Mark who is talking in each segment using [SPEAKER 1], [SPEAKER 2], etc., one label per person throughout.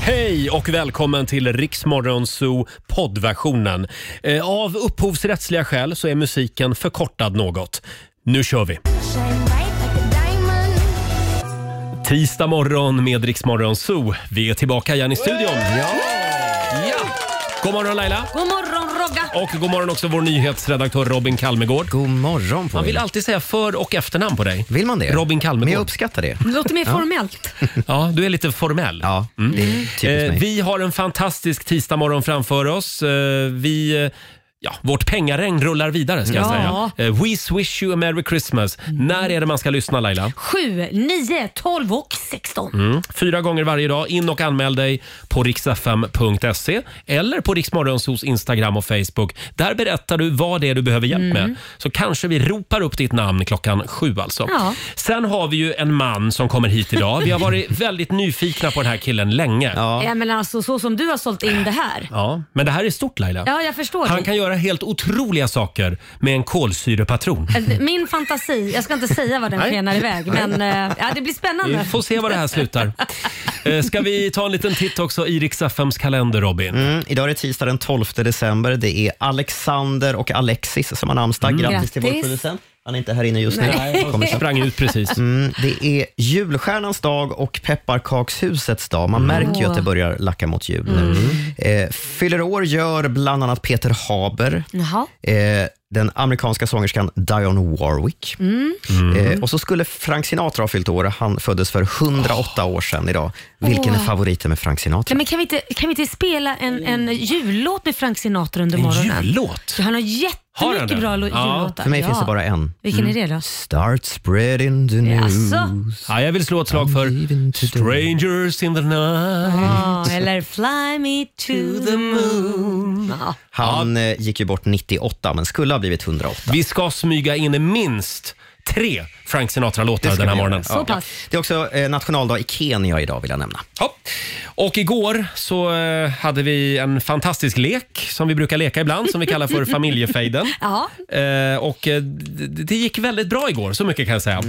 [SPEAKER 1] Hej och välkommen till Riksmorgon Zoo poddversionen. Eh, Av upphovsrättsliga skäl så är musiken förkortad något. Nu kör vi! Tisdag morgon med Riksmorgon Zoo. Vi är tillbaka igen i studion. Ja. ja. God morgon Laila!
[SPEAKER 2] God morgon Rogga!
[SPEAKER 1] Och god morgon också vår nyhetsredaktör Robin Kalmegård.
[SPEAKER 3] God morgon på
[SPEAKER 1] Man vill
[SPEAKER 3] er.
[SPEAKER 1] alltid säga för och efternamn på dig.
[SPEAKER 3] Vill man det?
[SPEAKER 1] Robin Kalmegård.
[SPEAKER 3] Men jag uppskattar det.
[SPEAKER 2] Det låter mer formellt.
[SPEAKER 1] Ja, du är lite formell.
[SPEAKER 3] Ja, det är typiskt
[SPEAKER 1] Eh,
[SPEAKER 3] mig.
[SPEAKER 1] vi har en fantastisk tisdagmorgon framför oss. Eh, vi, eh, ja, vårt pengaregn rullar vidare ska jag
[SPEAKER 2] Ja. Mm.
[SPEAKER 1] säga. Eh, we wish you a merry Christmas. När är det man ska lyssna Laila?
[SPEAKER 2] 7, 9, 12 och 16.
[SPEAKER 1] Mm. Fyra gånger varje dag. In och anmäl dig på riksfm.se eller på Riksmorgonsos Instagram och Facebook. Där berättar du vad det är du behöver hjälp
[SPEAKER 2] Mm.
[SPEAKER 1] med. Så kanske vi ropar upp ditt namn klockan sju alltså.
[SPEAKER 2] Ja.
[SPEAKER 1] Sen har vi ju en man som kommer hit idag. Vi har varit väldigt nyfikna på den här killen länge.
[SPEAKER 2] Ja. men alltså så som du har sålt in det här.
[SPEAKER 1] Ja, men det här är stort Laila.
[SPEAKER 2] Ja, jag förstår.
[SPEAKER 1] Han
[SPEAKER 2] det.
[SPEAKER 1] kan göra helt otroliga saker med en kolsyrepatron.
[SPEAKER 2] Äh, Min fantasi, jag ska inte säga vad den
[SPEAKER 1] Nej.
[SPEAKER 2] skenar iväg, men eh, ja, det blir
[SPEAKER 1] Vi
[SPEAKER 2] spännande.
[SPEAKER 1] får se var det här slutar. Eh, Ska vi ta en liten titt också i Rix FMs kalender, Robin?
[SPEAKER 3] Mm, idag är det tisdag den 12 december. Det är Alexander och Alexis som har namnsdag. Mm. Grattis, till vår
[SPEAKER 2] Grattis.
[SPEAKER 3] producent. Han är inte här inne just nu.
[SPEAKER 1] Han sprang ut precis.
[SPEAKER 3] Mm, det är julstjärnans dag och pepparkakshusets dag. Man märker ju att det börjar lacka mot jul nu. Eh, fyller år gör bland annat Peter Haber.
[SPEAKER 2] Jaha.
[SPEAKER 3] Eh, den amerikanska sångerskan Dionne Warwick.
[SPEAKER 1] Mm.
[SPEAKER 3] Eh, och så skulle Frank Sinatra ha fyllt år. Han föddes för 108 år sedan idag. Vilken är favoriten med Frank Sinatra?
[SPEAKER 2] Nej, men kan, vi inte, kan vi inte spela en, en jullåt med Frank Sinatra under
[SPEAKER 1] En
[SPEAKER 2] morgonen?
[SPEAKER 1] jullåt?
[SPEAKER 2] Ja, Han har
[SPEAKER 1] Har han
[SPEAKER 2] jättemycket
[SPEAKER 1] den?
[SPEAKER 2] bra lo-
[SPEAKER 1] Ja.
[SPEAKER 2] jullåtar.
[SPEAKER 3] För mig
[SPEAKER 2] ja.
[SPEAKER 3] finns det bara Mm. en.
[SPEAKER 2] Vilken är det då?
[SPEAKER 3] Start spreading the news.
[SPEAKER 2] Jaså?
[SPEAKER 1] Ja, jag vill slå ett slag för Strangers in the night.
[SPEAKER 2] Ja, eller Fly me to the moon. Ja.
[SPEAKER 3] Han eh, gick ju bort 98, men skulle ha blivit 108.
[SPEAKER 1] Vi ska smyga in minst tre Frank Sinatra-låtar
[SPEAKER 3] ska
[SPEAKER 1] den här
[SPEAKER 3] vi göra.
[SPEAKER 1] morgonen.
[SPEAKER 2] Så pass.
[SPEAKER 3] Det är också eh, nationaldag i Kenya idag, vill jag nämna.
[SPEAKER 1] Ja. Och igår så eh, hade vi en fantastisk lek som vi brukar leka ibland som vi kallar för familjefejden.
[SPEAKER 2] Ja.
[SPEAKER 1] Eh, och eh, d- d- det gick väldigt bra igår, så mycket kan jag säga.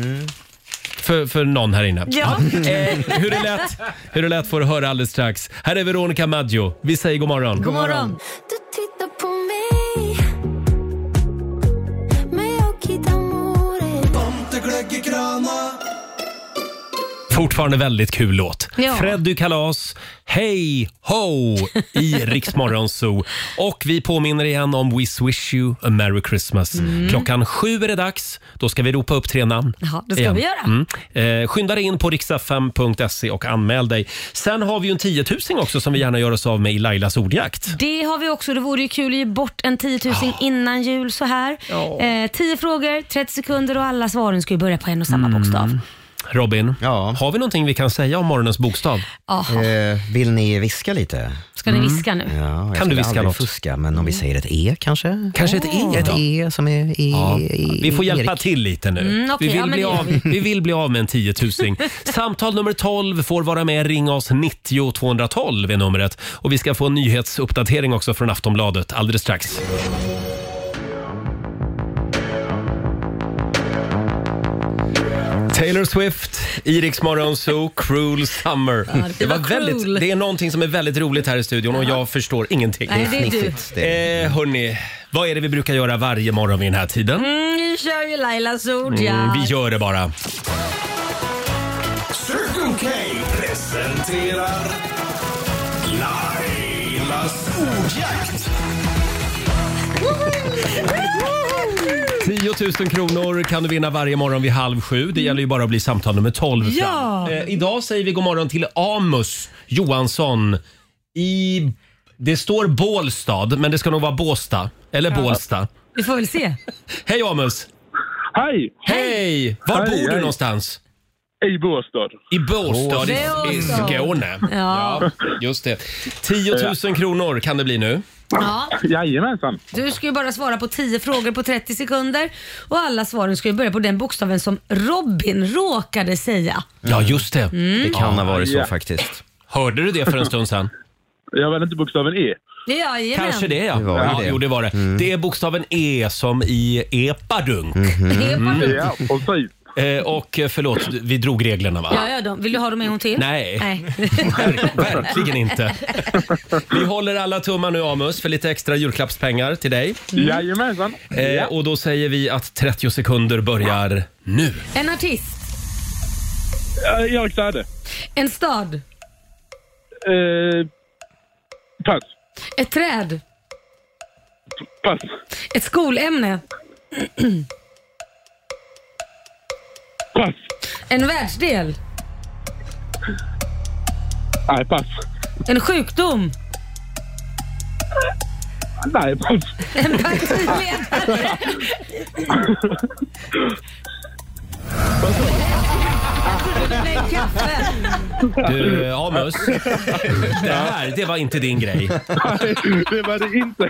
[SPEAKER 1] För, för någon här inne.
[SPEAKER 2] Ja.
[SPEAKER 1] Eh, hur, det lät, hur det lät får du höra alldeles strax. Här är Veronica Maggio. Vi säger god morgon.
[SPEAKER 2] God morgon.
[SPEAKER 4] Du tittar på mig med occhi d'amore
[SPEAKER 1] Fortfarande väldigt kul låt.
[SPEAKER 2] Ja.
[SPEAKER 1] Freddy Kalas, Hej Ho i Rix Morgon Zoo. Och vi påminner igen om We Wish You A Merry Christmas.
[SPEAKER 2] Mm.
[SPEAKER 1] Klockan sju är det dags. Då ska vi ropa upp tre namn.
[SPEAKER 2] Jaha, det ska
[SPEAKER 1] Igen.
[SPEAKER 2] vi göra.
[SPEAKER 1] Mm. Eh, skynda dig in på riksfm.se och anmäl dig. Sen har vi ju en tiotusing också som vi gärna gör oss av med i Lailas ordjakt.
[SPEAKER 2] Det har vi också. Det vore ju kul att ge bort en 10 000
[SPEAKER 1] Ah.
[SPEAKER 2] innan jul så här. Eh, 10 frågor, 30 sekunder och alla svaren ska ju börja på en och
[SPEAKER 1] Mm.
[SPEAKER 2] samma bokstav.
[SPEAKER 1] Robin,
[SPEAKER 3] Ja.
[SPEAKER 1] har vi någonting vi kan säga om morgonens bokstav?
[SPEAKER 2] Jaha,
[SPEAKER 3] Eh, vill ni viska lite?
[SPEAKER 2] Ah, ska
[SPEAKER 1] mm.
[SPEAKER 2] ni viska nu?
[SPEAKER 3] Ja, jag
[SPEAKER 1] du
[SPEAKER 3] skulle
[SPEAKER 1] viska
[SPEAKER 3] aldrig
[SPEAKER 1] något? Mm.
[SPEAKER 3] fuska, men om vi säger ett E kanske?
[SPEAKER 1] Kanske ett E
[SPEAKER 3] Ett
[SPEAKER 1] då?
[SPEAKER 3] E som är E.
[SPEAKER 1] Ja,
[SPEAKER 3] e
[SPEAKER 1] vi får hjälpa
[SPEAKER 3] Erik.
[SPEAKER 1] till lite nu.
[SPEAKER 2] Mm, okej,
[SPEAKER 1] vi, vill
[SPEAKER 2] ja, men
[SPEAKER 1] bli
[SPEAKER 2] det gör
[SPEAKER 1] av, vi vill bli av med en tiotusing. Samtal nummer 12 får vara med. Ring oss 90 212 är numret. Och vi ska få en nyhetsuppdatering också från Aftonbladet alldeles strax. Taylor Swift, Iriks morgonzoo, Cruel Summer.
[SPEAKER 2] det var cruel.
[SPEAKER 1] väldigt, det är någonting som är väldigt roligt här i studion och jag förstår ingenting.
[SPEAKER 2] Nej, det är du.
[SPEAKER 3] Fnissigt. Det är-
[SPEAKER 1] Eh, hörni, vad är det vi brukar göra varje morgon vid den här tiden?
[SPEAKER 2] Mm, ni kör ju Lailas ord ja.
[SPEAKER 1] Mm, vi gör det bara.
[SPEAKER 5] Circle K presenterar Lailas ordjakt.
[SPEAKER 1] 10 000 kronor kan du vinna varje morgon vid halv sju. Det gäller ju bara att bli samtal nummer 12
[SPEAKER 2] Ja.
[SPEAKER 1] fram. Eh, idag säger vi god morgon till Amos Johansson i... Det står Bålstad, men det ska nog vara Båsta. Eller Bålsta.
[SPEAKER 2] Vi får väl se.
[SPEAKER 1] Hej Amos!
[SPEAKER 6] Hej!
[SPEAKER 1] Hej! Var
[SPEAKER 6] Hej,
[SPEAKER 1] bor du
[SPEAKER 6] hej.
[SPEAKER 1] någonstans?
[SPEAKER 6] I Båstad.
[SPEAKER 1] I Bålstad i, i
[SPEAKER 2] Bålstad.
[SPEAKER 1] Skåne.
[SPEAKER 2] Ja.
[SPEAKER 1] Just det. 10 000 kronor kan det bli nu.
[SPEAKER 2] Ja.
[SPEAKER 6] Jajamensan.
[SPEAKER 2] Du ska ju bara svara på 10 frågor på 30 sekunder och alla svaren ska ju börja på den bokstaven som Robin råkade säga.
[SPEAKER 1] Ja, just det.
[SPEAKER 2] Mm.
[SPEAKER 3] Det kan ha varit så
[SPEAKER 6] Ja.
[SPEAKER 3] faktiskt.
[SPEAKER 1] Hörde du det för en stund sedan?
[SPEAKER 6] Jag vet inte bokstaven E.
[SPEAKER 2] Jajamän.
[SPEAKER 1] Kanske det ja.
[SPEAKER 3] Det var
[SPEAKER 1] ja
[SPEAKER 3] det.
[SPEAKER 1] Jo, det var det. Det är bokstaven E som i epadunk.
[SPEAKER 2] Mm. Det är bara-
[SPEAKER 6] Ja, precis.
[SPEAKER 1] Eh, och eh, förlåt, vi drog reglerna va?
[SPEAKER 2] Ja, ja, då. Vill du ha dem en gång till?
[SPEAKER 1] Nej. Ver- verkligen inte. Vi håller alla tummar nu Amus för lite extra julklappspengar till dig.
[SPEAKER 6] Mm. Jajamensan.
[SPEAKER 1] Eh, och då säger vi att 30 sekunder börjar nu.
[SPEAKER 2] En artist.
[SPEAKER 6] Eh, Erik Saade.
[SPEAKER 2] En stad.
[SPEAKER 6] Eh, pass.
[SPEAKER 2] Ett träd.
[SPEAKER 6] Pass.
[SPEAKER 2] Ett skolämne.
[SPEAKER 6] Pass.
[SPEAKER 2] En världsdel.
[SPEAKER 6] Nej, pass.
[SPEAKER 2] En sjukdom.
[SPEAKER 6] Nej, pass.
[SPEAKER 2] En partiledare. En kaffe.
[SPEAKER 1] Du eh, Amus, det här det var inte din grej.
[SPEAKER 6] Nej, det var det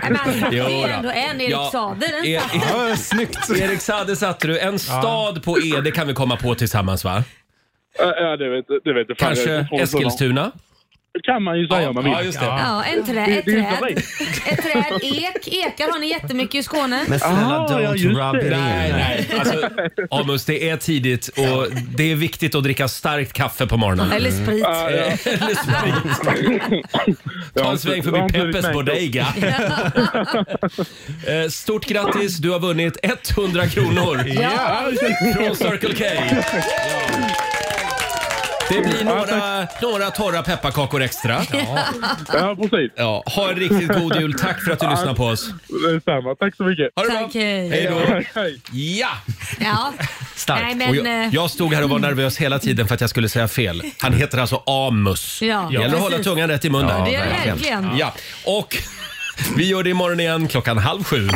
[SPEAKER 2] Nej, men
[SPEAKER 6] inte.
[SPEAKER 2] han satte
[SPEAKER 1] Jo
[SPEAKER 2] ju
[SPEAKER 1] då.
[SPEAKER 2] ändå en Erik
[SPEAKER 1] Ja.
[SPEAKER 2] Saade. Den
[SPEAKER 1] E-
[SPEAKER 2] satt.
[SPEAKER 7] Ja, snyggt.
[SPEAKER 1] Erik Saade satte du. En stad på E, det kan vi komma på tillsammans va?
[SPEAKER 6] Eh, Ja, det vet, det vet jag. Fan, jag är
[SPEAKER 1] Kanske
[SPEAKER 6] inte från Stockholm.
[SPEAKER 1] Eskilstuna?
[SPEAKER 6] kan man ju säga om man vill.
[SPEAKER 1] Ja, just det.
[SPEAKER 2] Ja, en trä,
[SPEAKER 6] Det-
[SPEAKER 2] ett
[SPEAKER 6] det är
[SPEAKER 2] träd.
[SPEAKER 6] inte
[SPEAKER 2] Ett träd. Ek. Ekar har ni jättemycket i Skåne.
[SPEAKER 3] Men snälla,
[SPEAKER 6] Ah, ja,
[SPEAKER 3] don't
[SPEAKER 6] just
[SPEAKER 3] rub
[SPEAKER 6] det.
[SPEAKER 3] it
[SPEAKER 1] Nej,
[SPEAKER 3] in.
[SPEAKER 1] nej. Alltså, Amus, det är tidigt och det är viktigt att dricka starkt kaffe på morgonen.
[SPEAKER 2] Eller sprit.
[SPEAKER 1] Eller sprit. Ta en sväng förbi
[SPEAKER 6] Ja,
[SPEAKER 1] Peppes
[SPEAKER 6] precis.
[SPEAKER 1] Bodega. Eh, Stort grattis, du har vunnit 100 kronor
[SPEAKER 6] Ja,
[SPEAKER 1] från Circle K. Ja. Det blir några, några torra pepparkakor extra.
[SPEAKER 6] ja, precis.
[SPEAKER 1] Ja, ha en riktigt god jul. Tack för att du lyssnar på oss.
[SPEAKER 6] Detsamma. Tack så mycket.
[SPEAKER 1] Ha det
[SPEAKER 2] Tack,
[SPEAKER 1] bra.
[SPEAKER 2] hej.
[SPEAKER 1] Hej då.
[SPEAKER 6] Hej.
[SPEAKER 1] Ja!
[SPEAKER 2] Ja. Nej,
[SPEAKER 3] Starkt.
[SPEAKER 2] men,
[SPEAKER 1] Och jag,
[SPEAKER 2] eh,
[SPEAKER 1] jag stod här och var nervös hela tiden för att jag skulle säga fel. Han heter alltså Amus.
[SPEAKER 2] Ja,
[SPEAKER 1] det gäller att hålla
[SPEAKER 2] precis.
[SPEAKER 1] tungan rätt i mun där.
[SPEAKER 2] det är det verkligen.
[SPEAKER 1] Ja, och vi gör det imorgon igen klockan halv sju.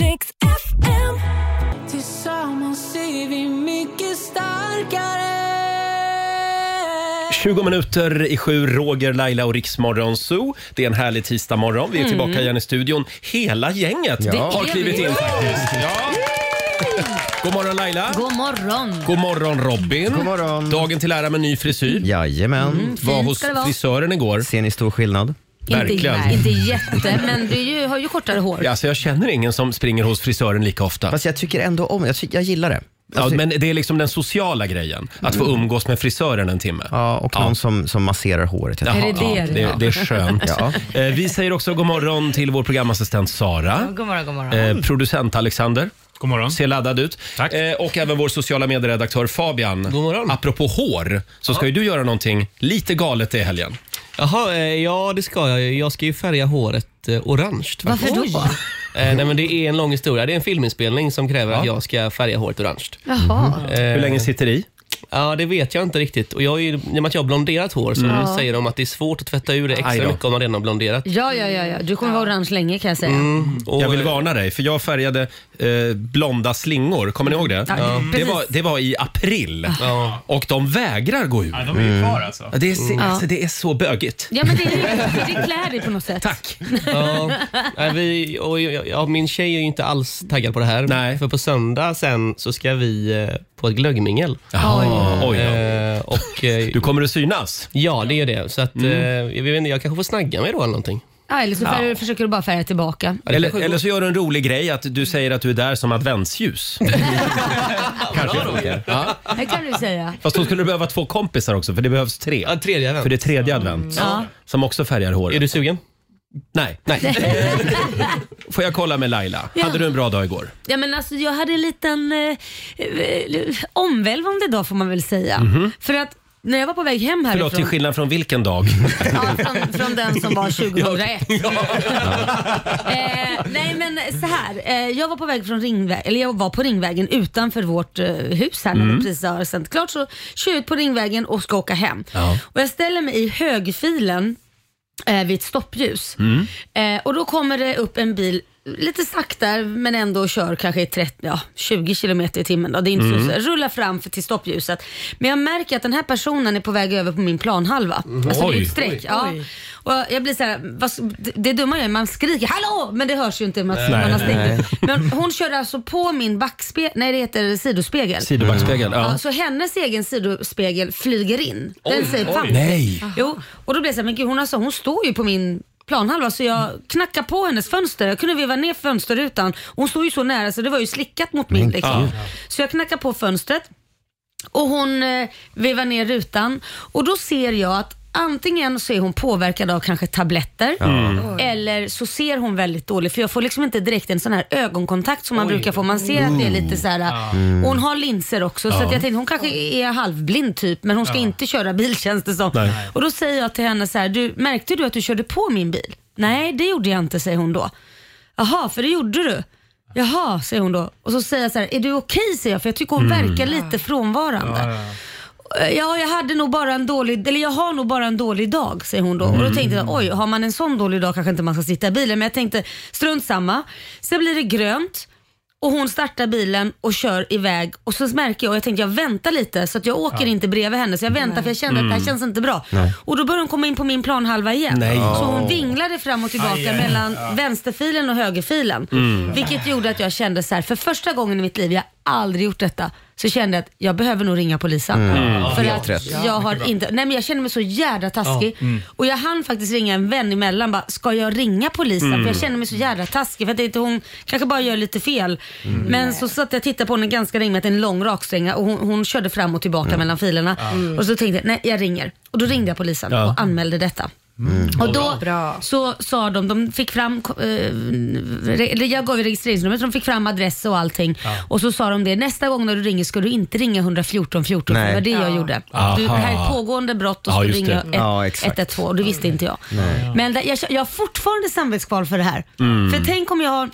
[SPEAKER 4] Riks FM.
[SPEAKER 8] Tillsammans är vi mycket starkare
[SPEAKER 1] 20 minuter i sju, Roger, Laila och Riksmorgon Zoo. Det är en härlig tisdagmorgon.
[SPEAKER 2] Mm.
[SPEAKER 1] Vi är tillbaka igen i studion. Hela gänget
[SPEAKER 3] Det
[SPEAKER 1] har
[SPEAKER 2] är
[SPEAKER 1] klivit
[SPEAKER 2] vi.
[SPEAKER 1] in faktiskt. Ja. God morgon Laila. God,
[SPEAKER 2] God morgon.
[SPEAKER 1] morgon Robin.
[SPEAKER 3] God morgon.
[SPEAKER 1] Dagen till ära med ny frisyr.
[SPEAKER 3] Jajamän.
[SPEAKER 1] Var
[SPEAKER 2] Fint
[SPEAKER 1] hos
[SPEAKER 2] ska det vara.
[SPEAKER 1] frisören igår.
[SPEAKER 3] Ser ni stor skillnad?
[SPEAKER 1] Verkligen.
[SPEAKER 2] Inte, inte jätte, men du är ju, har ju kortare hår.
[SPEAKER 1] Ja, Alltså, jag känner ingen som springer hos frisören lika ofta.
[SPEAKER 3] Fast jag tycker ändå om Jag, ty- jag gillar det.
[SPEAKER 1] Ja,
[SPEAKER 3] Alltså,
[SPEAKER 1] men det är liksom den sociala grejen. Att få umgås med frisören en timme.
[SPEAKER 3] ja, och någon som, som masserar håret. Jag
[SPEAKER 1] Jaha,
[SPEAKER 2] Är
[SPEAKER 3] tycker-
[SPEAKER 2] det det
[SPEAKER 1] ja,
[SPEAKER 2] det
[SPEAKER 1] det,
[SPEAKER 2] är?
[SPEAKER 1] det är skönt.
[SPEAKER 3] Ja.
[SPEAKER 1] Eh, Vi säger också god morgon till vår programassistent Sara.
[SPEAKER 8] God morgon, god morgon.
[SPEAKER 1] Eh, producent Alexander.
[SPEAKER 7] God morgon.
[SPEAKER 1] Ser laddad ut.
[SPEAKER 7] Tack.
[SPEAKER 1] Eh, och även vår sociala medieredaktör Fabian. God morgon. Apropå hår, så ska ju du göra någonting lite galet i helgen.
[SPEAKER 9] Jaha, eh, ja det ska jag ju. Jag ska ju färga håret eh, orange. faktiskt.
[SPEAKER 2] Varför då?
[SPEAKER 9] Eh, nej men det är en lång historia. Det är en filminspelning som kräver att jag ska färga håret orange.
[SPEAKER 2] Jaha.
[SPEAKER 1] Hur länge sitter det i?
[SPEAKER 9] Ja, det vet jag inte riktigt. Och jag är, ju- I och med att jag har blonderat hår så säger de att det är svårt att tvätta ur det
[SPEAKER 1] Aj då.
[SPEAKER 9] extra mycket om man redan har blonderat.
[SPEAKER 2] Mm. Ja, ja, ja, ja. Du kommer vara orange länge kan jag säga.
[SPEAKER 1] Mm.
[SPEAKER 9] Och,
[SPEAKER 1] Jag vill
[SPEAKER 9] eh,
[SPEAKER 1] varna dig, för jag färgade eh, blonda slingor. Kommer ni ihåg det?
[SPEAKER 2] Ja,
[SPEAKER 1] Det,
[SPEAKER 2] precis.
[SPEAKER 1] var, det var i april
[SPEAKER 9] Ja.
[SPEAKER 1] och de vägrar gå ut.
[SPEAKER 7] Ja, de är ju kvar alltså.
[SPEAKER 1] Ja, Det är, mm. alltså, det är så bögigt.
[SPEAKER 2] Ja, men det, är- det klär dig på något sätt.
[SPEAKER 1] Tack!
[SPEAKER 9] Ja, nej, vi, och, jag- ja, min tjej är ju inte alls taggad på det här.
[SPEAKER 1] Nej.
[SPEAKER 9] För på söndag sen så ska vi eh, på ett glöggmingel.
[SPEAKER 1] Jaha, oj då.
[SPEAKER 9] Eh, och, eh,
[SPEAKER 1] Du Mm. kommer att synas.
[SPEAKER 9] ja, det är det. Så att, eh, jag, vet inte, jag kanske får snagga mig då eller någonting.
[SPEAKER 2] Ja, eller så färgar, försöker du bara färga tillbaka.
[SPEAKER 9] Ja, det
[SPEAKER 1] Eller,
[SPEAKER 9] kanske
[SPEAKER 1] eller så gör du en rolig grej att du säger att du är där som adventsljus. Kanske funkar. Ja.
[SPEAKER 2] Det kan du säga.
[SPEAKER 1] Fast då skulle du behöva två kompisar också för det behövs tre.
[SPEAKER 9] Ja, tredje
[SPEAKER 1] För
[SPEAKER 9] advent.
[SPEAKER 1] det är tredje advent
[SPEAKER 2] Ja.
[SPEAKER 1] som också färgar
[SPEAKER 9] Är
[SPEAKER 1] håret.
[SPEAKER 9] du sugen?
[SPEAKER 1] Nej.
[SPEAKER 9] Nej.
[SPEAKER 1] Får jag kolla med Laila?
[SPEAKER 2] Ja.
[SPEAKER 1] Hade du en bra dag igår?
[SPEAKER 2] Ja, men alltså, jag hade en liten eh, eh, omvälvande dag får man väl säga. För att när jag var på väg hem härifrån.
[SPEAKER 1] Mhm. Förlåt, till skillnad från vilken dag?
[SPEAKER 2] Ja, från, från den som var 2001. eh, nej men så här. Eh, jag var på väg från Ringvägen, eller jag var på Ringvägen utanför vårt eh, hus här när
[SPEAKER 1] Mm.
[SPEAKER 2] vi precis har sänt klart. Så kör jag ut på Ringvägen och ska åka hem.
[SPEAKER 1] Ja.
[SPEAKER 2] Och jag ställer mig i högfilen eh, vid ett stoppljus.
[SPEAKER 1] Mm.
[SPEAKER 2] Eh, och då kommer det upp en bil Lite sakta men ändå kör kanske i 30, ja, 20 kilometer i timmen. Då. Det är inte
[SPEAKER 1] Mm.
[SPEAKER 2] så, så, rullar fram för till stoppljuset. Men jag märker att den här personen är på väg över på min planhalva. Alltså det är
[SPEAKER 1] Mm. Oj.
[SPEAKER 2] ett streck. Ja. Och jag blir så här, vad, det- det dumma är man skriker hallå men det hörs ju inte. Man, man har stängt. Men hon kör alltså på min backspegel, nej det heter sidospegel.
[SPEAKER 1] Sidobackspegeln?
[SPEAKER 2] Ja,
[SPEAKER 1] Ja.
[SPEAKER 2] så hennes egen sidospegel flyger in. Den säger pang.
[SPEAKER 1] Nej!
[SPEAKER 2] Jo, och då blev jag såhär, men gud hon, alltså, hon står ju på min planhalva så jag knackade på hennes fönster. Jag kunde veva ner fönsterrutan. Hon stod ju så nära så det var ju slickat mot min. Liksom. Så jag knackade på fönstret och hon eh, vevar ner rutan och då ser jag att antingen så är hon påverkad av kanske tabletter eller så ser hon väldigt dåligt för jag får liksom inte direkt en sån här ögonkontakt som man brukar få. Man ser att det är lite så här, och hon har linser också så att jag tänkte hon kanske är halvblind typ men hon ska inte köra bil känns det som.
[SPEAKER 1] Nej.
[SPEAKER 2] Och då säger jag till henne så här, du, märkte du att du körde på min bil? Nej det gjorde jag inte säger hon då. Jaha, för det gjorde du. Jaha, säger hon då. Och så säger jag så här, är du okej? säger jag, för jag tycker hon verkar lite frånvarande. Ja, jag hade nog bara en dålig, eller jag har nog bara en dålig dag, säger hon då. Och då tänkte jag, oj, har man en sån dålig dag kanske inte man ska sitta i bilen. Men jag tänkte, strunt samma. Sen blir det grönt och hon startar bilen och kör iväg. Och så märker jag, och jag tänkte jag väntar lite så att jag åker inte bredvid henne. Så jag väntar för jag kände att det här känns inte bra. Och då börjar hon komma in på min planhalva igen.
[SPEAKER 1] Nej.
[SPEAKER 2] Så hon vinglade fram och tillbaka mellan vänsterfilen och högerfilen. Vilket gjorde att jag kände så här, för första gången i mitt liv, jag har aldrig gjort detta, så kände jag att jag behöver nog ringa polisen. För
[SPEAKER 3] Mm. Helt
[SPEAKER 2] att
[SPEAKER 3] rätt.
[SPEAKER 2] jag har inte, nej men jag kände mig så jävla taskig. Och jag hann faktiskt ringa en vän emellan bara, ska jag ringa polisen? För jag kände mig så jävla taskig för att inte hon kanske bara gör lite fel.
[SPEAKER 3] Mm.
[SPEAKER 2] Men så satt jag och tittade på henne ganska länge med att det är en lång rakstränga och hon, hon körde fram och tillbaka
[SPEAKER 3] Mm.
[SPEAKER 2] mellan filerna. Och så tänkte jag, nej jag ringer. Och då ringde jag polisen
[SPEAKER 1] Ja.
[SPEAKER 2] och anmälde detta. Och då
[SPEAKER 7] Bra.
[SPEAKER 2] så sa de, de fick fram, eh, re- eller jag gav ju registreringsnumret, de fick fram adress och allting. Och så sa de det, nästa gång när du ringer ska du inte ringa 114 14.
[SPEAKER 3] Nej.
[SPEAKER 2] Det var det jag gjorde. Du, det här är pågående brott och
[SPEAKER 1] Ja,
[SPEAKER 2] ska du
[SPEAKER 1] just
[SPEAKER 2] ringa
[SPEAKER 1] det.
[SPEAKER 2] ett-
[SPEAKER 3] Ja, exakt.
[SPEAKER 2] 112 och det visste inte jag. Men det, jag, jag har fortfarande samvetskval för det här.
[SPEAKER 1] Mm.
[SPEAKER 2] För tänk om jag har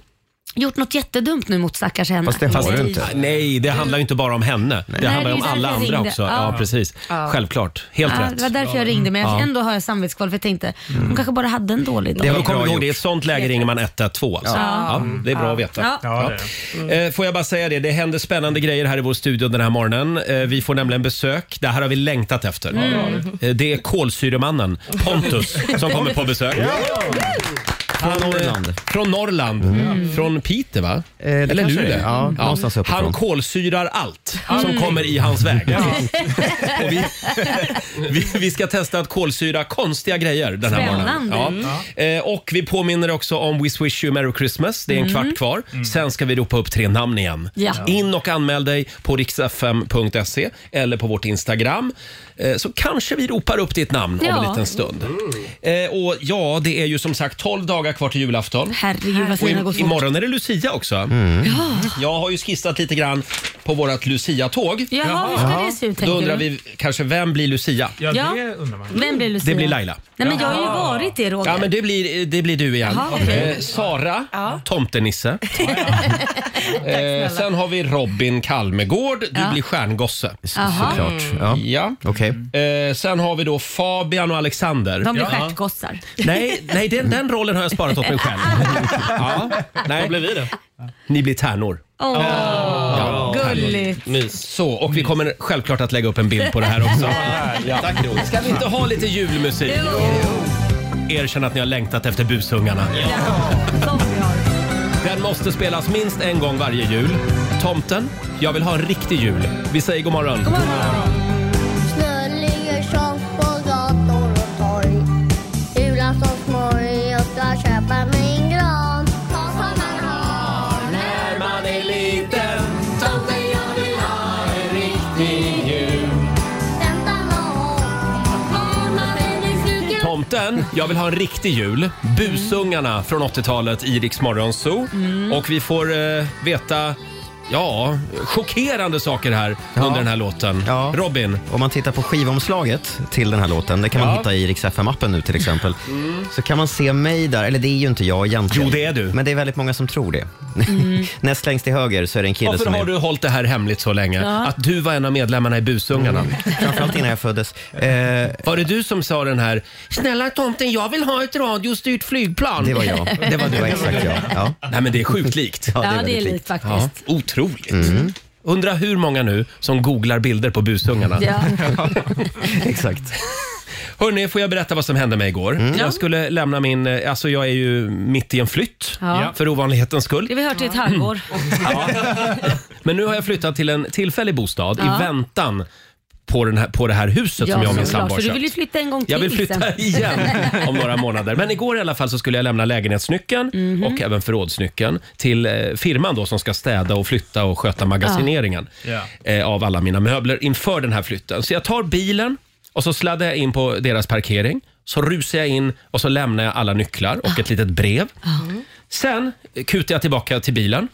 [SPEAKER 2] gjort något jättedumt nu mot stackars henne.
[SPEAKER 3] Fast det har du inte.
[SPEAKER 1] Nej, det handlar ju inte bara om henne. Det
[SPEAKER 2] Nej,
[SPEAKER 1] handlar ju om
[SPEAKER 2] det är därför
[SPEAKER 1] alla
[SPEAKER 2] jag
[SPEAKER 1] andra
[SPEAKER 2] ringde.
[SPEAKER 1] också.
[SPEAKER 2] Ja.
[SPEAKER 1] Ja, precis. Självklart. Helt
[SPEAKER 2] Ja, det var
[SPEAKER 1] rätt.
[SPEAKER 2] därför jag ringde men jag, ändå har jag samvetskval för jag tänkte hon kanske bara hade en dålig dag.
[SPEAKER 1] Ja,
[SPEAKER 3] var
[SPEAKER 1] då kommer
[SPEAKER 3] bra
[SPEAKER 1] vi ihåg Mm. det. I
[SPEAKER 3] gjort.
[SPEAKER 1] ett sånt läge ringer man 112 alltså. Ja, det är bra att veta.
[SPEAKER 2] Ja.
[SPEAKER 1] Ja. Eh, Får jag bara säga det, det händer spännande grejer här i vår studio den här morgonen. Eh, Vi får nämligen besök. Det här har vi längtat efter. Eh, Det är kolsyremannen Pontus som kommer på besök. Han, eh,
[SPEAKER 3] Norrland. Mm. Eh,
[SPEAKER 1] Från Norrland. Mm. Från Piteå va?
[SPEAKER 3] det
[SPEAKER 1] Eller
[SPEAKER 3] kanske
[SPEAKER 1] Luleå?
[SPEAKER 3] det är. Ja, någonstans uppifrån. Mm.
[SPEAKER 1] Han kolsyrar allt som kommer i hans väg. Och vi, vi, vi ska testa att kolsyra konstiga grejer den här
[SPEAKER 2] Spännande.
[SPEAKER 1] morgonen. Ja. Eh, Och vi påminner också om Wish Wish You Merry Christmas. Det är en kvart kvar. Sen ska vi ropa upp tre namn igen.
[SPEAKER 2] Mm. Ja.
[SPEAKER 1] In och anmäl dig på riksfm.se E eller på vårt Instagram. Eh, Så kanske vi ropar upp ditt namn om en
[SPEAKER 2] Ja.
[SPEAKER 1] liten stund. Eh, Och ja, det är ju som sagt 12 dagar kvar till julafton.
[SPEAKER 2] Herregud vad
[SPEAKER 1] Och
[SPEAKER 2] tiden har gått
[SPEAKER 1] i,
[SPEAKER 2] fort.
[SPEAKER 1] imorgon är det Lucia också. Jag har ju skissat lite grann på vårt Lucia-tåg.
[SPEAKER 2] Jaha, hur ska det se ut
[SPEAKER 1] Då
[SPEAKER 2] tänker
[SPEAKER 1] undrar
[SPEAKER 2] du?
[SPEAKER 1] vi kanske vem blir Lucia?
[SPEAKER 10] Ja,
[SPEAKER 2] Ja.
[SPEAKER 10] det undrar man.
[SPEAKER 2] Vem blir Lucia?
[SPEAKER 1] Det blir Laila.
[SPEAKER 2] Nej men jag har ju varit det Roger.
[SPEAKER 1] Ja, men det blir, det blir du igen.
[SPEAKER 2] Jaha, okej.
[SPEAKER 1] Eh, Sara, tomtenisse. eh, sen har vi Robin Kalmegård. Du blir stjärngosse.
[SPEAKER 2] Jaha.
[SPEAKER 3] Mm, Såklart. Ja.
[SPEAKER 1] Ja.
[SPEAKER 3] Okej.
[SPEAKER 1] Eh, sen har vi då Fabian och Alexander.
[SPEAKER 2] De blir stjärtgossar.
[SPEAKER 1] Nej, nej den, den rollen har jag sparat åt mig själv. ja. nej.
[SPEAKER 9] Blev vi det?
[SPEAKER 1] Ni blir tärnor.
[SPEAKER 2] Åh,
[SPEAKER 1] Ja.
[SPEAKER 2] gulligt.
[SPEAKER 9] Mys.
[SPEAKER 1] Så, och vi kommer självklart att lägga upp en bild på det här också. ja. Ska vi inte ha lite julmusik? Erkänn att ni har längtat efter bushungarna.
[SPEAKER 2] Som vi har.
[SPEAKER 1] Den måste spelas minst en gång varje jul. Tomten, jag vill ha en riktig jul. Vi säger god morgon.
[SPEAKER 2] God morgon.
[SPEAKER 8] Snö ligger tjock på gator och torg. Julaftonsmorgon, jag ska köpa mig en gran. Ta som man har.
[SPEAKER 1] När man är liten, tomten jag vill ha en riktig jul.
[SPEAKER 8] Vänta nån. Mamma, är du slut?
[SPEAKER 1] Tomten, jag vill ha en riktig jul. Busungarna från 80-talet i Rix Morgon Zoo. Och vi får eh, veta Ja, chockerande saker här under den här låten.
[SPEAKER 3] Ja.
[SPEAKER 1] Robin,
[SPEAKER 3] Om man tittar på skivomslaget till den här låten, det kan man hitta i Rix FM-appen nu till exempel, så kan man se mig där, eller det är ju inte jag egentligen.
[SPEAKER 1] Mm. Jo, det är du. Mm.
[SPEAKER 3] Men det är väldigt många som tror det. Näst längst till höger så är det en kille
[SPEAKER 1] varför
[SPEAKER 3] som
[SPEAKER 1] har
[SPEAKER 3] är,
[SPEAKER 1] du hållit det här hemligt så länge? Att du var en av medlemmarna i Busungarna.
[SPEAKER 3] framförallt innan jag föddes, eh,
[SPEAKER 1] Var det du som sa den här “Snälla tomten, jag vill ha ett radiostyrt flygplan”?
[SPEAKER 3] det var jag.
[SPEAKER 1] Det var du.
[SPEAKER 3] exakt jag. Ja.
[SPEAKER 1] Nej men det är sjukt likt.
[SPEAKER 3] Ja,
[SPEAKER 2] Ja det
[SPEAKER 3] väldigt
[SPEAKER 2] är
[SPEAKER 3] likt.
[SPEAKER 2] likt
[SPEAKER 1] Ja,
[SPEAKER 2] faktiskt.
[SPEAKER 1] otroligt.
[SPEAKER 2] Mm.
[SPEAKER 1] Undrar hur många nu som googlar bilder på busungarna.
[SPEAKER 2] Ja.
[SPEAKER 3] Exakt.
[SPEAKER 1] Hörni, får jag berätta vad som hände mig igår?
[SPEAKER 2] Mm.
[SPEAKER 1] Jag skulle lämna min, eh, alltså jag är ju mitt i en flytt
[SPEAKER 2] Ja.
[SPEAKER 1] för ovanlighetens skull.
[SPEAKER 2] Det har vi hört i ett halvår.
[SPEAKER 1] Men nu har jag flyttat till en tillfällig bostad i väntan på, den här, på det här huset som jag och min
[SPEAKER 2] såklart,
[SPEAKER 1] sambo har
[SPEAKER 2] För du
[SPEAKER 1] köpt.
[SPEAKER 2] vill ju flytta en gång till
[SPEAKER 1] Jag vill
[SPEAKER 2] sen.
[SPEAKER 1] flytta igen om några månader. Men igår i alla fall så skulle jag lämna lägenhetsnyckeln
[SPEAKER 2] Mhm.
[SPEAKER 1] och även förrådsnyckeln till eh, firman då som ska städa och flytta och sköta magasineringen
[SPEAKER 9] Ja.
[SPEAKER 1] eh, av alla mina möbler inför den här flytten. Så jag tar bilen och så sladdar jag in på deras parkering. Så rusar jag in och så lämnar jag alla nycklar och ett litet brev. Sen kutar jag tillbaka till bilen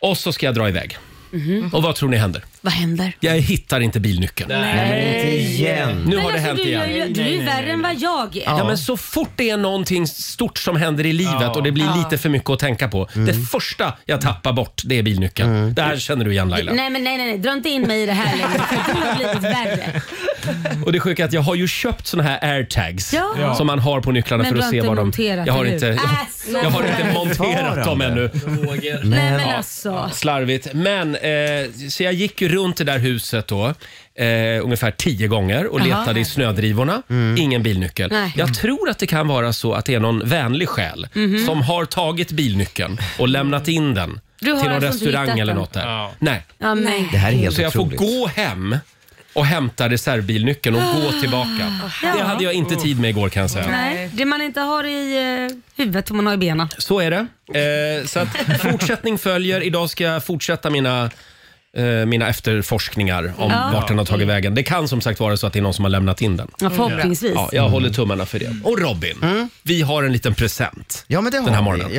[SPEAKER 1] och så ska jag dra iväg.
[SPEAKER 2] Mhm.
[SPEAKER 1] Och vad tror ni händer?
[SPEAKER 2] Vad händer?
[SPEAKER 1] Jag hittar inte bilnyckeln.
[SPEAKER 3] Inte igen.
[SPEAKER 1] Nu har det
[SPEAKER 2] Men
[SPEAKER 1] hänt
[SPEAKER 2] du,
[SPEAKER 1] igen.
[SPEAKER 2] alltså, gör ju- du är ju värre än vad jag är.
[SPEAKER 1] Ja. men så fort det är någonting stort som händer i livet och det blir lite för mycket att tänka på. Det första jag tappar bort, det är bilnyckeln. Det här känner du igen Laila.
[SPEAKER 2] Nej, men nej, nej, nej, dra inte in mig i det här längre. för Du har blivit värre.
[SPEAKER 1] Och det sjuka är att jag har ju köpt såna här airtags
[SPEAKER 2] Ja. Ja.
[SPEAKER 1] som man har på nycklarna
[SPEAKER 2] Men
[SPEAKER 1] för
[SPEAKER 2] du
[SPEAKER 1] att
[SPEAKER 2] har
[SPEAKER 1] se
[SPEAKER 2] inte
[SPEAKER 1] vad de...
[SPEAKER 2] monterat,
[SPEAKER 1] jag har
[SPEAKER 2] eller
[SPEAKER 1] inte,
[SPEAKER 2] hur?
[SPEAKER 1] jag, jag har inte monterat dem ännu.
[SPEAKER 2] Nej, men alltså.
[SPEAKER 1] Slarvigt. Men, eh, så jag gick ju runt det där huset då. Eh, ungefär tio gånger och letade i snödrivorna. Ingen bilnyckel.
[SPEAKER 2] Nej.
[SPEAKER 1] Jag tror att det kan vara så att det är någon vänlig själ
[SPEAKER 2] Mhm.
[SPEAKER 1] som har tagit bilnyckeln och lämnat in den
[SPEAKER 2] Du har
[SPEAKER 1] till någon
[SPEAKER 2] alltså inte
[SPEAKER 1] restaurang
[SPEAKER 2] hittat
[SPEAKER 1] eller
[SPEAKER 2] den?
[SPEAKER 1] något där. Nej.
[SPEAKER 2] Ja, men,
[SPEAKER 3] Det här är helt
[SPEAKER 1] Så jag får
[SPEAKER 3] otroligt.
[SPEAKER 1] gå hem och hämta reservbilnyckeln och gå
[SPEAKER 2] Ah.
[SPEAKER 1] tillbaka. Det hade jag inte tid med igår kan jag säga.
[SPEAKER 2] nej. Det man inte har i eh, huvudet får man ha i benen.
[SPEAKER 1] Så är det. Eh, så att fortsättning följer. Idag ska jag fortsätta mina eh, mina efterforskningar om vart den har tagit vägen. Det kan som sagt vara så att det är någon som har lämnat in den.
[SPEAKER 2] Ja, förhoppningsvis.
[SPEAKER 1] Ja, jag
[SPEAKER 3] Mm.
[SPEAKER 1] håller tummarna för det. Och Robin, vi har en liten present.
[SPEAKER 3] Ja, men det
[SPEAKER 1] Den här
[SPEAKER 3] har
[SPEAKER 1] morgonen.
[SPEAKER 3] vi.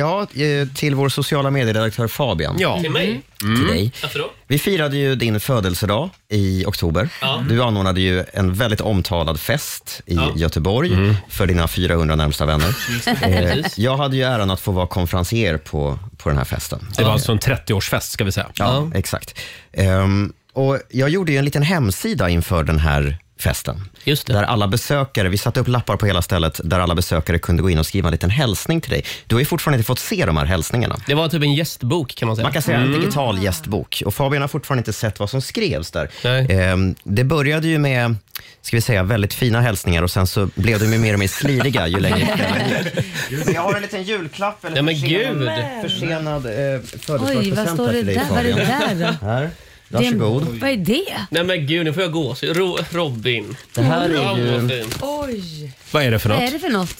[SPEAKER 3] Ja, eh, till vår sociala medieredaktör Fabian.
[SPEAKER 1] Ja, Mm.
[SPEAKER 9] Till
[SPEAKER 2] Mm.
[SPEAKER 9] mig?
[SPEAKER 3] Till dig.
[SPEAKER 9] Varför då?
[SPEAKER 3] Vi firade ju din födelsedag i oktober. Du anordnade ju en väldigt omtalad fest i Göteborg
[SPEAKER 1] Mm.
[SPEAKER 3] för dina 400 närmsta vänner. Eh, jag hade ju äran att få vara konferencier på, på den här festen.
[SPEAKER 1] det var alltså en 30-årsfest ska vi säga.
[SPEAKER 3] Ja, exakt. Ehm, och jag gjorde ju en liten hemsida inför den här festen.
[SPEAKER 9] Just det.
[SPEAKER 3] Där alla besökare, vi satte upp lappar på hela stället, där alla besökare kunde gå in och skriva en liten hälsning till dig. Du har ju fortfarande inte fått se de här hälsningarna.
[SPEAKER 9] Det var typ en gästbok kan man säga.
[SPEAKER 3] Man kan säga
[SPEAKER 9] Mm.
[SPEAKER 3] en digital gästbok. Och Fabian har fortfarande inte sett vad som skrevs där.
[SPEAKER 9] Nej.
[SPEAKER 3] Ehm, det började ju med, ska vi säga, väldigt fina hälsningar och sen så blev de ju mer och mer sliriga ju längre kvällen gick. Jag har en liten julklapp, eller
[SPEAKER 9] Nej, men gud.
[SPEAKER 3] försenad eh,
[SPEAKER 2] Oj, vad
[SPEAKER 3] födelsedagspresent
[SPEAKER 2] står
[SPEAKER 3] här
[SPEAKER 2] det
[SPEAKER 3] till dig
[SPEAKER 2] där? Vad är det
[SPEAKER 3] Fabian.
[SPEAKER 2] där då?
[SPEAKER 3] Här,
[SPEAKER 2] Det är en-
[SPEAKER 3] varsågod.
[SPEAKER 2] Vad är det?
[SPEAKER 9] Nej men gud, nu får jag gå. Så, Ro, Robin.
[SPEAKER 3] Det här är
[SPEAKER 9] Fan, vad
[SPEAKER 3] ju...
[SPEAKER 9] fin.
[SPEAKER 2] Oj.
[SPEAKER 1] Vad är det för
[SPEAKER 2] Vad
[SPEAKER 1] något?
[SPEAKER 2] är det för något?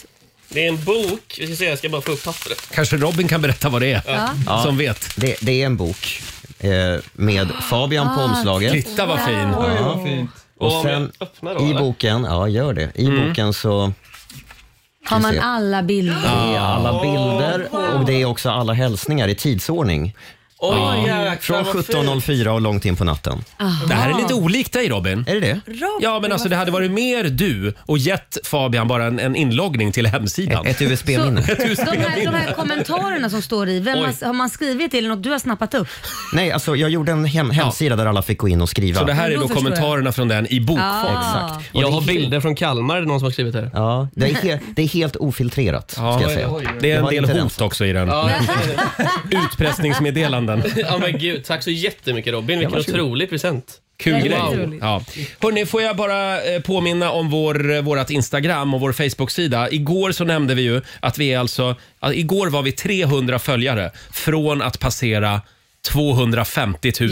[SPEAKER 9] Det är en bok. Jag ska, se, jag ska bara få upp pappret.
[SPEAKER 1] Kanske Robin kan berätta vad det är, som vet.
[SPEAKER 3] Det, det är en bok eh, med Fabian på omslaget.
[SPEAKER 1] Titta vad fin!
[SPEAKER 9] Och
[SPEAKER 3] Och
[SPEAKER 9] om jag
[SPEAKER 3] sen
[SPEAKER 9] öppnar då,
[SPEAKER 3] i
[SPEAKER 9] eller?
[SPEAKER 3] boken, ja gör det, i
[SPEAKER 1] Mm.
[SPEAKER 3] boken så
[SPEAKER 2] Har man
[SPEAKER 3] se.
[SPEAKER 2] alla bilder?
[SPEAKER 1] Ah.
[SPEAKER 3] är alla bilder och det är också alla hälsningar i tidsordning.
[SPEAKER 9] Oj,
[SPEAKER 1] Ah,
[SPEAKER 9] jäklar,
[SPEAKER 3] Från
[SPEAKER 9] vad fint.
[SPEAKER 3] 17.04 och långt in på natten.
[SPEAKER 2] Ah.
[SPEAKER 1] Det här är lite olikt dig Robin.
[SPEAKER 3] Är det det?
[SPEAKER 1] Ja, men alltså det hade varit mer du och gett Fabian bara en, en inloggning till hemsidan.
[SPEAKER 3] Ett USB-minne?
[SPEAKER 2] de, här, de här kommentarerna som står i, vem har, har man skrivit till något du har snappat upp?
[SPEAKER 3] Nej, alltså jag gjorde en hem- hemsida där alla fick gå in och skriva.
[SPEAKER 1] Så det här är
[SPEAKER 2] Då
[SPEAKER 1] då
[SPEAKER 2] förstår
[SPEAKER 1] kommentarerna från den i bokform. Ah.
[SPEAKER 3] Exakt. Och
[SPEAKER 9] Jag
[SPEAKER 3] det,
[SPEAKER 9] har
[SPEAKER 3] är helt,
[SPEAKER 9] bilder från Kalmar, är det någon som har skrivit här.
[SPEAKER 3] ja, det, är helt, det är helt ofiltrerat, ska jag säga.
[SPEAKER 1] Det är
[SPEAKER 3] Jag
[SPEAKER 1] en
[SPEAKER 3] har
[SPEAKER 1] del
[SPEAKER 3] inte
[SPEAKER 1] hot
[SPEAKER 3] den.
[SPEAKER 1] också i den. Utpressningsmeddelanden.
[SPEAKER 9] Ja men gud, tack så jättemycket Robin. Vilken otrolig present.
[SPEAKER 1] Kul
[SPEAKER 9] Wow.
[SPEAKER 1] grej. Ja. Hörrni, får jag bara eh, påminna om vår, eh, vårat Instagram och vår Facebook-sida. Igår så nämnde vi ju att vi är alltså... att Igår var vi 300 följare från att passera 250 000.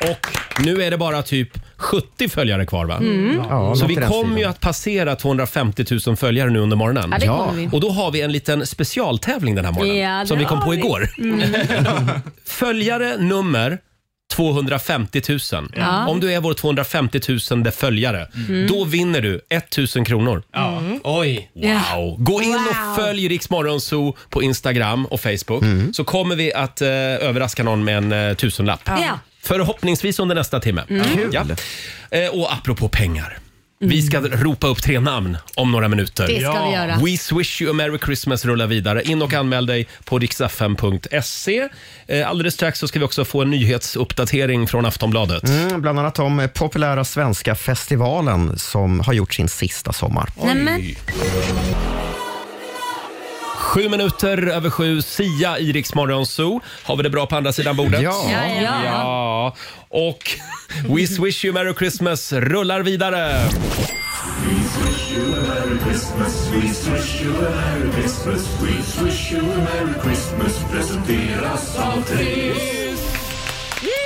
[SPEAKER 1] Och nu är det bara typ 70 följare kvar va?
[SPEAKER 2] Mm.
[SPEAKER 3] Ja,
[SPEAKER 1] Så
[SPEAKER 3] något
[SPEAKER 1] vi
[SPEAKER 3] i den
[SPEAKER 1] kommer ju
[SPEAKER 3] stilen.
[SPEAKER 1] att passera 250 000 följare nu under morgonen.
[SPEAKER 2] Ja, det kommer vi.
[SPEAKER 1] Och då har vi en liten specialtävling den här morgonen
[SPEAKER 2] Ja, det
[SPEAKER 1] som vi kom
[SPEAKER 2] har
[SPEAKER 1] på
[SPEAKER 2] vi.
[SPEAKER 1] igår. Följare nummer 250 000. Om du är vår 250 000 följare,
[SPEAKER 2] Mm.
[SPEAKER 1] då vinner du 1000 kronor.
[SPEAKER 9] Oj.
[SPEAKER 2] Ja.
[SPEAKER 1] Wow. Gå in och
[SPEAKER 2] Wow.
[SPEAKER 1] följ Rix Morgonzoo på Instagram och Facebook så kommer vi att eh, överraska någon med en eh, tusenlapp.
[SPEAKER 2] Ja. Mm.
[SPEAKER 1] Förhoppningsvis under nästa timme. Ja. Eh, Och apropå pengar. Vi ska ropa upp tre namn om några minuter.
[SPEAKER 2] Det ska vi göra.
[SPEAKER 1] We swish you a merry Christmas rullar vidare. In och anmäl dig på riksfm.se. Eh, Alldeles strax så ska vi också få en nyhetsuppdatering från Aftonbladet.
[SPEAKER 3] Mm, bland annat om eh, populära svenska festivalen som har gjort sin sista sommar.
[SPEAKER 2] Nej, men,
[SPEAKER 1] Sju minuter över sju, Sia i Rix Morgon Zoo. Har vi det bra på andra sidan bordet?
[SPEAKER 3] Ja.
[SPEAKER 2] ja, ja.
[SPEAKER 1] Ja, och We Swish You Merry Christmas rullar vidare.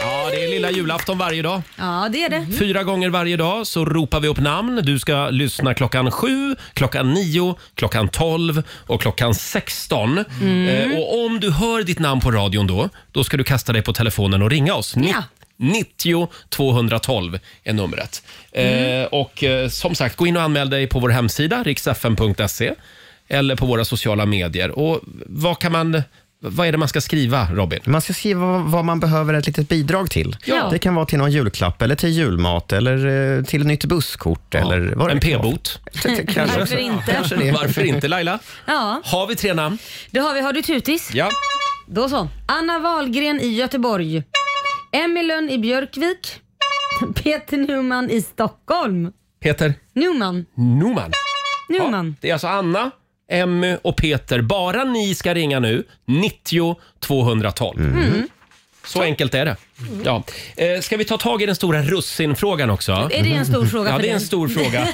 [SPEAKER 1] Ja, det är lilla julafton varje dag.
[SPEAKER 2] Ja, det är det.
[SPEAKER 1] Fyra gånger varje dag så ropar vi upp namn. Du ska lyssna klockan sju, klockan nio, klockan tolv och klockan sexton.
[SPEAKER 2] Mm.
[SPEAKER 1] Eh, och om du hör ditt namn på radion då, då ska du kasta dig på telefonen och ringa oss. Ni-
[SPEAKER 2] Ja.
[SPEAKER 1] 90 212 är numret. Eh,
[SPEAKER 2] Mm.
[SPEAKER 1] och eh, som sagt, gå in och anmäl dig på vår hemsida, riksfn.se eller på våra sociala medier. Och vad kan man... Vad är det man ska skriva, Robin?
[SPEAKER 3] Man ska skriva vad- vad man behöver ett litet bidrag till.
[SPEAKER 2] Ja.
[SPEAKER 3] Det kan vara till någon julklapp, eller till julmat, eller eh, till nytt busskort. Eller vad det
[SPEAKER 1] en
[SPEAKER 3] kan vara.
[SPEAKER 1] p-bot.
[SPEAKER 3] Kanske.
[SPEAKER 2] Varför inte?
[SPEAKER 3] Kanske det.
[SPEAKER 1] Varför inte, Laila?
[SPEAKER 2] Ja,
[SPEAKER 1] Har vi tre namn?
[SPEAKER 2] det har vi. Har du tutis?
[SPEAKER 1] Ja.
[SPEAKER 2] Då så. Anna Wahlgren i Göteborg. Emmy Lönn i Björkvik. Peter Numan i Stockholm.
[SPEAKER 1] Peter
[SPEAKER 2] Numan.
[SPEAKER 1] Norman.
[SPEAKER 2] Numan.
[SPEAKER 1] Det är alltså Anna, Emmy och Peter. Bara ni ska ringa nu. 90 212. Så enkelt är det. Ja. Eh, ska vi ta tag i den stora russinfrågan också?
[SPEAKER 2] Är det en stor fråga
[SPEAKER 1] Ja,
[SPEAKER 2] för
[SPEAKER 1] det är en
[SPEAKER 2] dig?
[SPEAKER 1] stor fråga.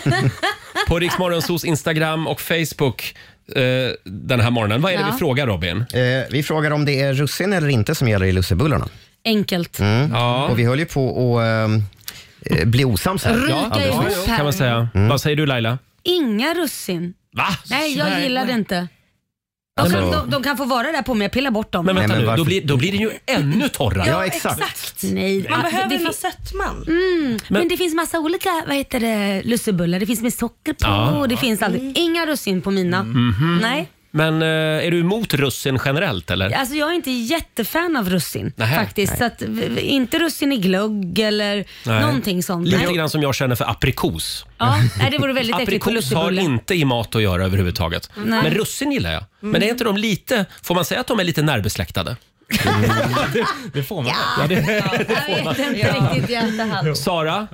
[SPEAKER 1] På Riksmorgonsos Instagram och Facebook eh, den här morgonen. Vad är det
[SPEAKER 2] Ja.
[SPEAKER 1] vi frågar Robin?
[SPEAKER 3] Eh, vi frågar om det är russin eller inte som gäller i lussebullarna.
[SPEAKER 2] Enkelt.
[SPEAKER 1] Ja.
[SPEAKER 3] Och vi höll ju på att eh, bli osams här.
[SPEAKER 2] Ryka
[SPEAKER 3] alldeles nyss.
[SPEAKER 2] ihop här.
[SPEAKER 1] Kan man säga. Vad säger du Laila?
[SPEAKER 2] Inga russin.
[SPEAKER 1] Va?
[SPEAKER 2] Nej, jag gillar det inte. De
[SPEAKER 3] Alltså-
[SPEAKER 2] kan, de, de kan få vara där på mig, jag pillar bort dem.
[SPEAKER 1] Men
[SPEAKER 3] Nej,
[SPEAKER 1] vänta
[SPEAKER 3] men
[SPEAKER 1] nu, då
[SPEAKER 3] varför-
[SPEAKER 1] blir, då blir det ju ännu torrare.
[SPEAKER 3] Ja, exakt.
[SPEAKER 2] Nej,
[SPEAKER 7] Man
[SPEAKER 2] det- det
[SPEAKER 7] behöver
[SPEAKER 2] fin-
[SPEAKER 7] en lasettman.
[SPEAKER 2] men, det finns massa olika vad heter det, lussebullar. Det finns med socker på
[SPEAKER 1] Ja. Mhm.
[SPEAKER 2] och det finns
[SPEAKER 7] Mm.
[SPEAKER 2] aldrig. Inga russin på mina. Nej.
[SPEAKER 1] Men eh, är du emot russin generellt eller?
[SPEAKER 2] Alltså jag är inte jättefan av russin
[SPEAKER 1] Nähä.
[SPEAKER 2] faktiskt. Så att, v- v- inte russin i glögg eller
[SPEAKER 1] Nej.
[SPEAKER 2] någonting sånt.
[SPEAKER 1] Lite
[SPEAKER 2] Nej.
[SPEAKER 1] grann som jag känner för aprikos.
[SPEAKER 2] Ja, nej, det vore väldigt äckligt på
[SPEAKER 1] Aprikos har
[SPEAKER 2] lussebulle.
[SPEAKER 1] inte i mat att göra överhuvudtaget.
[SPEAKER 2] Nej. Mm.
[SPEAKER 1] Men russin gillar jag. Men är inte de lite, får man säga att de är lite närbesläktade?
[SPEAKER 10] Det får man.
[SPEAKER 2] Jag vet inte riktigt i efterhand.
[SPEAKER 1] Sara,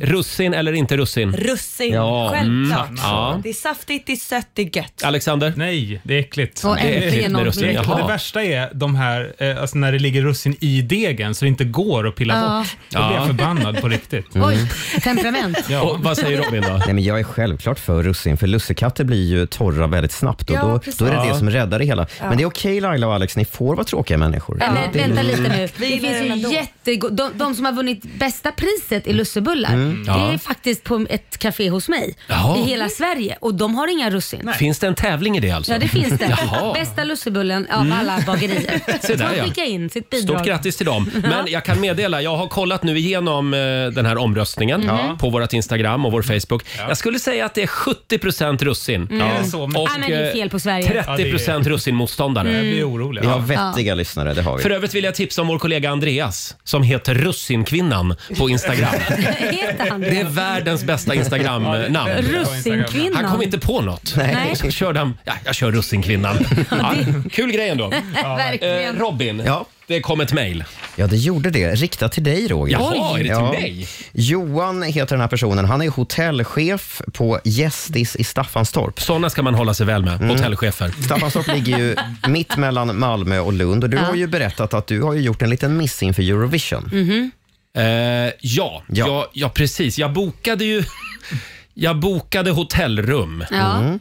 [SPEAKER 1] russin eller inte russin?
[SPEAKER 7] Russin,
[SPEAKER 1] Ja,
[SPEAKER 7] självklart.
[SPEAKER 1] mm, ja.
[SPEAKER 7] Det är saftigt, det är sött, det är gött.
[SPEAKER 1] Alexander?
[SPEAKER 10] Nej, det är äckligt.
[SPEAKER 2] Och
[SPEAKER 1] är äckligt
[SPEAKER 2] äntligen
[SPEAKER 1] med
[SPEAKER 2] någon
[SPEAKER 1] russin,
[SPEAKER 2] med-
[SPEAKER 1] ja.
[SPEAKER 10] Och
[SPEAKER 1] Jaha.
[SPEAKER 10] det värsta är de här, eh, alltså när det ligger russin i degen så det inte går att pilla
[SPEAKER 2] Ja.
[SPEAKER 10] bort. Då blir
[SPEAKER 1] Ja.
[SPEAKER 10] jag förbannad på riktigt.
[SPEAKER 1] Mm.
[SPEAKER 2] Oj, temperament.
[SPEAKER 1] Och vad säger Robin då?
[SPEAKER 3] Nej, men jag är självklart för russin, för lussekatter blir ju torra väldigt snabbt och
[SPEAKER 7] Ja,
[SPEAKER 3] då,
[SPEAKER 7] precis.
[SPEAKER 3] då är det
[SPEAKER 1] Ja.
[SPEAKER 3] det som räddar det hela. Men det är okej Laila och Alex, ni får vara tråkiga människor.
[SPEAKER 2] Men
[SPEAKER 3] Det är
[SPEAKER 2] vänta lite nu.
[SPEAKER 7] Vi
[SPEAKER 2] Det
[SPEAKER 7] gillar den
[SPEAKER 2] finns ju
[SPEAKER 7] ändå.
[SPEAKER 2] jättegod, de, de som har vunnit bästa priset i lussebullar, det
[SPEAKER 1] Mm. Ja.
[SPEAKER 2] är faktiskt på ett café hos mig
[SPEAKER 1] Jaha.
[SPEAKER 2] i hela Sverige och de har inga russin.
[SPEAKER 1] Finns det en tävling i det alltså?
[SPEAKER 2] Ja det finns det.
[SPEAKER 1] Jaha. Mm.
[SPEAKER 2] Bästa lussebullen av alla bagerier.
[SPEAKER 1] Se där,
[SPEAKER 2] Så
[SPEAKER 1] ja.
[SPEAKER 2] skicka in sitt bidrag.
[SPEAKER 1] Stort grattis till dem. Men jag kan meddela, jag har kollat nu igenom eh, den här omröstningen
[SPEAKER 2] Mhm.
[SPEAKER 1] på vårt Instagram och vår
[SPEAKER 10] Mm.
[SPEAKER 1] Facebook. Jag skulle säga att det är 70% russin.
[SPEAKER 10] Det är så, men
[SPEAKER 1] Och
[SPEAKER 2] Mm. Nej, men det Mm. är
[SPEAKER 1] eh,
[SPEAKER 2] fel på Sverige.
[SPEAKER 1] 30% russinmotståndare.
[SPEAKER 10] jag blir
[SPEAKER 3] Vi
[SPEAKER 10] orolig.
[SPEAKER 3] har vettiga lyssnare, det har vi.
[SPEAKER 1] För övrigt vill jag tipsa om vår kollega Andreas som heter Russinkvinnan på Instagram.
[SPEAKER 2] Heter han
[SPEAKER 1] Det är
[SPEAKER 2] det?
[SPEAKER 1] världens bästa Instagram-namn. Han kom
[SPEAKER 2] Russinkvinnan.
[SPEAKER 1] inte på något.
[SPEAKER 2] Nej.
[SPEAKER 1] Så körde han, ja, jag kör Russinkvinnan. Ja, kul grej ändå. Eh,
[SPEAKER 2] Verkligen.
[SPEAKER 1] Robin,
[SPEAKER 3] Ja.
[SPEAKER 1] det kom ett mejl.
[SPEAKER 3] Ja, det gjorde det. Riktat till dig, Roger.
[SPEAKER 1] Jaha, Oj. är det till
[SPEAKER 3] ja.
[SPEAKER 1] mig?
[SPEAKER 3] Johan heter den här personen. Han är hotellchef på Gästis i Staffanstorp.
[SPEAKER 1] Såna ska man hålla sig väl med, hotellchefer.
[SPEAKER 3] Staffanstorp ligger ju mitt mellan Malmö och Lund och du har ju berättat att du har ju gjort en liten miss inför Eurovision.
[SPEAKER 1] Eh, ja, ja. Ja, ja, precis. Jag bokade ju... Jag bokade hotellrum
[SPEAKER 2] Ja.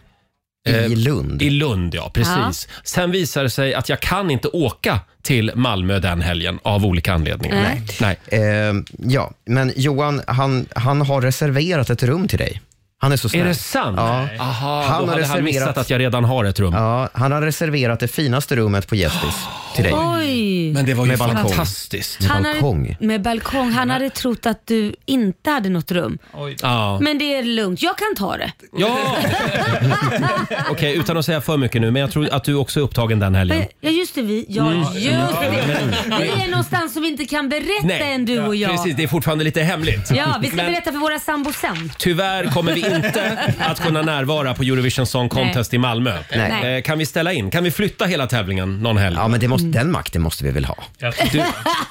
[SPEAKER 3] I Lund.
[SPEAKER 1] Eh, i Lund, ja. Precis. Sen visade det sig att jag kan inte åka till Malmö den helgen av olika anledningar.
[SPEAKER 2] Nej.
[SPEAKER 1] Nej.
[SPEAKER 3] Eh, ja, men Johan, han, han har reserverat ett rum till dig. Han är så snäll.
[SPEAKER 1] Är det sant?
[SPEAKER 3] Ja.
[SPEAKER 1] Aha,
[SPEAKER 3] Han
[SPEAKER 1] då
[SPEAKER 3] har
[SPEAKER 1] hade han
[SPEAKER 3] reserverat-
[SPEAKER 1] missat att jag redan har ett rum.
[SPEAKER 3] Ja, han har reserverat det finaste rummet på Gästis till dig.
[SPEAKER 2] Oj.
[SPEAKER 1] Men det var ju
[SPEAKER 3] Med balkong.
[SPEAKER 1] fantastiskt.
[SPEAKER 2] Han
[SPEAKER 3] balkong.
[SPEAKER 2] Hade, med balkong. Han hade trott att du inte hade något rum.
[SPEAKER 1] Ja.
[SPEAKER 2] Men det är lugnt, jag kan ta det.
[SPEAKER 1] ja. Okej, utan att säga för mycket nu, men jag tror att du också är upptagen den helgen.
[SPEAKER 2] Ja just det, vi, ja just det. Vi är någonstans som vi inte kan berätta än du och jag.
[SPEAKER 1] Precis, det är fortfarande lite hemligt.
[SPEAKER 2] Ja, vi ska
[SPEAKER 1] Men-
[SPEAKER 2] berätta för våra sambos sen.
[SPEAKER 1] Tyvärr kommer vi inte att kunna närvara på Eurovision Song Contest i Malmö.
[SPEAKER 2] Nej.
[SPEAKER 1] Eh, Kan vi ställa in? Kan vi flytta hela tävlingen någon helg?
[SPEAKER 3] Ja, men det måste, den makten måste vi väl ha?
[SPEAKER 1] Du,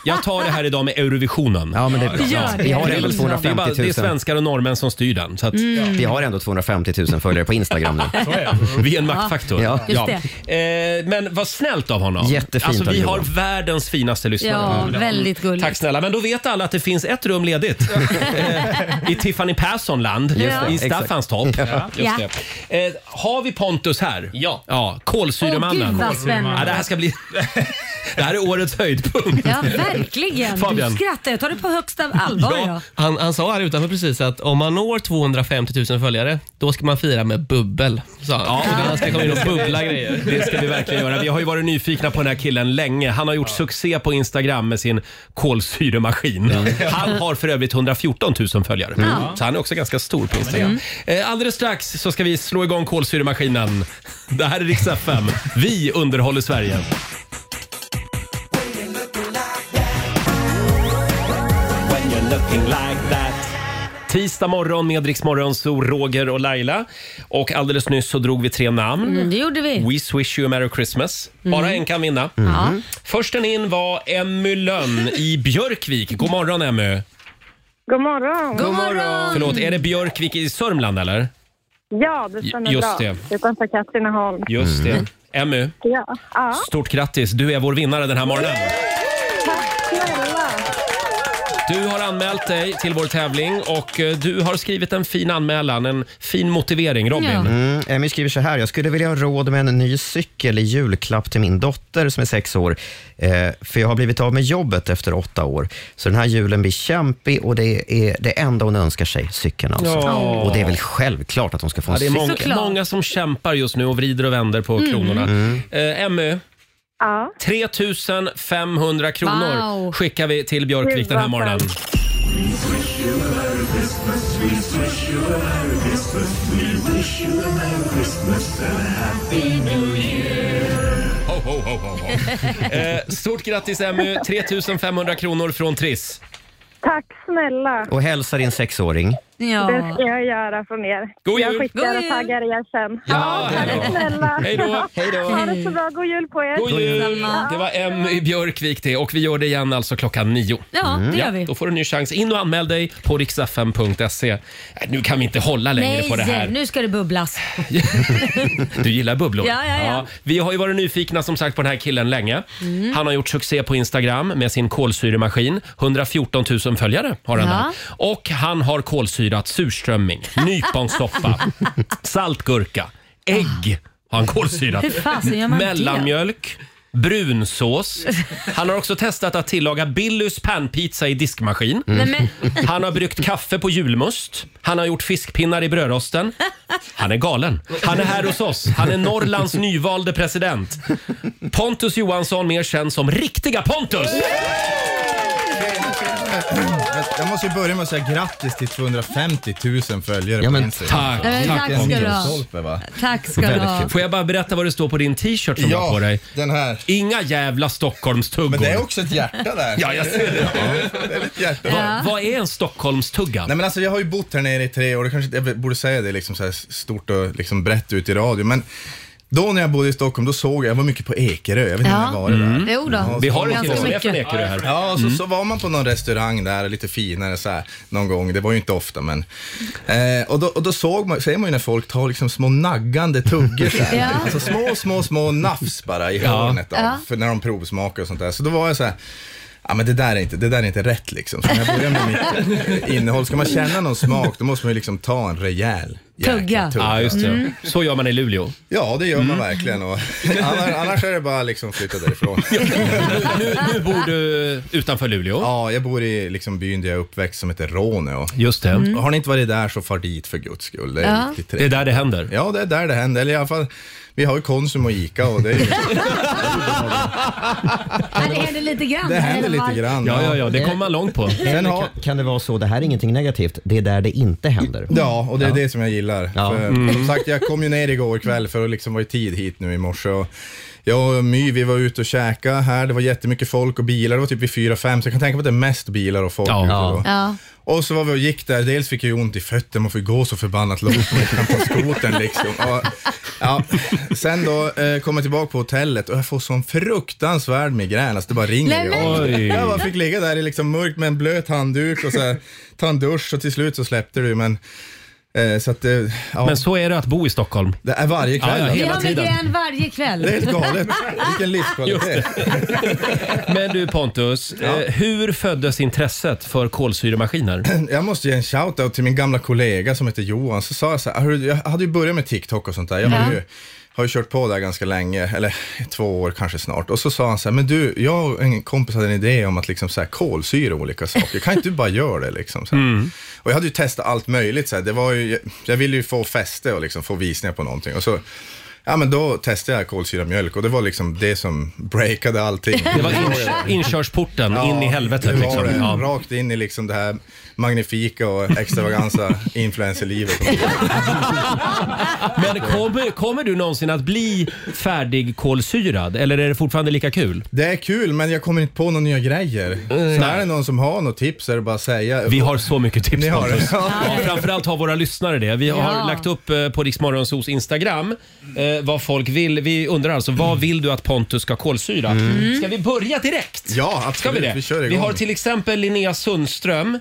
[SPEAKER 1] jag tar det här idag med Eurovisionen.
[SPEAKER 3] Ja, men det är bra.
[SPEAKER 2] Gör det.
[SPEAKER 3] Vi har
[SPEAKER 1] Det är
[SPEAKER 3] ändå
[SPEAKER 1] väl- det, är
[SPEAKER 3] 250
[SPEAKER 1] bara,
[SPEAKER 3] 000.
[SPEAKER 1] det är svenskar och norrmän som styr den. Så att
[SPEAKER 2] Mm.
[SPEAKER 3] Vi har ändå 250 000 följare på Instagram nu.
[SPEAKER 10] Så är det.
[SPEAKER 1] Vi är en maktfaktor.
[SPEAKER 3] Ja.
[SPEAKER 2] Just
[SPEAKER 1] Eh, men vad snällt av honom.
[SPEAKER 3] Jättefint
[SPEAKER 1] alltså,
[SPEAKER 3] av
[SPEAKER 1] vi
[SPEAKER 3] Johan.
[SPEAKER 1] har världens finaste lyssnare. Mm.
[SPEAKER 2] Ja, väldigt gulligt.
[SPEAKER 1] Tack snälla, men då vet alla att det finns ett rum ledigt Eh, i Tiffany Perssonland
[SPEAKER 2] det,
[SPEAKER 1] i
[SPEAKER 3] exakt.
[SPEAKER 1] Staffanstorp. Just
[SPEAKER 2] Ja.
[SPEAKER 1] det. Eh, Har vi Pontus här?
[SPEAKER 9] Ja.
[SPEAKER 1] kolsyremannen.
[SPEAKER 2] Åh, gud, vad spännande.
[SPEAKER 1] Ja, det här ska bli... Det här är årets höjdpunkt.
[SPEAKER 2] Ja, verkligen.
[SPEAKER 9] Fabian.
[SPEAKER 2] Du skrattar. Jag tar det på högsta allvar. ja.
[SPEAKER 9] Han, han sa här utanför precis att om man når 250 000 följare, då ska man fira med bubbel. Sa han.
[SPEAKER 1] Ja.
[SPEAKER 9] Ja. Han ska komma in och bubbla grejer.
[SPEAKER 1] Det ska vi verkligen göra. Vi har ju varit nyfikna på den här killen länge. Han har gjort succé på Instagram med sin kolsyremaskin. Han har för övrigt 114 000 följare.
[SPEAKER 2] Ja.
[SPEAKER 1] Så han är också ganska stor på Instagram.
[SPEAKER 9] Mm.
[SPEAKER 1] Eh, Alldeles strax så ska vi slå igång kolsyremaskinen. Det här är Rix FM. Vi underhåller Sverige. Tisdag morgon med Rix Morgon, så Roger och Laila. Och alldeles nyss så drog vi tre namn.
[SPEAKER 2] Mm, det gjorde vi.
[SPEAKER 1] We swish you a merry Christmas. Bara en kan vinna.
[SPEAKER 2] Mm. Ja.
[SPEAKER 1] Försten in var Emmy Lönn i Björkvik. God morgon Emmy.
[SPEAKER 11] God morgon.
[SPEAKER 2] God morgon.
[SPEAKER 1] Förlåt, är det Björkvik i Sörmland eller?
[SPEAKER 11] Ja, det stämmer
[SPEAKER 1] Just
[SPEAKER 11] bra.
[SPEAKER 1] det.
[SPEAKER 11] Utanför Katrineholm.
[SPEAKER 1] Just
[SPEAKER 2] Mm.
[SPEAKER 1] det. Emmy,
[SPEAKER 11] Ja. ja.
[SPEAKER 1] stort grattis. Du är vår vinnare den här morgonen.
[SPEAKER 11] Tack snälla.
[SPEAKER 1] Du har anmält dig till vår tävling och eh, du har skrivit en fin anmälan, en fin motivering. Robin.
[SPEAKER 2] Ja.
[SPEAKER 3] Mm, Emmy skriver så här. Jag skulle vilja ha råd med en ny cykel i julklapp till min dotter som är sex år. Eh, för jag har blivit av med jobbet efter åtta år. Så den här julen blir kämpig och det är det enda hon önskar sig, cykeln alltså.
[SPEAKER 1] Ja.
[SPEAKER 3] Och det är väl självklart att hon ska få en
[SPEAKER 1] Ja, det är
[SPEAKER 3] cykel.
[SPEAKER 1] många,
[SPEAKER 2] Såklart. Mm.
[SPEAKER 1] många som kämpar just nu och vrider och vänder på kronorna. Eh, Emmy,
[SPEAKER 11] Ja.
[SPEAKER 1] 3 500 kronor
[SPEAKER 2] Wow.
[SPEAKER 1] skickar vi till Björkvik den här
[SPEAKER 11] Gud, vad
[SPEAKER 1] morgonen. Ho, ho, ho, ho, ho. Eh, Stort grattis Emmy, 3 500 kronor från Triss.
[SPEAKER 11] Tack snälla.
[SPEAKER 3] Och hälsa din sexåring.
[SPEAKER 11] Det
[SPEAKER 2] Ja.
[SPEAKER 11] ska jag göra från er.
[SPEAKER 1] God
[SPEAKER 11] Jag
[SPEAKER 1] jul.
[SPEAKER 11] skickar
[SPEAKER 2] God
[SPEAKER 11] och
[SPEAKER 2] jul.
[SPEAKER 11] taggar er sen.
[SPEAKER 1] Ja, hej
[SPEAKER 11] Tack
[SPEAKER 1] då.
[SPEAKER 11] snälla.
[SPEAKER 1] Hej då.
[SPEAKER 3] Hej då.
[SPEAKER 11] Ha det så bra. God jul på er.
[SPEAKER 1] God jul! Det var Emmy i Björkvik det och vi gör det igen alltså klockan nio.
[SPEAKER 2] Ja, det gör vi.
[SPEAKER 1] Då får du en ny chans. In och anmäl dig på riksfm.se. Äh, Nu kan vi inte hålla längre på det här.
[SPEAKER 2] Nej, nu ska det bubblas.
[SPEAKER 1] Du gillar bubblor?
[SPEAKER 2] Ja, ja, ja.
[SPEAKER 1] vi har ju varit nyfikna som sagt på den här killen länge.
[SPEAKER 2] Mm.
[SPEAKER 1] Han har gjort succé på Instagram med sin kolsyremaskin. 114 000 följare har han
[SPEAKER 2] Ja.
[SPEAKER 1] där. Och han har kolsyrat surströmming, nyponsoppa, saltgurka, ägg har han kolsyrat.
[SPEAKER 2] Hur fasen gör man det?
[SPEAKER 1] Mellanmjölk. Brunsås. Han har också testat att tillaga Billys panpizza i diskmaskin.
[SPEAKER 2] Nej, men,
[SPEAKER 1] Han har bryggt kaffe på julmust. Han har gjort fiskpinnar i brödrosten. Han är galen. Han är här hos oss. Han är Norrlands nyvalde president. Pontus Johansson, mer känd som riktiga Pontus!
[SPEAKER 12] Jag måste ju börja med att säga grattis till 250 000 följare
[SPEAKER 3] Ja,
[SPEAKER 12] på
[SPEAKER 3] men
[SPEAKER 12] Instagram.
[SPEAKER 1] Tack!
[SPEAKER 2] Nej, men
[SPEAKER 1] tack.
[SPEAKER 2] eh, tack ska du ha.
[SPEAKER 12] Milstolpe va?
[SPEAKER 2] Tack ska du ha.
[SPEAKER 1] Får jag bara berätta vad det står på din t-shirt som du har på
[SPEAKER 12] Ja,
[SPEAKER 1] dig?
[SPEAKER 12] den här.
[SPEAKER 1] Inga jävla Stockholmstuggor.
[SPEAKER 12] Men det är också ett hjärta där.
[SPEAKER 1] Ja, jag ser det.
[SPEAKER 12] Det är ett hjärta.
[SPEAKER 1] Vad, vad är en Stockholmstugga?
[SPEAKER 12] Nej men alltså jag har ju bott här nere i tre år, det kanske jag borde säga det liksom så här stort och liksom brett ut i radio, men då när jag bodde i Stockholm, då såg jag, jag var mycket på Ekerö, jag vet inte om jag
[SPEAKER 2] Ja.
[SPEAKER 12] var det där.
[SPEAKER 2] Jo då.
[SPEAKER 1] Mm. Vi har en
[SPEAKER 2] Ganska
[SPEAKER 1] kille som är
[SPEAKER 2] mycket.
[SPEAKER 1] från Ekerö här.
[SPEAKER 12] Ja, och så, så var man på någon restaurang där, lite finare så här, någon gång. Det var ju inte ofta, men. Eh, och då, och då såg man, ser man ju när folk tar liksom små naggande tuggor så här.
[SPEAKER 2] Ja.
[SPEAKER 12] Alltså små, små, små nafs bara i hörnet av,
[SPEAKER 2] Ja.
[SPEAKER 12] för när de provsmakar och sånt där. Så då var jag så här, Ja, men det där, är inte, det där är inte rätt liksom. Så när jag börjar med mitt innehåll, ska man känna någon smak, då måste man ju liksom ta en rejäl jäkla
[SPEAKER 2] Tugga.
[SPEAKER 1] Ja, just Mm. det.
[SPEAKER 2] Mm.
[SPEAKER 1] Så gör man i Luleå.
[SPEAKER 12] Ja, det gör man verkligen. Och, annars, annars är det bara liksom flytta därifrån.
[SPEAKER 1] Nu, nu bor du utanför Luleå.
[SPEAKER 12] Ja, jag bor i liksom byn där jag är uppväxt som heter Råneå.
[SPEAKER 1] Just det.
[SPEAKER 2] Mm.
[SPEAKER 12] Och Mm. Har ni inte varit där så far dit för guds skull. Det är
[SPEAKER 2] Ja.
[SPEAKER 12] riktigt
[SPEAKER 1] Det är
[SPEAKER 12] trevligt.
[SPEAKER 1] där det händer.
[SPEAKER 12] Ja, det är där det händer. Eller i alla fall, vi har ju Konsum och Ica och det, är ju,
[SPEAKER 2] Ja, det händer lite grann.
[SPEAKER 12] det händer
[SPEAKER 2] Eller
[SPEAKER 12] lite
[SPEAKER 2] vad?
[SPEAKER 12] grann.
[SPEAKER 1] Ja, ja, ja, det kommer man långt på.
[SPEAKER 12] Sen
[SPEAKER 3] Eller
[SPEAKER 12] har,
[SPEAKER 3] kan, kan det vara så, det här är ingenting negativt, det är där det inte händer.
[SPEAKER 12] ja, och det är det som jag gillar.
[SPEAKER 3] Ja.
[SPEAKER 12] För,
[SPEAKER 1] Mm.
[SPEAKER 12] Som sagt, jag kom ju ner igår kväll för att liksom vara i tid hit nu i morse. Och jag och My, vi var ute och käka här. Det var jättemycket folk och bilar. Det var typ vid fyra, fem, så jag kan tänka mig att det är mest bilar och folk
[SPEAKER 1] Ja.
[SPEAKER 12] ute
[SPEAKER 1] Ja.
[SPEAKER 12] då.
[SPEAKER 2] Ja.
[SPEAKER 12] Och så var vi och gick där, dels fick jag ju ont i fötterna, man får ju gå så förbannat långt, man kan ta skotern liksom. Och, ja. Sen då eh, kom jag tillbaka på hotellet och jag får sån fruktansvärd migrän, alltså det bara ringer.
[SPEAKER 2] Nej,
[SPEAKER 12] Jag,
[SPEAKER 1] men- Oj.
[SPEAKER 12] jag bara fick ligga där i liksom mörkt med en blöt handduk och så här, ta en dusch och till slut så släppte det ju, men eh, så att eh, ja,
[SPEAKER 1] Men så är det att bo i Stockholm.
[SPEAKER 12] det är varje kväll.
[SPEAKER 1] Ja, ja,
[SPEAKER 2] Vi
[SPEAKER 1] hela
[SPEAKER 2] har
[SPEAKER 1] tiden.
[SPEAKER 2] migrän varje
[SPEAKER 12] Det är
[SPEAKER 2] kväll.
[SPEAKER 12] helt galet. Vilken
[SPEAKER 1] Just
[SPEAKER 12] livskvalitet.
[SPEAKER 1] Men du Pontus, eh, hur föddes intresset för kolsyremaskiner?
[SPEAKER 12] jag måste ge en shout-out till min gamla kollega som heter Johan. Så sa jag så här, "Hörru, jag hade ju börjat med TikTok och sånt där. Jag var ju har ju kört på där ganska länge, eller två år kanske snart. Och så sa han så här, men du, jag och en kompis hade en idé om att liksom så här kolsyra olika saker. Kan inte du bara göra det liksom? Så här.
[SPEAKER 1] Mm.
[SPEAKER 12] Och jag hade ju testat allt möjligt. Så här. Det var ju, jag ville ju få fäste och liksom få visningar på någonting. Och så, ja men då testade jag kolsyramjölk och det var liksom det som breakade allting.
[SPEAKER 1] Det var ins- inkörsporten in i helvetet.
[SPEAKER 12] det var
[SPEAKER 1] Liksom.
[SPEAKER 12] det.
[SPEAKER 1] Ja.
[SPEAKER 12] Rakt in i liksom det här magnifika och extravaganza influencerlivet.
[SPEAKER 1] Men kommer, kommer du någonsin att bli färdigkolsyrad eller är det fortfarande lika kul?
[SPEAKER 12] Det är kul, men jag kommer inte på några nya grejer. Så här är det någon som har något tips är det bara att säga.
[SPEAKER 1] Vi har så mycket tips.
[SPEAKER 12] Ni har det.
[SPEAKER 1] Pontus.
[SPEAKER 12] Ja.
[SPEAKER 1] Ja, framförallt har våra lyssnare det. Vi har
[SPEAKER 12] Ja.
[SPEAKER 1] lagt upp eh, på Riksmorgonsos Instagram eh, vad folk vill. Vi undrar alltså vad vill du att Pontus ska kolsyra? Ska vi börja direkt?
[SPEAKER 12] Mm. Ja, absolut.
[SPEAKER 1] Ska vi det?
[SPEAKER 12] Vi kör igång.
[SPEAKER 1] har till exempel Linnea Sundström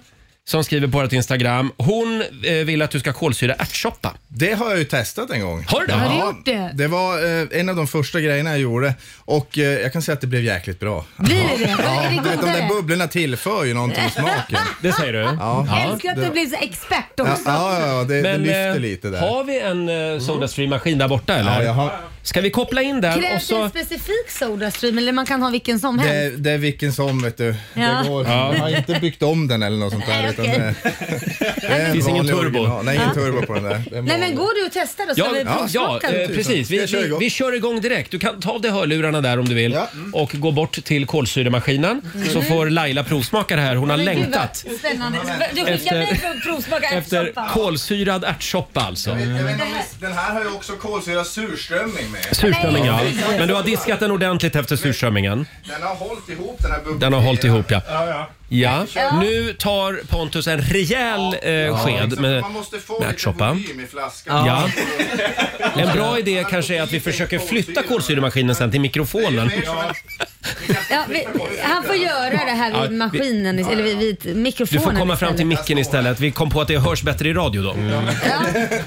[SPEAKER 1] som skriver på vårt Instagram. Hon eh, vill att du ska kolsyra ärtsoppa.
[SPEAKER 12] Det har jag ju testat en gång.
[SPEAKER 1] Har du det?
[SPEAKER 12] Ja,
[SPEAKER 1] Har du
[SPEAKER 2] gjort det?
[SPEAKER 12] Det var eh, en av de första grejerna jag gjorde och eh, jag kan säga att det blev jäkligt bra.
[SPEAKER 2] Blir det det? Är det
[SPEAKER 12] du vet, de
[SPEAKER 2] godare?
[SPEAKER 12] där bubblorna tillför ju någonting i smaken.
[SPEAKER 1] Det säger du?
[SPEAKER 12] Ja.
[SPEAKER 2] Jag älskar att du blir så expert
[SPEAKER 12] Ja,
[SPEAKER 2] också.
[SPEAKER 12] ja, ja det, det
[SPEAKER 1] Men, eh,
[SPEAKER 12] lyfter lite där.
[SPEAKER 1] Har vi en eh, Sodastream-maskin där borta eller?
[SPEAKER 12] Ja, jag har-
[SPEAKER 1] Ska vi koppla in den och
[SPEAKER 2] Krävs det
[SPEAKER 1] så...
[SPEAKER 2] en specifik Sodastream eller man kan ha vilken som
[SPEAKER 12] Det,
[SPEAKER 2] helst?
[SPEAKER 12] är- det är vilken som vet du.
[SPEAKER 2] Ja.
[SPEAKER 12] Det går.
[SPEAKER 1] Ja.
[SPEAKER 12] Jag har inte byggt om den eller något sånt där.
[SPEAKER 2] Nej,
[SPEAKER 12] utan
[SPEAKER 2] okej.
[SPEAKER 12] det, det är en
[SPEAKER 1] finns ingen
[SPEAKER 12] vanlig
[SPEAKER 1] turbo.
[SPEAKER 12] original. Nej, ingen
[SPEAKER 1] Ja.
[SPEAKER 12] turbo på den där. Det är
[SPEAKER 2] Nej men går du och testar då så
[SPEAKER 1] Ja,
[SPEAKER 2] vi
[SPEAKER 1] ja, ja
[SPEAKER 2] provsmakar?
[SPEAKER 1] eh, precis. Vi,
[SPEAKER 12] Jag kör
[SPEAKER 1] vi,
[SPEAKER 12] igång.
[SPEAKER 1] vi kör igång direkt. Du kan ta av dig hörlurarna där om du vill och gå bort till kolsyremaskinen så får Laila provsmaka det här. Hon har
[SPEAKER 2] Men gud,
[SPEAKER 1] längtat.
[SPEAKER 2] vad Spännande. Du skickar
[SPEAKER 1] Efter-
[SPEAKER 2] mig för att provsmaka
[SPEAKER 1] Efter
[SPEAKER 2] ärtsoppa.
[SPEAKER 1] kolsyrad ärtsoppa alltså.
[SPEAKER 12] Jag vet inte om ni- Den här har ju också kolsyra surströmming med.
[SPEAKER 1] Surströmming ja. Men du har diskat den ordentligt efter surströmmingen.
[SPEAKER 12] Den har hållit ihop den här bubblan.
[SPEAKER 1] Den har hållit ihop ja.
[SPEAKER 12] Ja, ja.
[SPEAKER 1] Ja, nu tar Pontus en rejäl eh, sked med,
[SPEAKER 12] Man måste få
[SPEAKER 1] med
[SPEAKER 12] lite
[SPEAKER 1] ärtsoppa.
[SPEAKER 12] volym i flaskan.
[SPEAKER 1] Ja. En bra idé kanske är att vi försöker flytta kolsyremaskinen sen till mikrofonen.
[SPEAKER 2] Ja, vi, han får göra det här
[SPEAKER 1] Ja,
[SPEAKER 2] vid
[SPEAKER 1] vi-
[SPEAKER 2] maskinen, eller vid, vid
[SPEAKER 1] Du
[SPEAKER 2] mikrofonen.
[SPEAKER 1] får komma fram
[SPEAKER 2] istället.
[SPEAKER 1] till micken istället. Vi kom på att det hörs bättre i radio då.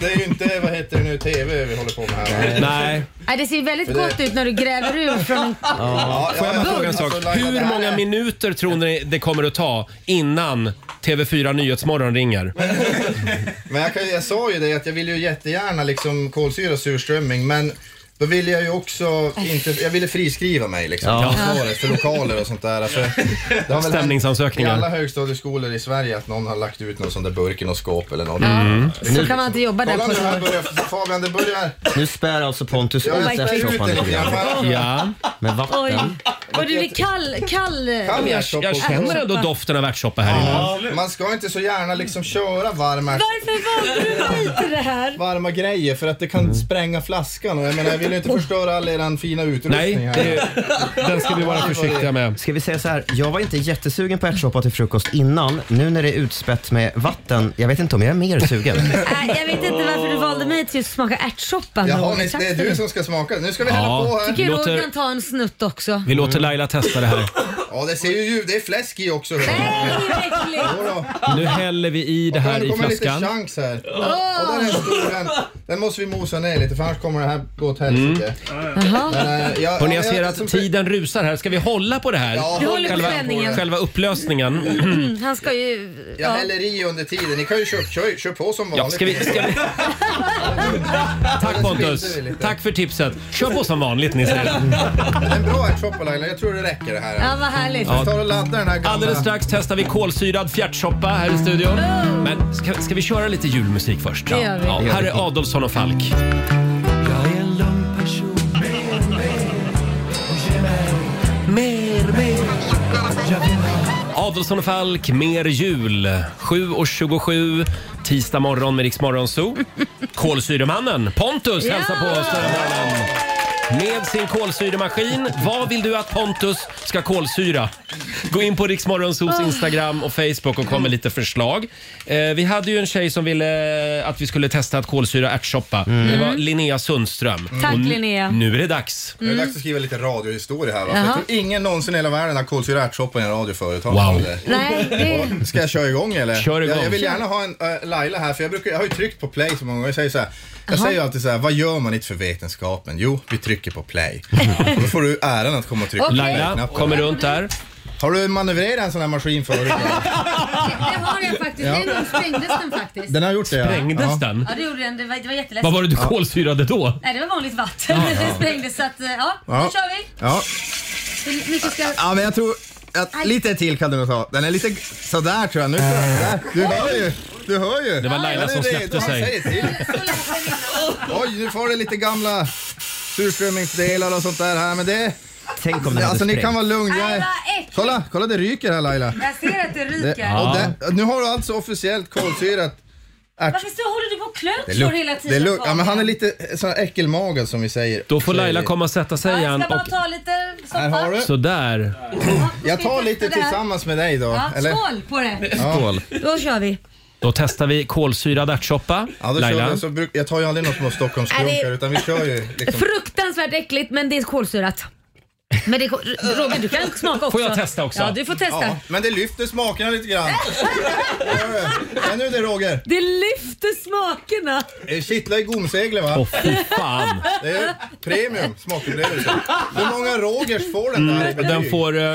[SPEAKER 12] Det är ju inte, vad heter det nu, TV vi håller på med här.
[SPEAKER 1] Nej.
[SPEAKER 2] Nej, det ser ju väldigt gott ut när du gräver ur från...
[SPEAKER 12] Ja,
[SPEAKER 1] Får jag bara
[SPEAKER 12] ja,
[SPEAKER 1] fråga en
[SPEAKER 12] ja.
[SPEAKER 1] sak?
[SPEAKER 12] Alltså, Laila, det
[SPEAKER 1] Hur
[SPEAKER 12] här
[SPEAKER 1] många
[SPEAKER 12] är-
[SPEAKER 1] minuter tror ni det kommer att ta innan TV4 Nyhetsmorgon ringer?
[SPEAKER 12] Men jag, kan, jag sa ju det att jag ville ju jättegärna liksom kolsyra surströmming men då ville jag ju också inte, jag ville friskriva mig liksom
[SPEAKER 1] Ja.
[SPEAKER 12] från svaret för lokaler och sånt där. För det har väl hänt i
[SPEAKER 1] Stämningsansökningar.
[SPEAKER 12] alla högstadieskolor i Sverige att någon har lagt ut någon sån där burk i något skåp eller något.
[SPEAKER 2] Mm. Så kan man inte jobba där
[SPEAKER 12] Kolla Oh
[SPEAKER 2] på
[SPEAKER 12] nu här
[SPEAKER 2] så.
[SPEAKER 12] börjar, Fabian det börjar.
[SPEAKER 3] Nu spär alltså Pontus
[SPEAKER 12] Ja,
[SPEAKER 3] ut
[SPEAKER 12] jag spär ut
[SPEAKER 3] ärtsoppan
[SPEAKER 12] den
[SPEAKER 3] lite
[SPEAKER 12] lite
[SPEAKER 3] grann.
[SPEAKER 12] grann. Ja.
[SPEAKER 3] Med
[SPEAKER 2] Oj.
[SPEAKER 3] vatten.
[SPEAKER 2] Och du blir kall... kall...
[SPEAKER 1] Ja, men jag, jag känner ändå doften av ärtsoppa här inne.
[SPEAKER 12] Ja, man ska inte så gärna liksom köra varma
[SPEAKER 2] Varför valde du mig till det här?
[SPEAKER 12] varma grejer för att det kan spränga flaskan och jag menar jag vill ju inte förstöra all er fina utrustning
[SPEAKER 1] Nej,
[SPEAKER 12] här.
[SPEAKER 1] det, den ska vi vara försiktiga med.
[SPEAKER 3] Ska vi säga så här, jag var inte jättesugen på ärtsoppa till frukost innan. Nu när det är utspätt med vatten, jag vet inte om jag är mer sugen.
[SPEAKER 2] Nej, jag vet inte varför du valde mig till att smaka ärtsoppa.
[SPEAKER 12] Jaha,
[SPEAKER 2] Roger.
[SPEAKER 12] ni,
[SPEAKER 2] Tack
[SPEAKER 12] det är
[SPEAKER 2] för
[SPEAKER 12] du som ska smaka. Nu ska vi
[SPEAKER 1] Ja.
[SPEAKER 12] hälla på
[SPEAKER 2] Tycker
[SPEAKER 12] här.
[SPEAKER 2] jag
[SPEAKER 1] Låter-
[SPEAKER 2] Roger kan ta en snutt också.
[SPEAKER 1] Vi låter Laila testa det här.
[SPEAKER 12] Ja, det ser ju ljud. Det är fläsk i också.
[SPEAKER 2] Nej, vad äckligt!
[SPEAKER 1] Nu häller vi i det här
[SPEAKER 12] det
[SPEAKER 1] i
[SPEAKER 12] kommer lite
[SPEAKER 1] flaskan.
[SPEAKER 12] chans här. Och den är stor. Den, den måste vi mosa ner lite för annars kommer det här gå åt
[SPEAKER 9] Mm.
[SPEAKER 12] helsike. Men,
[SPEAKER 2] Jaha.
[SPEAKER 12] eh, jag-
[SPEAKER 1] Hörrni,
[SPEAKER 12] ja,
[SPEAKER 1] jag
[SPEAKER 12] men
[SPEAKER 1] ser
[SPEAKER 12] jag-
[SPEAKER 1] att
[SPEAKER 12] som-
[SPEAKER 1] tiden rusar här. Ska vi hålla på det här?
[SPEAKER 12] Ja, Vi
[SPEAKER 2] håller på
[SPEAKER 1] själva,
[SPEAKER 2] spänningen.
[SPEAKER 1] själva upplösningen.
[SPEAKER 2] Mm, Han ska ju...
[SPEAKER 12] Jag
[SPEAKER 2] Ja.
[SPEAKER 12] häller i under tiden. Ni kan ju köpa, kör, kör på som vanligt.
[SPEAKER 1] Ja, ska vi, ska vi... Tack Pontus. Tack för tipset. Kör på som vanligt Nisse.
[SPEAKER 12] En bra ärtsoppa Laila. Jag tror det räcker det här.
[SPEAKER 2] Ja, vad härligt.
[SPEAKER 12] Vi tar och laddar den här gamla.
[SPEAKER 1] Alldeles strax testar vi kolsyrad fjärtsoppa här i studion. Men ska, ska vi köra lite julmusik först?
[SPEAKER 2] Mm. Det gör vi.
[SPEAKER 1] Ja, här är Adolfsson och Falk. Adolfsson och Falk, mer jul. 7.27, tisdag morgon med Rix Morgon Zoo. Kolsyremannen Pontus hälsar på oss den här morgonen. Med sin kolsyremaskin. Vad vill du att Pontus ska kolsyra? Gå in på Riksmorgonsos Instagram och Facebook och kom med lite förslag. Eh, vi hade ju en tjej som ville eh, att vi skulle testa att kolsyra ärtsoppa. Det var Linnea Sundström.
[SPEAKER 2] Tack,
[SPEAKER 1] Och n-
[SPEAKER 2] Linnea.
[SPEAKER 1] Nu är det dags.
[SPEAKER 12] Nu är det dags att skriva lite radiohistoria här. Va? För
[SPEAKER 2] Jaha.
[SPEAKER 12] Jag tror ingen någonsin i hela världen har kolsyrat ärtsoppa i en radioföretag.
[SPEAKER 1] Wow.
[SPEAKER 2] Nej, det...
[SPEAKER 12] Ska jag köra igång eller?
[SPEAKER 1] Kör igång.
[SPEAKER 12] Jag, jag vill gärna ha en äh, Laila här för jag, brukar, jag har ju tryckt på play så många gånger. Jag säger så här, jag säger ju alltid så här, vad gör man inte för vetenskapen? Jo, vi trycker på play. Och då får du äran att komma och trycka på
[SPEAKER 2] Okej.
[SPEAKER 1] Laila
[SPEAKER 12] play-knappen.
[SPEAKER 1] kommer runt där.
[SPEAKER 12] Har du manövrerat en sån här maskin förut?
[SPEAKER 2] Det har jag faktiskt.
[SPEAKER 12] Ja.
[SPEAKER 2] Den gången sprängdes den faktiskt.
[SPEAKER 12] Den har gjort det ja.
[SPEAKER 1] Sprängdes
[SPEAKER 12] ja.
[SPEAKER 1] den?
[SPEAKER 2] Ja, det gjorde den. Det var, det var jätteläskigt.
[SPEAKER 1] Vad var det du kolsyrade då?
[SPEAKER 2] Nej, det var vanligt vatten.
[SPEAKER 1] Ja, ja.
[SPEAKER 2] Det sprängdes så att, eh, ja,
[SPEAKER 12] Ja.
[SPEAKER 2] nu kör vi.
[SPEAKER 12] Ja.
[SPEAKER 2] Hur mycket ska...
[SPEAKER 12] ja, men jag tror att lite till kan du nog ta. Den är lite sådär tror jag. Nu, där. Du hör ju. Du hör ju.
[SPEAKER 1] Det var Laila
[SPEAKER 12] Ja, nu
[SPEAKER 1] som
[SPEAKER 12] är det-
[SPEAKER 1] släppte
[SPEAKER 12] han
[SPEAKER 1] sig.
[SPEAKER 12] säger till. Oj, nu får det lite gamla surströmmingsdelar och sånt där här. Men det...
[SPEAKER 3] Tänk om den hade
[SPEAKER 12] Alltså ni
[SPEAKER 3] sprängt.
[SPEAKER 12] kan vara lugna. Jag
[SPEAKER 2] Nej,
[SPEAKER 12] är-
[SPEAKER 2] vad äckligt.
[SPEAKER 12] Kolla, kolla det ryker här Laila.
[SPEAKER 2] Jag ser att det
[SPEAKER 12] Det,
[SPEAKER 2] ryker.
[SPEAKER 12] och det, nu har du alltså officiellt kolsyrat ärt-
[SPEAKER 2] Varför så håller du på och
[SPEAKER 12] Det
[SPEAKER 2] klöker
[SPEAKER 12] är
[SPEAKER 2] så
[SPEAKER 12] lugnt.
[SPEAKER 2] hela
[SPEAKER 12] Det är
[SPEAKER 2] tiden?
[SPEAKER 12] lugnt.
[SPEAKER 2] på
[SPEAKER 12] Ja, men han är
[SPEAKER 2] honom?
[SPEAKER 12] lite sån här äckelmagad som vi säger.
[SPEAKER 1] Då får Laila komma och sätta sig
[SPEAKER 2] Jag
[SPEAKER 1] igen.
[SPEAKER 2] ska bara
[SPEAKER 1] Och...
[SPEAKER 2] ta lite
[SPEAKER 12] Här har
[SPEAKER 2] soppa.
[SPEAKER 12] du.
[SPEAKER 1] Sådär.
[SPEAKER 12] Jag tar lite
[SPEAKER 2] Det här.
[SPEAKER 12] tillsammans med dig då.
[SPEAKER 2] Ja,
[SPEAKER 12] eller?
[SPEAKER 2] skål på det.
[SPEAKER 1] Skål.
[SPEAKER 2] Då kör vi.
[SPEAKER 1] Då testar vi kolsyrad ärtsoppa.
[SPEAKER 12] Ja, då kör
[SPEAKER 1] Laila.
[SPEAKER 12] vi. Så bruk- jag tar ju aldrig några små
[SPEAKER 2] Nej,
[SPEAKER 12] Stockholmskrunkar
[SPEAKER 2] det-
[SPEAKER 12] utan vi kör ju liksom.
[SPEAKER 2] Fruktansvärt äckligt men det är kolsyrat. Men det är, kol- Roger du kan smaka också.
[SPEAKER 12] Får jag testa också?
[SPEAKER 2] Ja du får testa.
[SPEAKER 12] Ja, men det lyfter smakerna lite grann. Hör du? Känner du det Roger?
[SPEAKER 2] Det lyfter smakerna.
[SPEAKER 12] Det kittlar i gomseglen va?
[SPEAKER 1] Åh fy fan.
[SPEAKER 12] Det är premium smakupplevelse. Hur många Rogers får den där i
[SPEAKER 1] Mm,
[SPEAKER 12] betyg?
[SPEAKER 1] den får eh,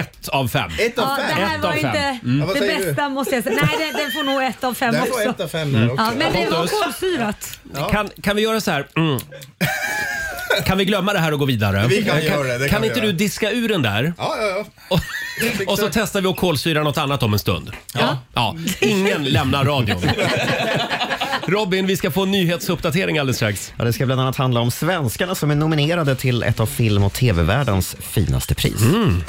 [SPEAKER 1] ett av fem.
[SPEAKER 12] Ett av
[SPEAKER 2] Ja, det
[SPEAKER 12] fem?
[SPEAKER 2] här
[SPEAKER 1] Ett av
[SPEAKER 2] var
[SPEAKER 1] fem.
[SPEAKER 2] inte
[SPEAKER 1] Mm. Ja,
[SPEAKER 2] det
[SPEAKER 1] vad
[SPEAKER 12] säger du?
[SPEAKER 2] bästa måste jag säga. Nej den, den får nog ett av fem
[SPEAKER 12] Den
[SPEAKER 2] också.
[SPEAKER 12] får ett av fem
[SPEAKER 1] Mm.
[SPEAKER 12] där också.
[SPEAKER 2] Ja, men det var
[SPEAKER 1] Pontus.
[SPEAKER 2] kolsyrat.
[SPEAKER 1] Kan, kan vi göra så här? Mm. Kan vi glömma det här och gå vidare?
[SPEAKER 12] Vi kan
[SPEAKER 1] Eh,
[SPEAKER 12] göra det, det
[SPEAKER 1] kan,
[SPEAKER 12] kan vi
[SPEAKER 1] inte
[SPEAKER 12] göra.
[SPEAKER 1] du diska ur den där?
[SPEAKER 12] Ja, ja, ja.
[SPEAKER 1] Och så testar vi att kolsyra något annat om en stund. Ja. ja. Ingen lämnar radion. Robin, vi ska få en nyhetsuppdatering alldeles strax.
[SPEAKER 3] Ja, det ska bland annat handla om svenskarna som är nominerade till ett av film och tv-världens finaste pris.
[SPEAKER 1] Mm.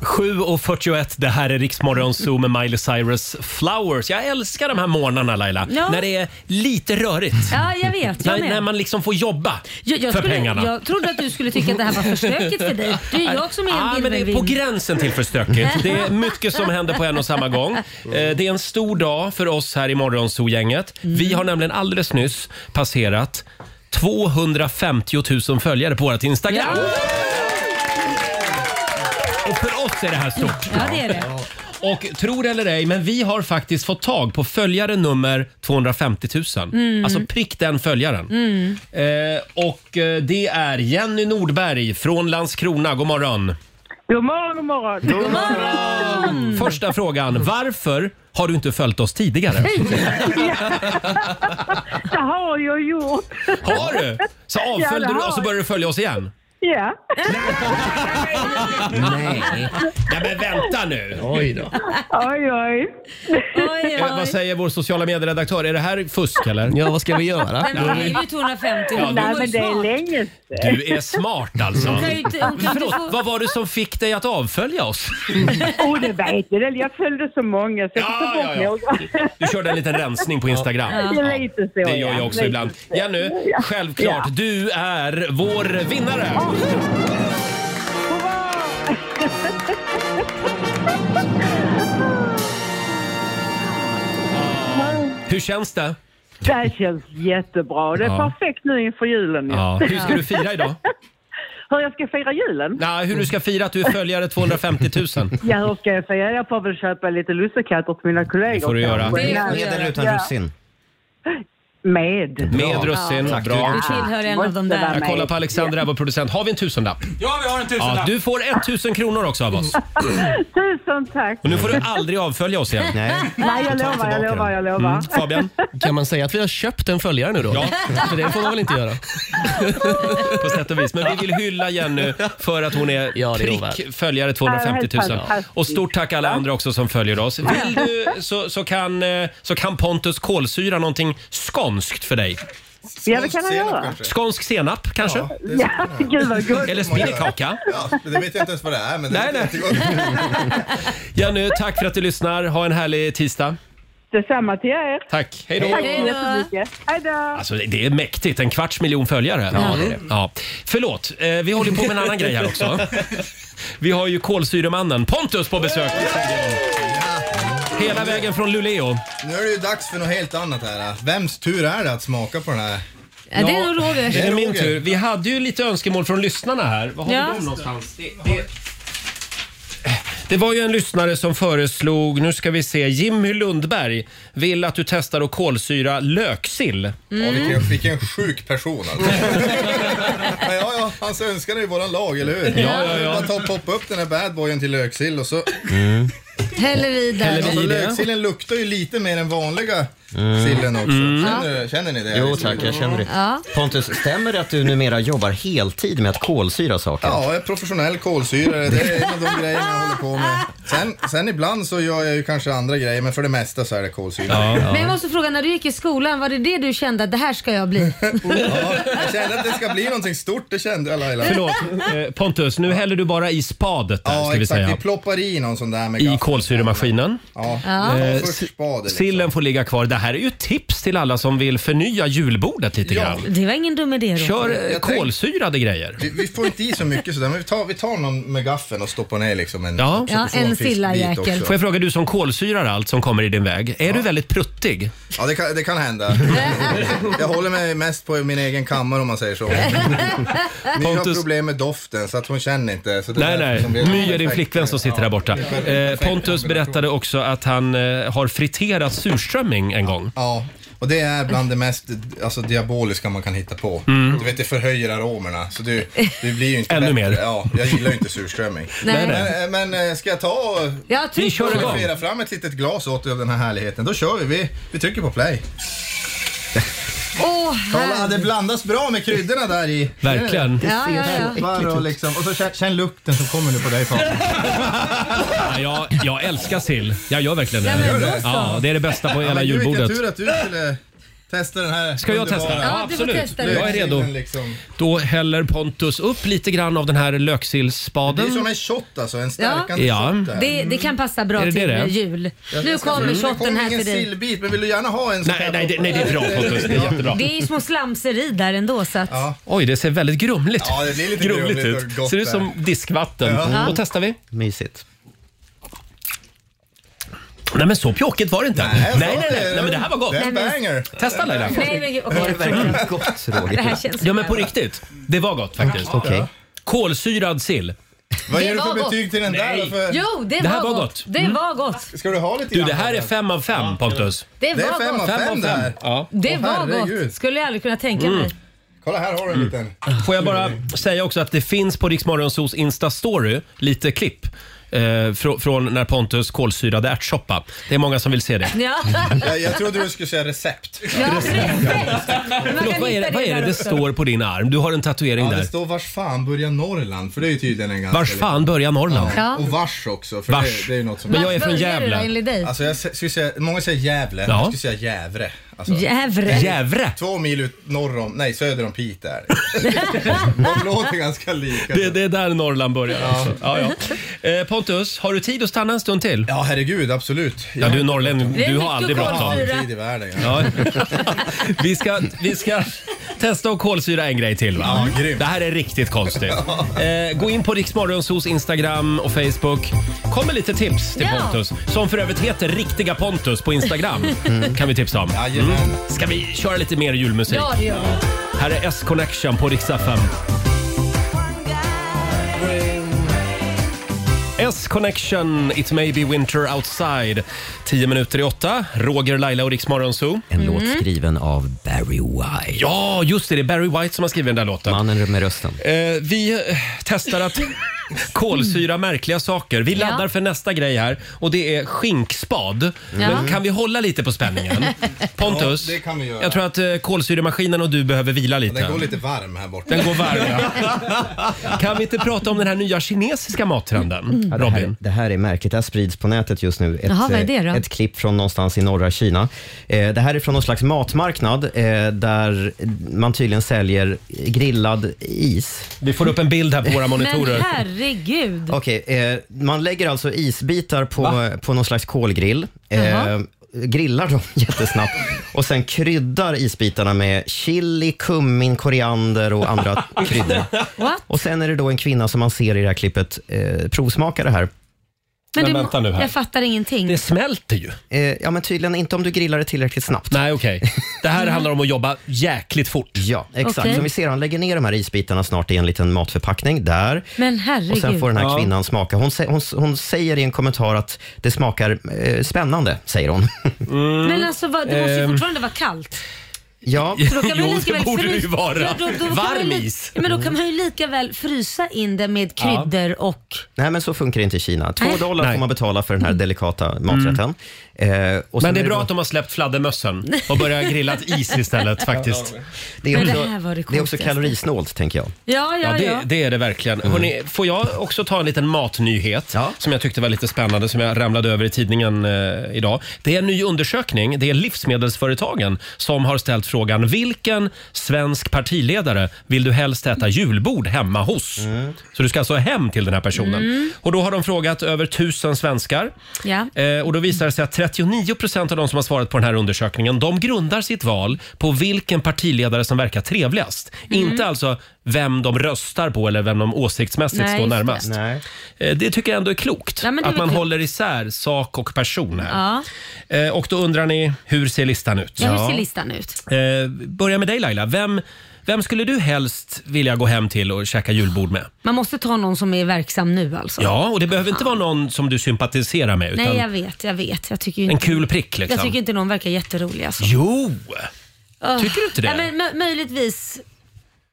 [SPEAKER 1] Sju och 41, det här är Riksmorgon Zoo med Miley Cyrus Flowers. Jag älskar de här morgnarna Laila,
[SPEAKER 2] Ja.
[SPEAKER 1] när det är lite rörigt.
[SPEAKER 2] Ja jag vet. Jag
[SPEAKER 1] När, när
[SPEAKER 2] med.
[SPEAKER 1] man liksom får jobba
[SPEAKER 2] Jag, jag,
[SPEAKER 1] för
[SPEAKER 2] skulle,
[SPEAKER 1] pengarna.
[SPEAKER 2] jag trodde att du skulle tycka att det här var för stökigt för dig. Det är ju jag som är en
[SPEAKER 1] Ja, men det är på
[SPEAKER 2] virvelvind.
[SPEAKER 1] gränsen till för stökigt. Det är mycket som händer på en och samma gång. Eh,
[SPEAKER 2] Mm.
[SPEAKER 1] Det är en stor dag för oss här i Morgonzoo-gänget. Vi har nämligen alldeles nyss passerat 250 000 följare på vårt Instagram. Och för oss är det här stort.
[SPEAKER 2] Ja det är det.
[SPEAKER 1] Och tro det eller ej, men vi har faktiskt fått tag på följare nummer 250 000.
[SPEAKER 2] Mm.
[SPEAKER 1] Alltså prick den följaren.
[SPEAKER 2] Mm.
[SPEAKER 1] Eh, och eh, det är Jenny Nordberg från Landskrona. God morgon.
[SPEAKER 11] God morgon, god morgon.
[SPEAKER 1] God morgon! Första frågan. Varför har du inte följt oss tidigare?
[SPEAKER 11] Det har jag gjort.
[SPEAKER 1] Har du? Så avföljde du och så började du följa oss igen?
[SPEAKER 11] Ja.
[SPEAKER 1] Nej. Ja, men vänta nu. Oj då.
[SPEAKER 11] Oj, oj.
[SPEAKER 2] Oj,
[SPEAKER 1] Eh, vad
[SPEAKER 2] oj.
[SPEAKER 1] säger vår sociala medieredaktör? Är det här fusk eller? Ja, vad ska vi göra?
[SPEAKER 2] Men man är ju 250
[SPEAKER 1] Ja,
[SPEAKER 2] hon var
[SPEAKER 11] Nej,
[SPEAKER 2] ju
[SPEAKER 11] men det är
[SPEAKER 2] smart.
[SPEAKER 11] länge sedan.
[SPEAKER 1] Du är smart alltså.
[SPEAKER 2] Hon kan ju inte- hon kan inte
[SPEAKER 1] Förlåt,
[SPEAKER 2] få-
[SPEAKER 1] vad var det som fick dig att avfölja oss?
[SPEAKER 11] Oh, det vet du väl. Jag följde så många så jag fick ta bort några.
[SPEAKER 1] Du körde en liten rensning på Instagram.
[SPEAKER 11] Det är lite så,
[SPEAKER 1] Det gör
[SPEAKER 11] ja.
[SPEAKER 1] jag också
[SPEAKER 11] Lite
[SPEAKER 1] ibland.
[SPEAKER 11] så.
[SPEAKER 1] Jenny,
[SPEAKER 11] Ja.
[SPEAKER 1] självklart.
[SPEAKER 11] Ja.
[SPEAKER 1] Du är vår vinnare. Hur känns det?
[SPEAKER 11] Det här känns jättebra. Det är
[SPEAKER 1] Ja.
[SPEAKER 11] perfekt nu inför julen. ju.
[SPEAKER 1] Ja. Hur ska du fira idag?
[SPEAKER 11] Hur jag ska fira julen?
[SPEAKER 1] Nej, hur du ska fira att du är följare 250 000.
[SPEAKER 11] Ja, hur ska jag säga? Jag får väl köpa lite lussekatter till mina kollegor.
[SPEAKER 1] Det får du göra.
[SPEAKER 11] kanske.
[SPEAKER 2] Det får du
[SPEAKER 11] Ja.
[SPEAKER 2] göra. Med eller
[SPEAKER 3] Utan
[SPEAKER 11] Ja.
[SPEAKER 3] russin.
[SPEAKER 11] Med.
[SPEAKER 1] Med russin.
[SPEAKER 3] Tack,
[SPEAKER 1] Bra.
[SPEAKER 2] Du tillhör en av de där.
[SPEAKER 1] Jag kollar på Alexandra, vår producent. Har vi en tusenlapp?
[SPEAKER 5] Ja, vi har en tusenlapp.
[SPEAKER 1] Ja, du får 1000 kronor också av oss.
[SPEAKER 11] Tusen tack!
[SPEAKER 1] Och nu får du aldrig avfölja oss igen.
[SPEAKER 3] Nej.
[SPEAKER 11] Nej, jag lovar, jag lovar, jag lovar.
[SPEAKER 1] Fabian,
[SPEAKER 9] Kan man säga att vi har köpt en följare nu då?
[SPEAKER 1] Ja.
[SPEAKER 9] För det får man väl inte göra?
[SPEAKER 1] på sätt och vis. Men vi vill hylla Jenny för att hon är
[SPEAKER 9] Ja, det är hon
[SPEAKER 1] prick följare 250 000. Och stort tack alla andra också som följer oss. Vill du så, så, kan, eh, så kan Pontus kolsyra någonting skånskt för dig.
[SPEAKER 11] Ja, det kan jag
[SPEAKER 12] Senap
[SPEAKER 11] göra.
[SPEAKER 12] kanske?
[SPEAKER 1] Skånsk senap kanske?
[SPEAKER 11] Ja, gud vad gott.
[SPEAKER 1] Eller spindelkaka?
[SPEAKER 12] Ja, det vet jag inte ens vad det är men det
[SPEAKER 1] Nej,
[SPEAKER 12] är
[SPEAKER 1] nej.
[SPEAKER 12] jättegott.
[SPEAKER 1] Jenny, tack för att du lyssnar. Ha en härlig tisdag.
[SPEAKER 11] Detsamma till er.
[SPEAKER 1] Tack. Hej då.
[SPEAKER 11] Tack så jättemycket. Hej då!
[SPEAKER 1] Alltså, det är mäktigt. En kvarts miljon följare. Ja, det är det. Ja. Förlåt, eh, vi håller på med en annan grej här också. Vi har ju kolsyremannen Pontus på besök. Hela vägen från Luleå.
[SPEAKER 12] Nu är det ju dags för något helt annat här. Vems tur är det att smaka på den här?
[SPEAKER 2] Ja, det är nog Roger.
[SPEAKER 1] Det är min
[SPEAKER 12] Roger.
[SPEAKER 1] tur. Vi hade ju lite önskemål från lyssnarna här. Vad har
[SPEAKER 2] Ja.
[SPEAKER 1] vi dem någonstans? Det, det... det var ju en lyssnare som föreslog, nu ska vi se, Jimmy Lundberg vill att du testar att kolsyra löksill.
[SPEAKER 12] Ja, vilken, vilken sjuk person alltså. Hans önskan är ju våran lag, eller hur?
[SPEAKER 8] Ja, ja, ja.
[SPEAKER 12] Bara ta och poppa upp den här badboyen till löksill och så...
[SPEAKER 2] Häller i där.
[SPEAKER 12] Alltså, löksillen luktar ju lite mer än vanliga
[SPEAKER 3] Mm.
[SPEAKER 12] sillen också.
[SPEAKER 3] Mm.
[SPEAKER 12] Känner, känner ni det?
[SPEAKER 3] Jo tack, jag känner det.
[SPEAKER 2] Ja.
[SPEAKER 3] Pontus, stämmer det att du numera jobbar heltid med att kolsyra saker?
[SPEAKER 12] Ja, jag är professionell kolsyrare. Det är en av de grejerna jag håller på med. Sen, sen ibland så gör jag ju kanske andra grejer, men för det mesta så är det kolsyra.
[SPEAKER 2] Men jag måste fråga, när du gick i skolan, var det det du kände att det här ska jag bli?
[SPEAKER 12] Jag kände att det ska bli någonting stort, det kände jag Laila.
[SPEAKER 1] Förlåt, eh, Pontus, nu häller du bara i spadet där,
[SPEAKER 12] Ja,
[SPEAKER 1] ska vi
[SPEAKER 12] exakt. Vi
[SPEAKER 1] säga.
[SPEAKER 12] ploppar i någon sån där med
[SPEAKER 1] I
[SPEAKER 12] gaffel.
[SPEAKER 1] kolsyremaskinen.
[SPEAKER 12] Ja,
[SPEAKER 2] Ja.
[SPEAKER 1] Eh,
[SPEAKER 12] Ja, först liksom. spader.
[SPEAKER 1] Sillen får ligga kvar. Det här är ju ett tips till alla som vill förnya julbordet lite grann.
[SPEAKER 2] Det var ingen dum idé Roger.
[SPEAKER 1] Kör eh, kolsyrade grejer.
[SPEAKER 12] Vi, vi får inte i så mycket sådär, men vi tar, vi tar någon med gaffeln och stoppar ner liksom en...
[SPEAKER 1] Ja.
[SPEAKER 2] Ja, en sillajäkel.
[SPEAKER 1] Får jag fråga, du som kolsyrar allt som kommer i din väg, är du väldigt pruttig?
[SPEAKER 12] Ja, det kan, det kan hända. Jag håller mig mest på min egen kammare om man säger så. Ni har
[SPEAKER 1] Pontus-
[SPEAKER 12] problem med doften så att hon känner inte. Så det
[SPEAKER 1] Nej,
[SPEAKER 12] är därför
[SPEAKER 1] nej.
[SPEAKER 12] som vi-
[SPEAKER 1] My är din flickvän som sitter där borta. Eh, Pontus berättade också att han eh, har friterat surströmming en gång.
[SPEAKER 12] Ja, och det är bland det mest alltså, diaboliska man kan hitta på.
[SPEAKER 1] Mm.
[SPEAKER 12] Du vet, det förhöjer aromerna. Så du, du blir ju inte
[SPEAKER 1] Ännu
[SPEAKER 12] bättre.
[SPEAKER 1] mer.
[SPEAKER 12] Ja, jag gillar ju inte surströmming.
[SPEAKER 2] Nej.
[SPEAKER 12] Men, men eh, ska jag ta och...
[SPEAKER 2] Ja, tryck Vi kör på. igång.
[SPEAKER 12] Servera fram ett litet glas åt dig av den här härligheten. Då kör vi. Vi, vi trycker på play.
[SPEAKER 2] Åh,
[SPEAKER 12] Kolla, det
[SPEAKER 2] herregud.
[SPEAKER 12] blandas bra med kryddorna där i.
[SPEAKER 1] Verkligen.
[SPEAKER 12] Det
[SPEAKER 2] Ja,
[SPEAKER 12] ser
[SPEAKER 2] ja, ja.
[SPEAKER 12] peppar Och, liksom, och så känn, känn lukten som kommer nu på dig Fabian.
[SPEAKER 1] Ja, jag, jag älskar sill. Jag gör verkligen
[SPEAKER 12] Ja, men då
[SPEAKER 1] det.
[SPEAKER 12] så.
[SPEAKER 1] Ja, det är det bästa på
[SPEAKER 12] Ja,
[SPEAKER 1] hela
[SPEAKER 12] men gud,
[SPEAKER 1] julbordet.
[SPEAKER 12] Vilken tur att du skulle testa den här
[SPEAKER 1] Ska jag testa?
[SPEAKER 12] underbara-
[SPEAKER 1] Ja,
[SPEAKER 2] du får
[SPEAKER 1] absolut.
[SPEAKER 2] testa det.
[SPEAKER 1] jag är redo.
[SPEAKER 12] Löksilen liksom.
[SPEAKER 1] Då häller Pontus upp lite grann av den här
[SPEAKER 12] Det är
[SPEAKER 1] löksillspaden.
[SPEAKER 12] som en shot alltså, en
[SPEAKER 2] Ja.
[SPEAKER 12] stärkande
[SPEAKER 1] Ja.
[SPEAKER 12] shot där.
[SPEAKER 2] Det, det kan passa bra
[SPEAKER 1] Är det
[SPEAKER 2] till
[SPEAKER 1] det det?
[SPEAKER 2] jul.
[SPEAKER 12] Jag-
[SPEAKER 2] Nu
[SPEAKER 12] jag ska-
[SPEAKER 2] kommer
[SPEAKER 12] det
[SPEAKER 2] shotten
[SPEAKER 12] kommer
[SPEAKER 2] här till
[SPEAKER 12] ingen
[SPEAKER 2] dig.
[SPEAKER 12] sillbit, men vill du gärna ha en så
[SPEAKER 1] Nej, nej, det, nej, det är bra Pontus. Det är jättebra.
[SPEAKER 2] Det är ju små slamser i där ändå så att...
[SPEAKER 1] Oj, det ser väldigt grumligt,
[SPEAKER 12] Ja, det blir lite grumligt och
[SPEAKER 1] ut.
[SPEAKER 12] gott
[SPEAKER 1] Ser ut
[SPEAKER 12] där.
[SPEAKER 1] som diskvatten.
[SPEAKER 2] Ja.
[SPEAKER 1] Då testar vi.
[SPEAKER 3] Mysigt.
[SPEAKER 1] Nej, men så pjåkigt var det inte. Nej, nej, nej, nej, men det här var gott.
[SPEAKER 12] Det är en banger.
[SPEAKER 1] Testa Laila. Mm.
[SPEAKER 2] Nej men gud, okej.
[SPEAKER 3] gott
[SPEAKER 2] Det här känns
[SPEAKER 1] Ja, men på riktigt. Det var gott faktiskt.
[SPEAKER 3] Okej.
[SPEAKER 1] Kolsyrad sill.
[SPEAKER 12] Vad
[SPEAKER 2] Det
[SPEAKER 12] ger du
[SPEAKER 2] var
[SPEAKER 12] för
[SPEAKER 2] gott.
[SPEAKER 12] betyg till den där? då? För,
[SPEAKER 2] Jo, det,
[SPEAKER 1] Det
[SPEAKER 2] var,
[SPEAKER 1] här var
[SPEAKER 2] gott.
[SPEAKER 1] gott.
[SPEAKER 2] Det var gott.
[SPEAKER 12] Ska du ha lite
[SPEAKER 1] Du,
[SPEAKER 12] grann?
[SPEAKER 1] det här är fem av fem Pontus.
[SPEAKER 2] Det
[SPEAKER 12] Det
[SPEAKER 2] var
[SPEAKER 12] är fem av
[SPEAKER 2] gott.
[SPEAKER 12] fem,
[SPEAKER 1] av fem.
[SPEAKER 12] där.
[SPEAKER 1] Ja.
[SPEAKER 2] Det
[SPEAKER 12] Åh,
[SPEAKER 2] var
[SPEAKER 12] herregud.
[SPEAKER 2] gott. Skulle jag aldrig kunna tänka mig.
[SPEAKER 1] Mm.
[SPEAKER 12] Kolla här har du en liten.
[SPEAKER 1] Får jag bara säga också att det finns på Riksmorgonsos Insta-story lite klipp eh, frå- från när Pontus kolsyrade ärtsoppa. Det är många som vill se det.
[SPEAKER 2] Ja.
[SPEAKER 12] Jag, jag trodde du skulle säga recept.
[SPEAKER 1] Mm.
[SPEAKER 2] Ja, perfekt. Man
[SPEAKER 1] Förlåt,
[SPEAKER 2] kan
[SPEAKER 1] vad är
[SPEAKER 2] hitta
[SPEAKER 1] det, vad är
[SPEAKER 2] där
[SPEAKER 1] det det
[SPEAKER 2] också.
[SPEAKER 1] står på din arm? Du har en tatuering
[SPEAKER 12] Ja, det
[SPEAKER 1] där.
[SPEAKER 12] står vars fan börjar Norrland? För det är ju tydligen en ganska...
[SPEAKER 1] Vars fan börjar Norrland?
[SPEAKER 2] Ja.
[SPEAKER 12] Och vars också. För
[SPEAKER 1] Vars.
[SPEAKER 12] Det, det är ju något som...
[SPEAKER 1] Men jag är
[SPEAKER 2] Vad
[SPEAKER 1] från
[SPEAKER 2] börjar du då,
[SPEAKER 1] Gävle.
[SPEAKER 2] Enligt dig?
[SPEAKER 12] Alltså jag skulle säga, många säger Gävle,
[SPEAKER 1] Ja.
[SPEAKER 12] jag skulle säga Gävre. Alltså,
[SPEAKER 2] Gävre.
[SPEAKER 1] Gävre!
[SPEAKER 12] Två mil ut norr om, nej söder om Piteå är det. De låter ganska lika.
[SPEAKER 1] Det, det är där Norrland börjar alltså. ja, ja. Eh, Pontus, har du tid att stanna en stund till?
[SPEAKER 12] Ja herregud, absolut.
[SPEAKER 1] Ja, du är norrlänning.
[SPEAKER 2] Det är
[SPEAKER 1] Du har
[SPEAKER 2] mycket
[SPEAKER 1] aldrig
[SPEAKER 12] Jag har
[SPEAKER 1] bråttom.
[SPEAKER 2] kolsyra.
[SPEAKER 12] all tid i världen. Ja.
[SPEAKER 1] Ja. Vi, ska, vi ska testa att kolsyra en grej till. Va?
[SPEAKER 12] Ja, grymt.
[SPEAKER 1] Det här är riktigt konstigt. Eh, gå in på Riksmorgonsos Instagram och Facebook. Kom med lite tips till
[SPEAKER 2] Ja.
[SPEAKER 1] Pontus. Som för övrigt heter Riktiga Pontus på Instagram. Kan vi tipsa om.
[SPEAKER 12] Jajamän.
[SPEAKER 1] Ska vi köra lite mer julmusik?
[SPEAKER 2] Ja, det gör vi.
[SPEAKER 1] Här är S-Connection på Rix FM. S-Connection, It May Be Winter Outside. 10 minuter i åtta. Roger, Laila och Rix Morgonzoo.
[SPEAKER 3] En låt skriven av Barry White.
[SPEAKER 1] Ja, just det. Det är Barry White som har skrivit den där låten.
[SPEAKER 3] Mannen med rösten.
[SPEAKER 1] Eh, vi eh, testar att kolsyra märkliga saker. Vi
[SPEAKER 2] Ja.
[SPEAKER 1] laddar för nästa grej här och det är skinkspad. Men kan vi hålla lite på spänningen? Pontus,
[SPEAKER 12] Ja, det kan vi göra.
[SPEAKER 1] jag tror att eh, kolsyremaskinen och du behöver vila lite.
[SPEAKER 12] Den går lite varm här borta.
[SPEAKER 1] Den går varm. ja. Kan vi inte prata om den här nya kinesiska mattrenden?
[SPEAKER 3] Ja, det, här,
[SPEAKER 1] Robin?
[SPEAKER 3] det här är märkligt. Det här sprids på nätet just nu. Ett,
[SPEAKER 2] Jaha, vad är det då?
[SPEAKER 3] eh, ett klipp från någonstans i norra Kina. Eh, Det här är från någon slags matmarknad eh, där man tydligen säljer grillad is.
[SPEAKER 1] Vi får upp en bild här på våra
[SPEAKER 2] Men
[SPEAKER 1] monitorer.
[SPEAKER 2] herregud.
[SPEAKER 3] Okej, eh, man lägger alltså isbitar på, eh, på någon slags kolgrill. Eh,
[SPEAKER 2] Jaha.
[SPEAKER 3] grillar dem jättesnabbt och sen kryddar isbitarna med chili, kummin, koriander och andra kryddor.
[SPEAKER 2] What?
[SPEAKER 3] Och sen är det då en kvinna som man ser i det här klippet eh, provsmaka det här.
[SPEAKER 1] Men
[SPEAKER 2] du må-
[SPEAKER 1] vänta nu här.
[SPEAKER 2] Jag fattar ingenting.
[SPEAKER 1] Det smälter ju.
[SPEAKER 3] Eh, ja, men tydligen inte om du grillar det tillräckligt snabbt.
[SPEAKER 1] Nej, okej. Det här handlar om att jobba jäkligt fort.
[SPEAKER 3] Ja, exakt.
[SPEAKER 2] Okej.
[SPEAKER 3] Som vi ser, han lägger ner de här isbitarna snart i en liten matförpackning där.
[SPEAKER 2] Men
[SPEAKER 3] Och sen
[SPEAKER 2] herregud.
[SPEAKER 3] får den här
[SPEAKER 1] Ja.
[SPEAKER 3] kvinnan smaka. Hon, sä- hon, hon säger i en kommentar att det smakar eh, spännande, säger hon.
[SPEAKER 1] Mm. Ehm.
[SPEAKER 2] Men alltså vad, det måste ju fortfarande vara kallt.
[SPEAKER 3] Ja.
[SPEAKER 2] Så då kan man ju lika väl frys- Då, då, då kan man ju li- Ja, Men då kan
[SPEAKER 3] Mm.
[SPEAKER 2] man ju lika väl frysa in det med kryddor och...
[SPEAKER 3] Nej, men så funkar det inte i Kina. Två
[SPEAKER 2] Nej.
[SPEAKER 3] dollar får man betala för den här delikata maträtten. Eh, och
[SPEAKER 1] Men det är bra
[SPEAKER 3] att
[SPEAKER 1] de har släppt fladdermössen och börjat grilla is istället faktiskt.
[SPEAKER 3] Det är
[SPEAKER 2] Men det
[SPEAKER 3] också,
[SPEAKER 2] här var det
[SPEAKER 3] det är också
[SPEAKER 2] konstigaste.
[SPEAKER 3] kalorisnålt, tänker jag.
[SPEAKER 2] Ja, ja,
[SPEAKER 1] det,
[SPEAKER 2] ja.
[SPEAKER 1] det är det verkligen. Hörrni, får jag också ta en liten matnyhet som jag tyckte var lite spännande som jag ramlade över i tidningen eh, idag. Det är en ny undersökning. Det är livsmedelsföretagen som har ställt frågan vilken svensk partiledare vill du helst äta julbord hemma hos? Så du ska alltså hem till den här personen.
[SPEAKER 2] Mm.
[SPEAKER 1] Och då har de frågat över tusen svenskar.
[SPEAKER 2] Ja.
[SPEAKER 1] Eh, och då visar det sig att 39 procent av de som har svarat på den här undersökningen de grundar sitt val på vilken partiledare som verkar trevligast.
[SPEAKER 2] Mm.
[SPEAKER 1] Inte alltså vem de röstar på eller vem de åsiktsmässigt
[SPEAKER 2] Nej,
[SPEAKER 1] står
[SPEAKER 2] just det.
[SPEAKER 1] närmast. Eh, Det tycker jag ändå är klokt.
[SPEAKER 2] Ja, men det är
[SPEAKER 1] att
[SPEAKER 2] väl
[SPEAKER 1] man
[SPEAKER 2] klokt.
[SPEAKER 1] håller isär sak och person här.
[SPEAKER 2] Ja.
[SPEAKER 1] Eh, Och då undrar ni, hur ser listan ut?
[SPEAKER 2] Ja, hur ser listan ut?
[SPEAKER 1] Eh, Börja med dig Laila. Vem, vem skulle du helst vilja gå hem till och käka julbord med?
[SPEAKER 2] Man måste ta någon som är verksam nu alltså.
[SPEAKER 1] Ja, och det behöver inte vara någon som du sympatiserar med. Utan
[SPEAKER 2] Nej, jag vet, jag vet. Jag tycker ju
[SPEAKER 1] En
[SPEAKER 2] inte...
[SPEAKER 1] kul prick liksom.
[SPEAKER 2] Jag tycker inte någon verkar jätterolig alltså.
[SPEAKER 1] Jo!
[SPEAKER 2] Ugh.
[SPEAKER 1] Tycker du inte det?
[SPEAKER 2] Nej, men, mö- möjligtvis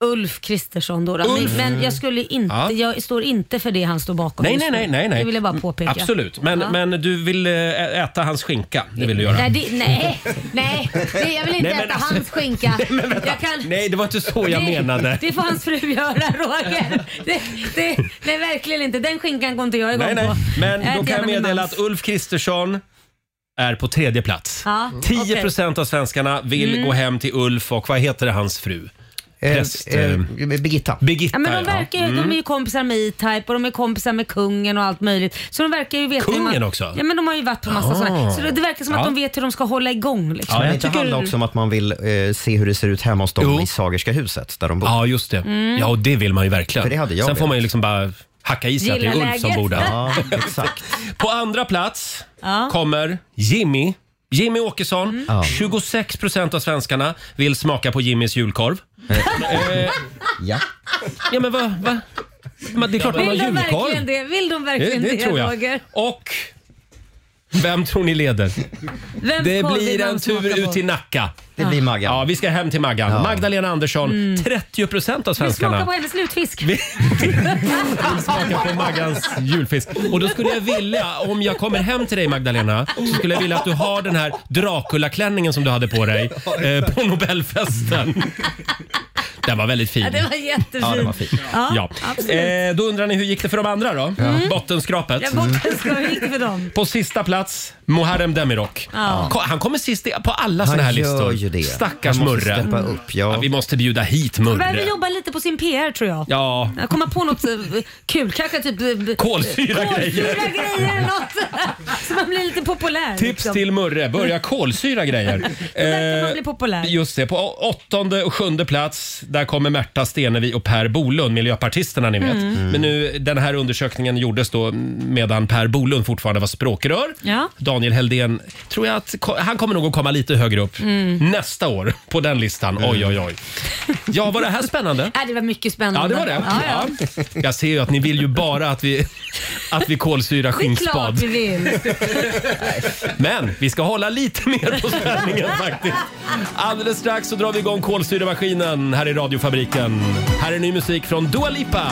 [SPEAKER 2] Ulf Kristersson då. då.
[SPEAKER 1] Ulf.
[SPEAKER 2] Men, men jag skulle inte,
[SPEAKER 1] Ja.
[SPEAKER 2] jag står inte för det han står bakom
[SPEAKER 1] Nej,
[SPEAKER 2] just
[SPEAKER 1] nej,
[SPEAKER 2] nu.
[SPEAKER 1] nej, nej, nej. Mm,
[SPEAKER 2] Det vill jag bara påpeka.
[SPEAKER 1] Absolut, men,
[SPEAKER 2] Ja.
[SPEAKER 1] men du vill eh, äta hans skinka. Det vill du göra.
[SPEAKER 2] Nej, det, nej, nej. Det, jag vill inte
[SPEAKER 1] Nej, men
[SPEAKER 2] äta
[SPEAKER 1] alltså-
[SPEAKER 2] hans skinka. jag kan,
[SPEAKER 1] Nej, det var inte så jag
[SPEAKER 2] det,
[SPEAKER 1] menade.
[SPEAKER 2] Det får hans fru göra Roger. Det, det, nej, verkligen inte. Den skinkan går inte jag igång
[SPEAKER 1] Nej, nej.
[SPEAKER 2] på.
[SPEAKER 1] Men
[SPEAKER 2] äter
[SPEAKER 1] då kan
[SPEAKER 2] gärna
[SPEAKER 1] jag
[SPEAKER 2] min
[SPEAKER 1] meddela
[SPEAKER 2] Äh, mans.
[SPEAKER 1] att Ulf Kristersson är på tredje plats.
[SPEAKER 2] Ja,
[SPEAKER 1] 10
[SPEAKER 2] okej.
[SPEAKER 1] procent av svenskarna vill
[SPEAKER 2] Mm.
[SPEAKER 1] gå hem till Ulf och vad heter det, hans fru? Präst,
[SPEAKER 3] eh,
[SPEAKER 1] Birgitta. Birgitta
[SPEAKER 2] Ja, men de, verkar, ju-
[SPEAKER 1] Mm.
[SPEAKER 2] de är ju kompisar med E-Type och de är kompisar med kungen och allt möjligt. Så de verkar ju veta hur
[SPEAKER 3] Kungen
[SPEAKER 2] man,
[SPEAKER 3] också?
[SPEAKER 2] Ja men de har ju varit på massa
[SPEAKER 3] Ah.
[SPEAKER 2] sådana. Så det, det verkar som att
[SPEAKER 3] Ja.
[SPEAKER 2] de vet hur de ska hålla igång. Liksom.
[SPEAKER 3] Ja, men det
[SPEAKER 2] Jag tycker-
[SPEAKER 3] handlar också om att man vill eh, se hur det ser ut hemma hos dem i Sagerska huset där de bor.
[SPEAKER 1] Ja, just det.
[SPEAKER 2] Mm.
[SPEAKER 1] Ja, och det vill man ju verkligen.
[SPEAKER 3] För det hade jag
[SPEAKER 1] Sen får
[SPEAKER 3] velat.
[SPEAKER 1] man ju liksom bara hacka i sig att det är
[SPEAKER 2] Gilla
[SPEAKER 1] Ulf som
[SPEAKER 2] läget.
[SPEAKER 1] bor där.
[SPEAKER 2] Ja,
[SPEAKER 1] exakt. På andra plats
[SPEAKER 2] Ja. Mm.
[SPEAKER 1] kommer Jimmy. Jimmy Åkesson.
[SPEAKER 3] Ja.
[SPEAKER 1] 26 procent av svenskarna vill smaka på Jimmys julkorv. Eh,
[SPEAKER 3] Ja.
[SPEAKER 1] ja, men vad? Va? Men Det är klart man har
[SPEAKER 2] Vill de verkligen
[SPEAKER 1] julkorv.
[SPEAKER 2] det? Vill de
[SPEAKER 1] Det,
[SPEAKER 2] verkligen det,
[SPEAKER 1] det tror jag.
[SPEAKER 2] Roger?
[SPEAKER 1] Och vem tror ni leder?
[SPEAKER 2] Vems
[SPEAKER 1] det
[SPEAKER 2] korv
[SPEAKER 1] blir
[SPEAKER 2] vill
[SPEAKER 1] en
[SPEAKER 2] man smaka
[SPEAKER 1] tur ut
[SPEAKER 2] på?
[SPEAKER 1] till Nacka.
[SPEAKER 3] Det blir Maggan.
[SPEAKER 1] Ja, vi ska hem till Maggan.
[SPEAKER 3] Ja.
[SPEAKER 1] Magdalena Andersson, 30 procent av
[SPEAKER 2] Mm. Vi smakar
[SPEAKER 1] svenskarna
[SPEAKER 2] på hennes lutfisk.
[SPEAKER 1] vill smaka på Maggans julfisk. Och då skulle jag vilja, om jag kommer hem till dig Magdalena, så skulle jag vilja att du har den här Dracula-klänningen som du hade på dig eh, på Nobelfesten. Den var väldigt fin.
[SPEAKER 2] Ja, det var jättefint.
[SPEAKER 1] Ja, den var fin.
[SPEAKER 2] Ja,
[SPEAKER 1] Ja.
[SPEAKER 2] absolut.
[SPEAKER 1] Eh, då undrar ni hur gick det för de andra då?
[SPEAKER 2] Mm.
[SPEAKER 1] Bottenskrapet.
[SPEAKER 2] Jag borta ska vi gick det för dem.
[SPEAKER 1] På sista plats, Muharrem Demirok.
[SPEAKER 2] Ja.
[SPEAKER 1] Ko- Han kommer sist i- på alla
[SPEAKER 3] Han
[SPEAKER 1] såna här
[SPEAKER 3] gör
[SPEAKER 1] listor.
[SPEAKER 3] ju det.
[SPEAKER 1] Stackars
[SPEAKER 3] Han måste
[SPEAKER 1] Murre.
[SPEAKER 3] steppa
[SPEAKER 1] Mm. Ja, vi måste bjuda hit
[SPEAKER 2] Han behöver
[SPEAKER 1] Murre.
[SPEAKER 2] jobba lite på sin PR tror jag.
[SPEAKER 1] Ja.
[SPEAKER 2] Jag Komma på något eh, kul, kanske typ eh,
[SPEAKER 1] Kolsyra-grejer.
[SPEAKER 2] kolsyra grejer eller något. Så man blir lite populär. liksom.
[SPEAKER 1] Tips till Murre, börja kolsyra grejer.
[SPEAKER 2] Kan man
[SPEAKER 1] Eh,
[SPEAKER 2] bli populär.
[SPEAKER 1] Just det, på å- åttonde och sjunde plats där kommer Märta Stenevi och Per Bolund, miljöpartisterna ni vet.
[SPEAKER 2] Mm.
[SPEAKER 1] Men nu, den här undersökningen gjordes då medan Per Bolund fortfarande var språkrör.
[SPEAKER 2] Ja.
[SPEAKER 1] Daniel Helldén, tror jag att ko- han kommer nog att komma lite högre upp
[SPEAKER 2] Mm.
[SPEAKER 1] nästa år på den listan. Oj, oj, oj. Ja, var det här spännande?
[SPEAKER 2] Äh, det var mycket spännande.
[SPEAKER 1] Ja, det var det.
[SPEAKER 2] Ja, ja.
[SPEAKER 1] Ja. Jag ser ju att ni vill ju bara att vi, att vi kolsyrar
[SPEAKER 2] Det är klart
[SPEAKER 1] skinkspad.
[SPEAKER 2] vi vill.
[SPEAKER 1] Men vi ska hålla lite mer på spänningen faktiskt. Alldeles strax så drar vi igång kolsyremaskinen här i radiofabriken. Här är ny musik från Dua Lipa.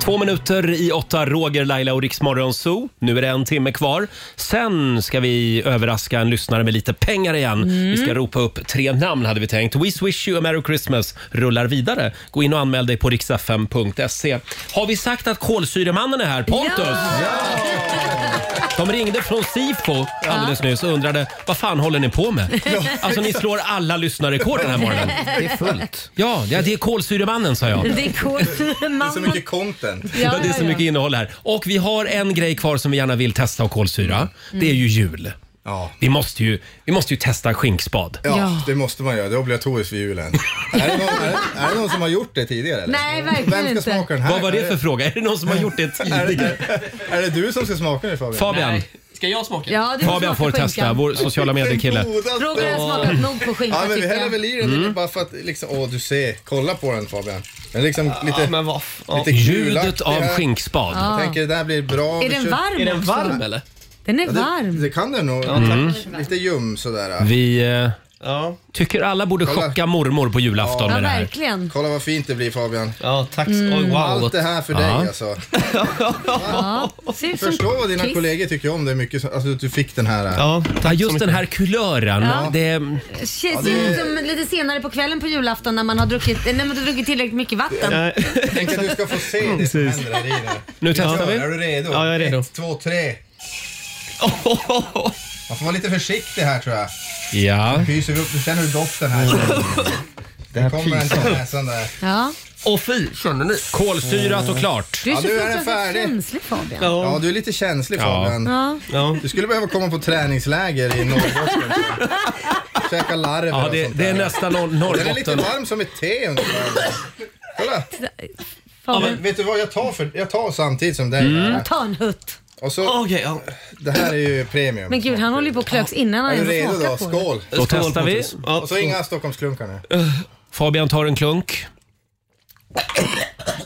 [SPEAKER 1] Två minuter i åtta, Roger, Laila och Riksmorgon Zoo. Nu är det en timme kvar. Sen ska vi överraska en lyssnare med lite pengar igen.
[SPEAKER 9] Mm.
[SPEAKER 1] Vi ska ropa upp tre namn hade vi tänkt. We wish you a merry Christmas rullar vidare. Gå in och anmäl dig på riksfm.se. Har vi sagt att kolsyremannen är här? Pontus! De ringde från Sifo alldeles nyss och undrade vad fan håller ni på med?
[SPEAKER 9] Ja.
[SPEAKER 1] Alltså ni slår alla lyssnarrekord den här morgonen.
[SPEAKER 2] Det är fullt.
[SPEAKER 1] Ja, ja, det är kolsyremannen sa jag.
[SPEAKER 2] Det är kolsyra.
[SPEAKER 12] så mycket content.
[SPEAKER 1] Ja, det är så mycket innehåll här. Och vi har en grej kvar som vi gärna vill testa och kolsyra. Det är ju jul. Vi, måste ju, vi måste ju testa skinkspad.
[SPEAKER 12] Ja, det måste man göra. Det är obligatoriskt för julen. är, det någon, är, det- är det någon som har gjort det tidigare? Eller?
[SPEAKER 2] Nej, verkligen
[SPEAKER 12] Vem ska
[SPEAKER 2] inte.
[SPEAKER 12] smaka den här?
[SPEAKER 1] Vad var det för fråga? Är det någon som har gjort det
[SPEAKER 12] Är det,
[SPEAKER 1] tidigare?
[SPEAKER 12] är, är det du som ska smaka nu Fabian?
[SPEAKER 1] Fabian. Nej.
[SPEAKER 9] Ska jag smaka?
[SPEAKER 2] Ja, det
[SPEAKER 1] Fabian får testa, vår sociala medier-kille.
[SPEAKER 2] Roger har smakat nog på skinka
[SPEAKER 12] Ja, men vi
[SPEAKER 2] tycker jag.
[SPEAKER 12] häller väl i den
[SPEAKER 1] Mm.
[SPEAKER 12] lite bara för att liksom, åh du ser. Kolla på den Fabian. Den är liksom lite, lite
[SPEAKER 1] Ljudet
[SPEAKER 12] gulaktig
[SPEAKER 1] av
[SPEAKER 12] här.
[SPEAKER 1] skinkspad.
[SPEAKER 12] Jag tänker det där blir bra.
[SPEAKER 2] Är den
[SPEAKER 12] Vi kör-
[SPEAKER 2] varm Är den också? varm, eller? Den är
[SPEAKER 12] Ja, det-
[SPEAKER 2] varm.
[SPEAKER 12] Det kan den nog.
[SPEAKER 1] Ja, tack.
[SPEAKER 12] Mm. Lite ljum sådär.
[SPEAKER 1] Vi eh, tycker alla borde chocka mormor på julafton med det här.
[SPEAKER 2] verkligen.
[SPEAKER 12] Kolla vad fint det blir Fabian.
[SPEAKER 9] Ja, tack.
[SPEAKER 1] Mm. Oj, wow.
[SPEAKER 12] Allt det här för dig
[SPEAKER 1] Ja.
[SPEAKER 12] alltså.
[SPEAKER 2] Ja. Ser ut som
[SPEAKER 12] Förstå vad dina
[SPEAKER 2] kiss.
[SPEAKER 12] kollegor tycker om det mycket. så- Alltså att du fick den här.
[SPEAKER 1] Ja, just den här kulören.
[SPEAKER 2] Ja.
[SPEAKER 1] Det,
[SPEAKER 2] Det Ser
[SPEAKER 12] Ja,
[SPEAKER 2] ser
[SPEAKER 12] det-
[SPEAKER 2] ut som lite senare på kvällen på julafton när man har druckit, när man har druckit tillräckligt mycket vatten.
[SPEAKER 12] Tänk att du ska få se det som händer här i nu.
[SPEAKER 1] Nu testar vi.
[SPEAKER 12] Är du redo?
[SPEAKER 1] Ja, jag är redo.
[SPEAKER 12] Ett, två, tre. Man får vara lite försiktig här tror jag.
[SPEAKER 1] Ja.
[SPEAKER 12] Nu pyser vi upp. Nu känner du doften här.
[SPEAKER 1] Mm.
[SPEAKER 12] Det här kommer en till
[SPEAKER 1] pysen.
[SPEAKER 12] näsan där.
[SPEAKER 2] Ja.
[SPEAKER 9] Åh fy, känner ni?
[SPEAKER 1] Kolsyrat och klart.
[SPEAKER 2] Du är
[SPEAKER 12] Ja,
[SPEAKER 2] så
[SPEAKER 12] nu är den
[SPEAKER 2] fruktansvärt
[SPEAKER 12] färdig.
[SPEAKER 2] känslig Fabian.
[SPEAKER 12] Ja, du är lite känslig Fabian.
[SPEAKER 2] Ja.
[SPEAKER 12] Du skulle behöva komma på träningsläger i Norrbotten. Käka larver
[SPEAKER 1] Ja,
[SPEAKER 12] och
[SPEAKER 1] det,
[SPEAKER 12] sånt
[SPEAKER 1] det är
[SPEAKER 12] där.
[SPEAKER 1] nästan nor-
[SPEAKER 12] Den är lite
[SPEAKER 1] Norrbotten.
[SPEAKER 12] varm som ett te ungefär. Kolla! Ja, men, vet du vad, jag tar, för, jag tar samtidigt som dig.
[SPEAKER 2] Mm.
[SPEAKER 12] här.
[SPEAKER 2] Ta en hutt.
[SPEAKER 12] Och så, Det här är ju premium.
[SPEAKER 2] Men gud, han håller ju på och klöks innan han
[SPEAKER 12] är du
[SPEAKER 2] ens
[SPEAKER 12] redo då?
[SPEAKER 2] smakat på det.
[SPEAKER 12] Skål!
[SPEAKER 1] Då testar vi.
[SPEAKER 12] Och så inga Stockholmsklunkar nu.
[SPEAKER 1] Fabian tar en klunk.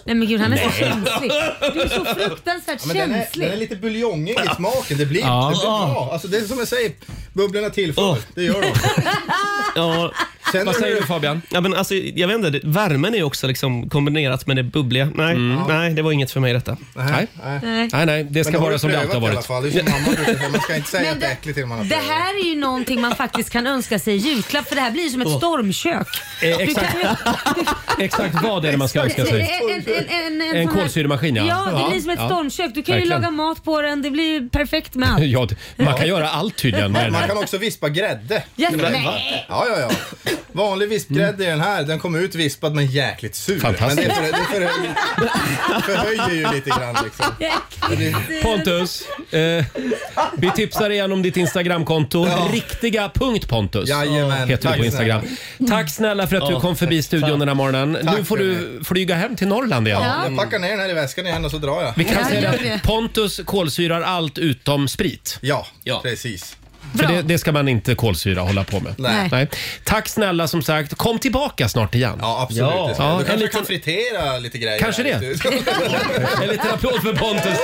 [SPEAKER 2] Nej men gud, han är så
[SPEAKER 1] Nej.
[SPEAKER 2] känslig. Du är så fruktansvärt
[SPEAKER 12] Ja, men den, är,
[SPEAKER 2] känslig.
[SPEAKER 12] den är lite buljongig i smaken. Det blir,
[SPEAKER 1] Ja.
[SPEAKER 12] det blir bra. Alltså, det är som jag säger, bubblorna tillför. Det gör de.
[SPEAKER 9] Ja.
[SPEAKER 12] Känner Vad säger du? du,
[SPEAKER 1] Fabian?
[SPEAKER 9] Ja, men alltså, jag vet inte, det- värmen är ju också liksom kombinerat med det bubbliga. Nej,
[SPEAKER 10] Mm.
[SPEAKER 9] nej, det var inget för mig detta.
[SPEAKER 1] Nej.
[SPEAKER 2] Nej.
[SPEAKER 1] Nej, nej, det
[SPEAKER 12] Men
[SPEAKER 1] ska
[SPEAKER 12] har
[SPEAKER 1] vara
[SPEAKER 12] du
[SPEAKER 1] som det alltid har
[SPEAKER 12] prövat i alla
[SPEAKER 1] varit.
[SPEAKER 12] fall. Det är som mamma brukar säga, man ska inte säga
[SPEAKER 2] Men
[SPEAKER 12] att det är äckligt till man har
[SPEAKER 2] Det
[SPEAKER 12] prövat.
[SPEAKER 2] här är ju någonting man faktiskt kan önska sig i julklapp för det här blir ju som ett
[SPEAKER 1] Åh.
[SPEAKER 2] stormkök.
[SPEAKER 1] Eh,
[SPEAKER 2] Du
[SPEAKER 1] exakt.
[SPEAKER 2] kan ju-
[SPEAKER 1] Exakt vad är det man ska önska sig?
[SPEAKER 2] En, en, en, en,
[SPEAKER 1] En
[SPEAKER 2] sån här-
[SPEAKER 1] kolsyremaskin, ja.
[SPEAKER 2] Ja,
[SPEAKER 1] Ja,
[SPEAKER 2] det blir som ett
[SPEAKER 1] ja.
[SPEAKER 2] stormkök. Du kan ju
[SPEAKER 1] Verkligen.
[SPEAKER 2] laga mat på den. Det blir ju perfekt med allt.
[SPEAKER 1] Ja, det- man kan göra allt tydligen med
[SPEAKER 12] Man,
[SPEAKER 1] den
[SPEAKER 12] man
[SPEAKER 1] här.
[SPEAKER 12] kan också vispa grädde.
[SPEAKER 2] Ja,
[SPEAKER 12] Med den.
[SPEAKER 2] nej.
[SPEAKER 12] Ja, ja, ja. Vanlig vispgrädde i den här, den kommer ut vispad men jäkligt sur.
[SPEAKER 1] Fantastiskt.
[SPEAKER 12] Men det, för, det, förhöjer, det förhöjer ju lite grann liksom.
[SPEAKER 1] Pontus, eh, vi tipsar igen om ditt Instagramkonto. Riktiga punkt Pontus heter
[SPEAKER 12] Jajamän.
[SPEAKER 1] du
[SPEAKER 12] Tack
[SPEAKER 1] på
[SPEAKER 12] snälla.
[SPEAKER 1] Instagram. Tack snälla för att du
[SPEAKER 12] Ja,
[SPEAKER 1] kom förbi
[SPEAKER 12] tack.
[SPEAKER 1] studion den här morgonen. Nu
[SPEAKER 12] Tack
[SPEAKER 1] får
[SPEAKER 12] för
[SPEAKER 1] du flyga hem till Norrland igen.
[SPEAKER 12] Ja, jag packar ner den här i väskan igen och så drar jag.
[SPEAKER 1] Vi kan säga
[SPEAKER 12] det.
[SPEAKER 1] att Pontus kolsyrar allt utom sprit.
[SPEAKER 12] Ja, precis.
[SPEAKER 1] För det, det ska man inte kolsyra hålla på med.
[SPEAKER 12] Nej.
[SPEAKER 1] Tack snälla som sagt. Kom tillbaka snart igen.
[SPEAKER 12] Ja, Absolut. det ska
[SPEAKER 1] Ja,
[SPEAKER 12] jag. du
[SPEAKER 1] en
[SPEAKER 12] kanske
[SPEAKER 1] liten-
[SPEAKER 12] kan fritera lite grejer.
[SPEAKER 1] Kanske
[SPEAKER 12] här.
[SPEAKER 1] det. En liten applåd för Pontus.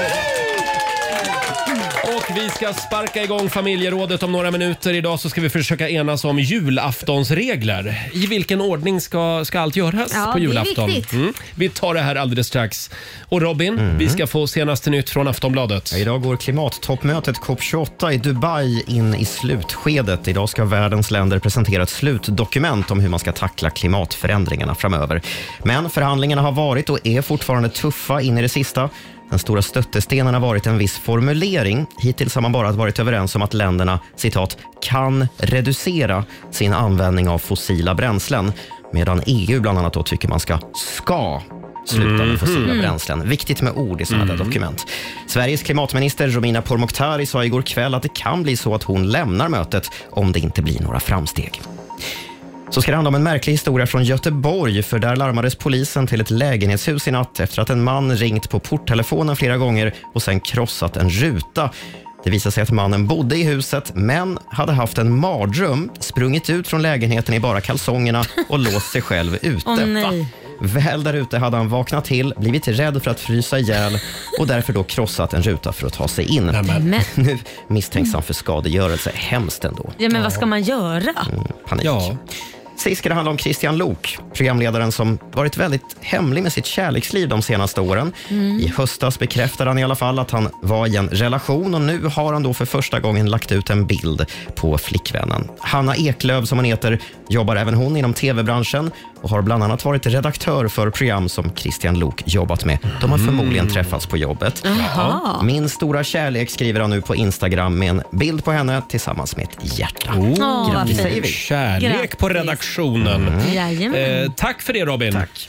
[SPEAKER 1] Och vi ska sparka igång familjerådet om några minuter. Idag så ska vi försöka enas om julaftonsregler. I vilken ordning ska, ska allt göras
[SPEAKER 2] Ja,
[SPEAKER 1] på
[SPEAKER 2] det är
[SPEAKER 1] julafton? Mm.
[SPEAKER 2] viktigt.
[SPEAKER 1] Vi tar det här alldeles strax. Och Robin, vi ska få senaste nytt från Aftonbladet.
[SPEAKER 3] Ja, idag går klimattoppmötet COP28 i Dubai in i slutskedet. Idag ska världens länder presentera ett slutdokument om hur man ska tackla klimatförändringarna framöver. Men förhandlingarna har varit och är fortfarande tuffa in i det sista. Den stora stöttestenen har varit en viss formulering. Hittills har man bara varit överens om att länderna citat, ”kan reducera” sin användning av fossila bränslen, medan EU bland annat då tycker man ska ”ska” sluta med fossila
[SPEAKER 2] Mm.
[SPEAKER 13] Mhm.
[SPEAKER 3] bränslen bränslen. Viktigt med ord i sådana där dokument. Sveriges klimatminister Romina Pourmokhtari sa igår kväll att det kan bli så att hon lämnar mötet om det inte blir några framsteg. Så ska det handla om en märklig historia från Göteborg, för där larmades polisen till ett lägenhetshus i natt efter att en man ringt på porttelefonen flera gånger och sen krossat en ruta. Det visade sig att mannen bodde i huset, men hade haft en mardröm, sprungit ut från lägenheten i bara kalsongerna och låst sig själv ute.
[SPEAKER 2] Åh, nej.
[SPEAKER 3] Väl där ute hade han vaknat till, blivit rädd för att frysa ihjäl och därför då krossat en ruta för att ta sig in.
[SPEAKER 2] Nämen.
[SPEAKER 3] Nu misstänks han för skadegörelse. Hemskt ändå.
[SPEAKER 2] Ja men vad ska man göra?
[SPEAKER 1] Mm.
[SPEAKER 3] Panik. Sist ska det handla om Christian Lok, programledaren som varit väldigt hemlig med sitt kärleksliv de senaste åren.
[SPEAKER 13] Mm.
[SPEAKER 3] I höstas bekräftade han i alla fall att han var i en relation och nu har han då för första gången lagt ut en bild på flickvännen. Hanna Eklöv, som hon heter, jobbar även hon inom tv-branschen och har bland annat varit redaktör för program som Christian Lok jobbat med. De har förmodligen träffats på jobbet.
[SPEAKER 2] Jaha.
[SPEAKER 3] Ja. Min stora kärlek skriver han nu på Instagram med en bild på henne tillsammans med ett hjärta.
[SPEAKER 1] Åh,
[SPEAKER 2] vad
[SPEAKER 3] Grattis,
[SPEAKER 2] fint.
[SPEAKER 3] säger vi.
[SPEAKER 1] Kärlek på redaktionen.
[SPEAKER 2] Jajamän.
[SPEAKER 1] Eh, tack för det Robin. Tack.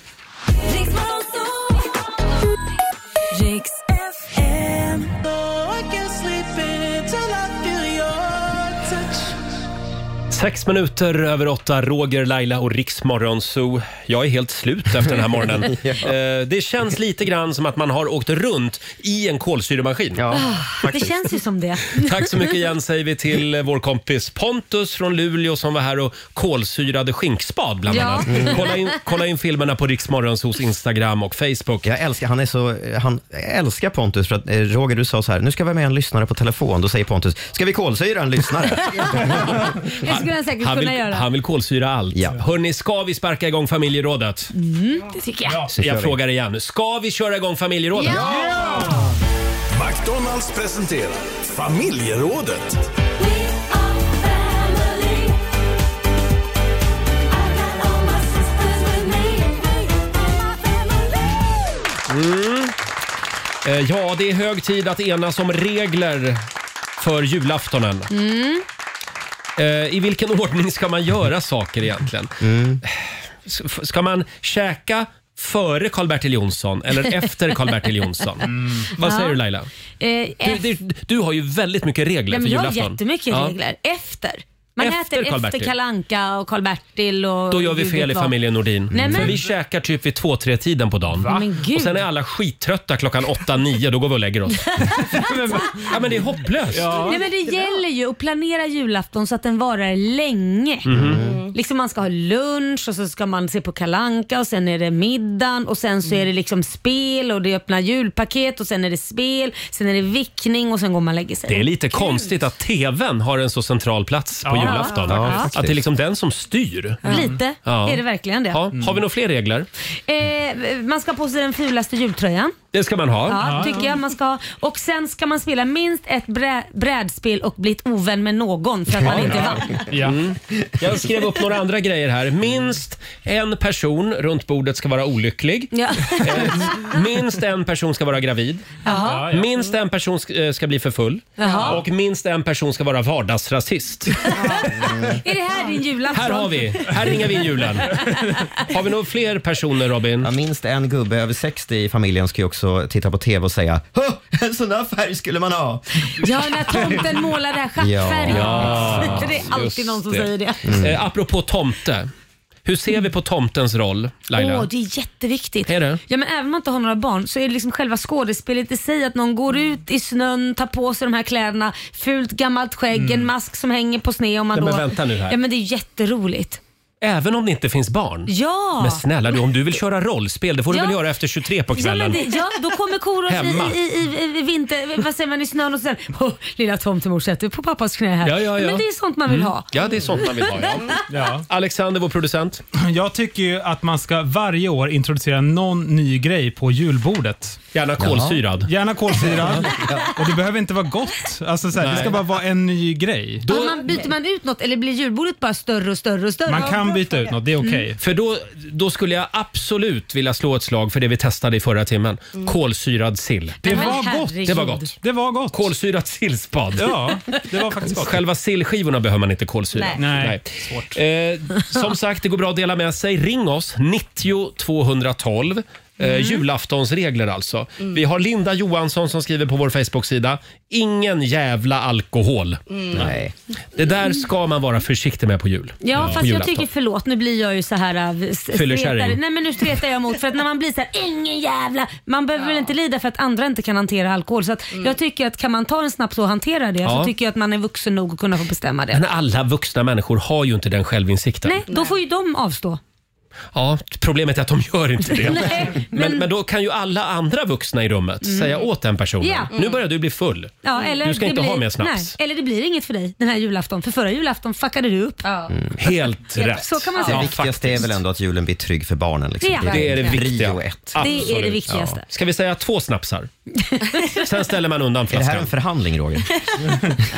[SPEAKER 4] Riks FM. Oh, I can't sleep until I feel your touch.
[SPEAKER 1] Sex minuter över åtta, Roger, Laila och Riksmorgon Zoo. Jag är helt slut efter den här morgonen.
[SPEAKER 2] Ja.
[SPEAKER 1] Eh, Det känns lite grann som att man har åkt runt i en kolsyremaskin.
[SPEAKER 2] Ah, det känns ju som det.
[SPEAKER 1] Tack så mycket igen säger vi till vår kompis Pontus från Luleå som var här och kolsyrade skinkspad bland
[SPEAKER 2] Ja.
[SPEAKER 1] annat.
[SPEAKER 2] Mm.
[SPEAKER 1] Kolla, in, kolla in filmerna på Riksmorgons hos Instagram och Facebook.
[SPEAKER 3] Jag älskar, han är så, han jag älskar Pontus för att eh, Roger du sa så här, nu ska vi ha med en lyssnare på telefon. Då säger Pontus, ska vi kolsyra en lyssnare?
[SPEAKER 2] Det skulle han säkert
[SPEAKER 1] Han
[SPEAKER 2] kunna
[SPEAKER 1] vill,
[SPEAKER 2] göra.
[SPEAKER 1] han vill kolsyra allt. Hörni, ska vi sparka igång familjerådet?
[SPEAKER 2] Mm, det tycker jag.
[SPEAKER 1] Så jag frågar igen, ska vi köra igång familjerådet?
[SPEAKER 5] McDonalds presenterar familjerådet.
[SPEAKER 1] Mm. Eh, Ja, det är hög tid att enas om regler för julaftonen.
[SPEAKER 2] Mm.
[SPEAKER 1] Eh, I vilken ordning ska man göra saker egentligen? S- f- Ska man käka före Karl-Bertil Jonsson eller efter Karl-Bertil Jonsson? Vad säger
[SPEAKER 2] Mm. Ja.
[SPEAKER 1] du Laila?
[SPEAKER 2] Eh,
[SPEAKER 1] Du, du, du har ju väldigt mycket regler
[SPEAKER 2] Nej, men
[SPEAKER 1] för
[SPEAKER 2] jag har
[SPEAKER 1] julafton.
[SPEAKER 2] jättemycket
[SPEAKER 1] Ja.
[SPEAKER 2] regler. Efter. Man
[SPEAKER 1] Efter
[SPEAKER 2] äter
[SPEAKER 1] Carl
[SPEAKER 2] efter
[SPEAKER 1] Bertil.
[SPEAKER 2] Kalle Anka och Karl-Bertil och...
[SPEAKER 1] Då gör vi
[SPEAKER 2] Gud
[SPEAKER 1] fel i
[SPEAKER 2] vet vad.
[SPEAKER 1] familjen Nordin.
[SPEAKER 2] Nej, men-
[SPEAKER 1] För vi käkar typ vid två, tre tiden på dagen.
[SPEAKER 2] Va? Men gud.
[SPEAKER 1] Och sen är alla skittrötta klockan åtta, nio. Då går vi och lägger oss. ja, men det är hopplöst.
[SPEAKER 2] Nej, men det gäller ju att planera julafton så att den varar länge.
[SPEAKER 1] Mhm. Mm.
[SPEAKER 2] Liksom man ska ha lunch och så ska man se på kalanka och sen är det middagen och sen så är det liksom spel och det är öppna julpaket och sen är det spel, sen är det vickning och sen går man och lägger sig.
[SPEAKER 1] Det är lite konstigt att TVn har en så central plats på
[SPEAKER 2] Ja,
[SPEAKER 1] julafton.
[SPEAKER 2] ja, faktiskt.
[SPEAKER 1] att det är liksom den som styr.
[SPEAKER 2] Lite,
[SPEAKER 1] Ja. Mm.
[SPEAKER 2] är det verkligen det.
[SPEAKER 1] Ja. Har vi några fler regler?
[SPEAKER 2] Eh, man ska ha på sig den fulaste jultröjan.
[SPEAKER 1] Det ska man ha.
[SPEAKER 2] Ja, tycker jag man ska ha. Och sen ska man spela minst ett brä brädspel och bli ett ovän med någon för att man inte vann.
[SPEAKER 1] Mm. Jag skrev upp några andra grejer här. Minst en person runt bordet ska vara olycklig.
[SPEAKER 2] Ja.
[SPEAKER 1] Eh, Minst en person ska vara gravid.
[SPEAKER 2] Jaha. Ja, ja.
[SPEAKER 1] Minst en person sk- eh, ska bli för full.
[SPEAKER 2] Jaha.
[SPEAKER 1] Och minst en person ska vara vardagsrasist.
[SPEAKER 2] Är det här din julafton?
[SPEAKER 1] Här har vi. Här ringar vi in julen. Har vi några fler personer Robin?
[SPEAKER 3] Ja, minst en gubbe över 60 i familjen ska ju också titta på TV och säga, "Hå, en sån där färg skulle man ha.
[SPEAKER 2] Ja, när tomten målar det här stjärtfärgen.
[SPEAKER 1] Ja.
[SPEAKER 2] Det är alltid någon som
[SPEAKER 1] Just
[SPEAKER 2] säger det.
[SPEAKER 1] Eh, apropå tomte. Hur ser vi på tomtens roll, Laila?
[SPEAKER 2] Åh, det är jätteviktigt.
[SPEAKER 1] Är det?
[SPEAKER 2] Ja, men även om man inte har några barn så är det liksom själva skådespelet i sig. Att någon går ut i snön, tar på sig de här kläderna, fult gammalt skägg, en mask som hänger på sned. Om man
[SPEAKER 1] Mm. Nej,
[SPEAKER 2] då...
[SPEAKER 1] men vänta nu här.
[SPEAKER 2] Ja, men det är jätteroligt.
[SPEAKER 1] Även om det inte finns barn?
[SPEAKER 2] Ja!
[SPEAKER 1] Men snälla du, om du vill köra rollspel, det får du
[SPEAKER 2] Ja.
[SPEAKER 1] väl göra efter 23 på
[SPEAKER 2] Ja, men
[SPEAKER 1] kvällen?
[SPEAKER 2] det, ja, då kommer
[SPEAKER 1] Hemma.
[SPEAKER 2] Korosh i, i, i, i vinter, vad säger man, i snön och sen oh, lilla tomtemor sätter på pappas knä här.
[SPEAKER 1] Ja, ja, ja.
[SPEAKER 2] Men det är sånt man vill
[SPEAKER 1] Mm.
[SPEAKER 2] ha.
[SPEAKER 1] Ja, det är sånt man vill ha. Ja. Alexander, vår producent.
[SPEAKER 10] Jag tycker ju att man ska varje år introducera någon ny grej på julbordet.
[SPEAKER 1] Gärna kolsyrad.
[SPEAKER 10] Jaha. Gärna kolsyrad. Och det behöver inte vara gott. Alltså, så här, det
[SPEAKER 1] Nej.
[SPEAKER 10] ska bara vara en ny grej.
[SPEAKER 2] Ja, man, byter man ut något eller blir julbordet bara större och större och större?
[SPEAKER 10] Man kan byta ut något, det är okej.
[SPEAKER 1] För då, då skulle jag absolut vilja slå ett slag för det vi testade i förra timmen.
[SPEAKER 2] Mm.
[SPEAKER 1] Kolsyrad sill.
[SPEAKER 10] Det Men var herregud. gott.
[SPEAKER 1] Det var gott.
[SPEAKER 10] Det var gott.
[SPEAKER 1] Kolsyrad sillspad.
[SPEAKER 10] Ja, det var faktiskt gott.
[SPEAKER 1] Själva sillskivorna behöver man inte kolsyra.
[SPEAKER 10] Nej. Nej,
[SPEAKER 1] Eh, som sagt, det går bra att dela med sig. Ring oss, 90 212.
[SPEAKER 2] Mm.
[SPEAKER 1] Eh, julaftonsregler alltså. Vi har Linda Johansson som skriver på vår Facebook-sida. Ingen jävla alkohol.
[SPEAKER 2] Mm. Nej.
[SPEAKER 1] Det där ska man vara försiktig med på jul.
[SPEAKER 2] Ja,
[SPEAKER 1] På
[SPEAKER 2] fast jag
[SPEAKER 1] julafton.
[SPEAKER 2] tycker, förlåt nu blir jag ju så här äh, s-
[SPEAKER 1] Fyllekärring.
[SPEAKER 2] stretar- Nej men nu stretar jag emot för att när man blir så här, ingen jävla, man behöver väl inte lida för att andra inte kan hantera alkohol. Så att jag tycker att kan man ta en snaps och hantera det
[SPEAKER 1] Ja.
[SPEAKER 2] så tycker jag att man är vuxen nog att kunna få bestämma det.
[SPEAKER 1] Men alla vuxna människor har ju inte den självinsikten.
[SPEAKER 2] Nej, då får ju de avstå.
[SPEAKER 1] Ja, problemet är att de gör inte det.
[SPEAKER 2] Nej,
[SPEAKER 1] men... Men, då kan ju alla andra vuxna i rummet
[SPEAKER 2] Mm.
[SPEAKER 1] säga åt den personen.
[SPEAKER 2] Ja. Mm.
[SPEAKER 1] Nu börjar du bli full.
[SPEAKER 2] Ja, eller
[SPEAKER 1] Mm. du ska
[SPEAKER 2] det
[SPEAKER 1] inte
[SPEAKER 2] blir,
[SPEAKER 1] ha mer snaps.
[SPEAKER 2] Nej, eller det blir inget för dig den här julafton. För förra julafton fuckade du upp.
[SPEAKER 1] Helt
[SPEAKER 2] Ja,
[SPEAKER 1] rätt.
[SPEAKER 2] så kan man säga.
[SPEAKER 3] Det viktigaste är väl ändå att julen blir trygg för barnen. Liksom.
[SPEAKER 2] Ja, Det är det
[SPEAKER 3] prio
[SPEAKER 1] viktiga.
[SPEAKER 3] ett.
[SPEAKER 2] Det är det Absolut. viktigaste.
[SPEAKER 1] Ska vi säga två snapsar? Sen ställer man undan flaskan. Är det
[SPEAKER 3] Alltså.
[SPEAKER 1] här en
[SPEAKER 3] förhandling, Roger?